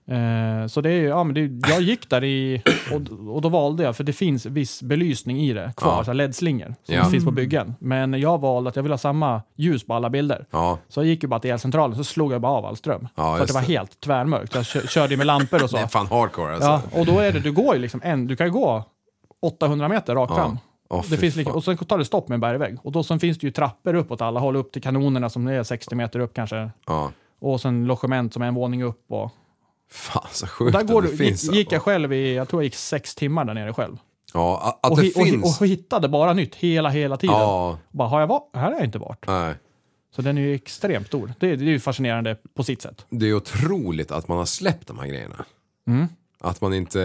Speaker 7: Eh, så det är ju, ja men det, jag gick där i, och, och då valde jag, för det finns viss belysning i det kvar,
Speaker 6: Ja.
Speaker 7: så här LED-slingor som
Speaker 6: Ja.
Speaker 7: finns på byggen. Men jag valde att jag ville ha samma ljus på alla bilder.
Speaker 6: Ja.
Speaker 7: Så jag gick ju bara till elcentralen, så slog jag bara av all ström.
Speaker 6: Ja,
Speaker 7: så att
Speaker 6: just
Speaker 7: det var
Speaker 6: det.
Speaker 7: helt tvärmörkt. Jag kö- körde ju med lampor och så.
Speaker 6: Det är fan hardcore alltså.
Speaker 7: ja, och då är det, du går ju liksom en, du kan ju gå 800 meter rakt
Speaker 6: Ja.
Speaker 7: fram.
Speaker 6: Åh, fy
Speaker 7: Det finns lika,
Speaker 6: fan.
Speaker 7: och sen tar det stopp med en bergvägg. Och då, sen finns det ju trappor uppåt alla håll, upp till kanonerna som är 60 meter upp kanske.
Speaker 6: Ja.
Speaker 7: Och sen logement som är en våning upp. Och,
Speaker 6: Fan så sjukt
Speaker 7: Där går,
Speaker 6: att det
Speaker 7: du-
Speaker 6: finns.
Speaker 7: gick, gick jag själv i, jag tror jag gick sex timmar där nere själv.
Speaker 6: Ja, a- att
Speaker 7: Och,
Speaker 6: det
Speaker 7: hi, och, hi-
Speaker 6: finns.
Speaker 7: och hittade bara nytt hela, hela tiden.
Speaker 6: ja,
Speaker 7: Bara, har jag va- här har jag inte varit.
Speaker 6: nej.
Speaker 7: Så den är ju extremt stor. Det, är- det är ju fascinerande på sitt sätt.
Speaker 6: Det är otroligt att man har släppt de här grejerna.
Speaker 7: Mm.
Speaker 6: Att man inte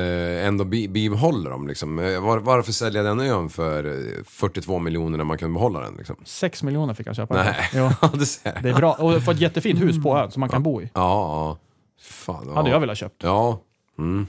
Speaker 6: ändå bi- bibehåller dem liksom. Eh, Var, varför sälja den ön för eh, 42 miljoner när man kan behålla den liksom?
Speaker 7: Sex miljoner fick han köpa.
Speaker 6: Nej,
Speaker 7: Jo,
Speaker 6: ja. det ser jag.
Speaker 7: det är bra. Och jag får ett jättefint hus på ön som man kan bo i.
Speaker 6: Ja, ja. Fan, ja.
Speaker 7: Hade jag velat köpt.
Speaker 6: Ja. Mm.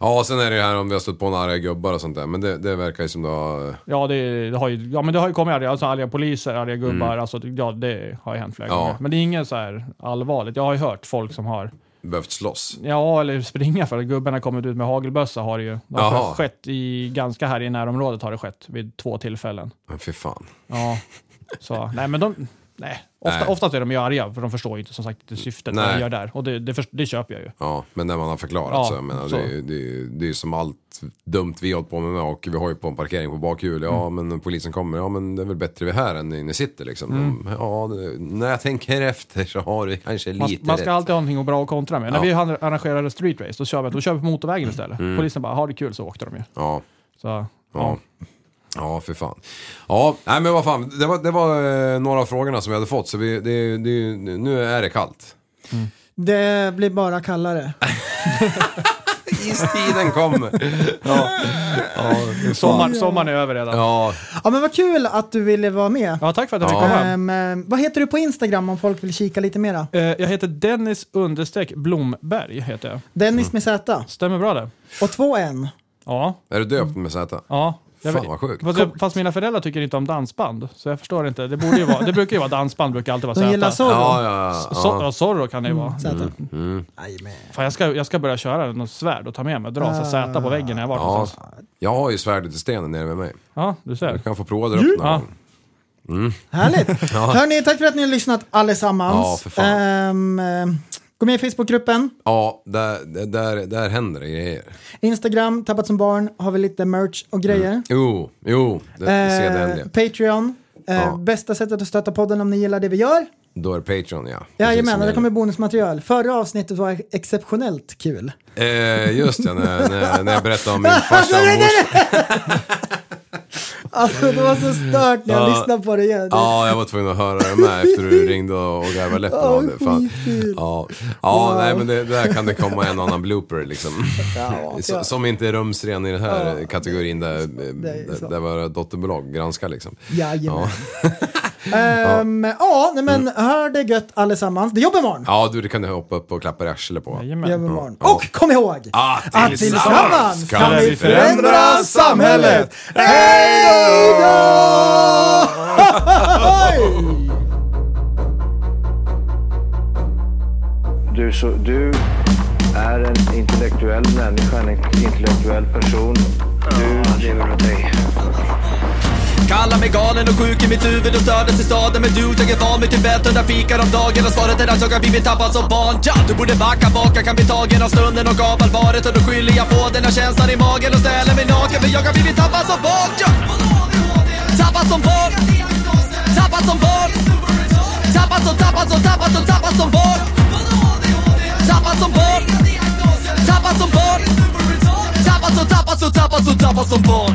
Speaker 6: Ja, sen är det ju här om vi har stött på några arga gubbar och sånt där. Men det, det verkar ju som det har... eh,
Speaker 7: Ja, det, det har ju, ja, men det har ju kommit arga, alltså arga poliser, arga gubbar. Alltså, ja, det har ju hänt flera
Speaker 6: Mm. Ja.
Speaker 7: gånger. Men det är inget så här allvarligt. Jag har ju hört folk som har
Speaker 6: behövt slåss.
Speaker 7: Ja, eller springa för. Gubben har kommit ut med hagelbössa har det ju. Det
Speaker 6: Jaha.
Speaker 7: har skett i, ganska här i närområdet har det skett vid två tillfällen.
Speaker 6: Men fy fan.
Speaker 7: Ja, så nej men de, nej. Ofta,
Speaker 6: Nej.
Speaker 7: Oftast är de ju arga för de förstår ju inte som sagt inte syftet vad
Speaker 6: Nej.
Speaker 7: de gör där. Och det, det, först- det köper jag ju.
Speaker 6: Ja, men när man har förklarat
Speaker 7: Ja,
Speaker 6: så. Jag menar,
Speaker 7: så.
Speaker 6: Det, är ju- det, är ju- det är ju som allt dumt vi har hållit på med med och vi har ju på en parkering på bakhjul. Ja,
Speaker 7: Mm.
Speaker 6: men polisen kommer. Ja, men det är väl bättre vi är här än ni ni sitter liksom. De, ja, det, när jag tänker efter så har du kanske
Speaker 7: Mm. Man,
Speaker 6: lite
Speaker 7: man
Speaker 6: rätt.
Speaker 7: ska alltid ha någonting att bra att kontra med.
Speaker 6: Ja. Mm.
Speaker 7: När vi han- arrangerade street race, då kör vi, då kör vi på motorvägen istället. Polisen bara, har det kul så åkte de ju.
Speaker 6: Ja,
Speaker 7: Så, ja.
Speaker 6: ja. Ja, för fan. Ja, nej men vad fan. Det var, det var eh, några av frågorna som jag hade fått. Så vi, det, det, nu är det kallt.
Speaker 5: Det blir bara kallare.
Speaker 6: Istiden kommer. Ja, ja, för fan.
Speaker 7: Sommar, sommaren är över redan. Ja.
Speaker 6: ja,
Speaker 5: Ja men vad kul att du ville vara med.
Speaker 7: tack för att jag fick
Speaker 6: Ja.
Speaker 7: komma.
Speaker 5: Ehm, ehm, vad heter du på Instagram om folk vill kika lite mera?
Speaker 7: Eh, Jag heter Dennis understreck Blomberg. Heter jag.
Speaker 5: Dennis
Speaker 6: Mm.
Speaker 5: med Z
Speaker 7: Stämmer bra det?
Speaker 5: och två N.
Speaker 7: Ja.
Speaker 6: är du döpt med Z?
Speaker 7: Ja. Jag
Speaker 6: Fan
Speaker 7: vet-
Speaker 6: vad sjukt.
Speaker 7: Fast, jag, fast mina föräldrar tycker inte om dansband, så jag förstår inte. Det, borde ju vara, det brukar ju vara dansband, brukar alltid vara
Speaker 5: De gillar
Speaker 7: Zorro.
Speaker 5: Zorro.
Speaker 6: Ja, Mm. ja, ja.
Speaker 7: Så, ja, Zorro kan det ju vara.
Speaker 5: Z. Jajamän.
Speaker 7: Fan, jag, ska, jag ska börja köra något svärd och ta med mig, dra så här Z på väggen när jag varit
Speaker 6: Ja,
Speaker 7: någonstans.
Speaker 6: jag har ju svärdet i stenen nere med mig.
Speaker 7: Ja, du ser.
Speaker 6: Du kan få prova det upp någon
Speaker 7: Ja.
Speaker 6: gång.
Speaker 5: Härligt! Hörni, tack för att ni har lyssnat allesammans.
Speaker 6: Ja, för fan.
Speaker 5: Ehm, ehm, gå med i Facebookgruppen.
Speaker 6: Ja, där, där- där, där händer det grejer.
Speaker 5: Instagram, Tappat som barn, har vi lite merch och grejer.
Speaker 6: Jo, jo, det, Mm. ser det
Speaker 5: Eh,
Speaker 6: händer.
Speaker 5: Patreon, eh,
Speaker 6: Ja.
Speaker 5: bästa sättet att stötta podden om ni gillar det vi gör.
Speaker 6: Då är det Patreon, ja. Precis som
Speaker 5: Jajamän, och det
Speaker 6: gäller.
Speaker 5: kommer bonusmaterial. Förra avsnittet var exceptionellt kul.
Speaker 6: Eh, just det, när, när, när jag berättade om min farsa och morsa.
Speaker 5: Alltså det var så stört när jag
Speaker 6: Ja.
Speaker 5: lyssnade på det igen. Det-
Speaker 6: Ja, jag var tvungen att höra det med efter du ringde och och garvade läppen av det. Fan.
Speaker 5: skitkul.
Speaker 6: Ja, ja
Speaker 5: Wow.
Speaker 6: nej men det, där kan det komma en annan blooper liksom. Så- Som inte är rumsren i den här kategorin där,
Speaker 5: är så.
Speaker 6: där, där våra dotterbolag granskar liksom.
Speaker 5: Jajamän. Ehm, ja, nej, men hör det gött allesammans. Det jobbar imorgon.
Speaker 6: Ja, du, det kan du hoppa upp och klappa i arslet på.
Speaker 5: Det
Speaker 7: Jajamän.
Speaker 5: jobbar imorgon.
Speaker 6: Ja.
Speaker 5: Och kom ihåg
Speaker 6: Ah,
Speaker 5: att tillsammans kan vi förändra samhället.
Speaker 6: Hej
Speaker 5: Hej då!
Speaker 1: Du, så, du är en intellektuell människa, en intellektuell person. Du lever åt dig.
Speaker 2: Kallar mig galen och sjuk i mitt huvud och stördes i staden Men du, jag är van vid Tibet och där fikar om dagen Och svaret är att jag har blivit tappad som barn ja, Du borde backa bak, jag kan bli tagen av stunden och av allvaret Och då skyller jag på den här känslan i magen och ställer mig naken För jag har blivit tappad som barn ja. Tappad som barn Tappad som barn Tappad som, tappad som, tappad som, tappad som barn Tappad som barn Tappad som barn Tappad som, tappad som, tappad som, tappad som barn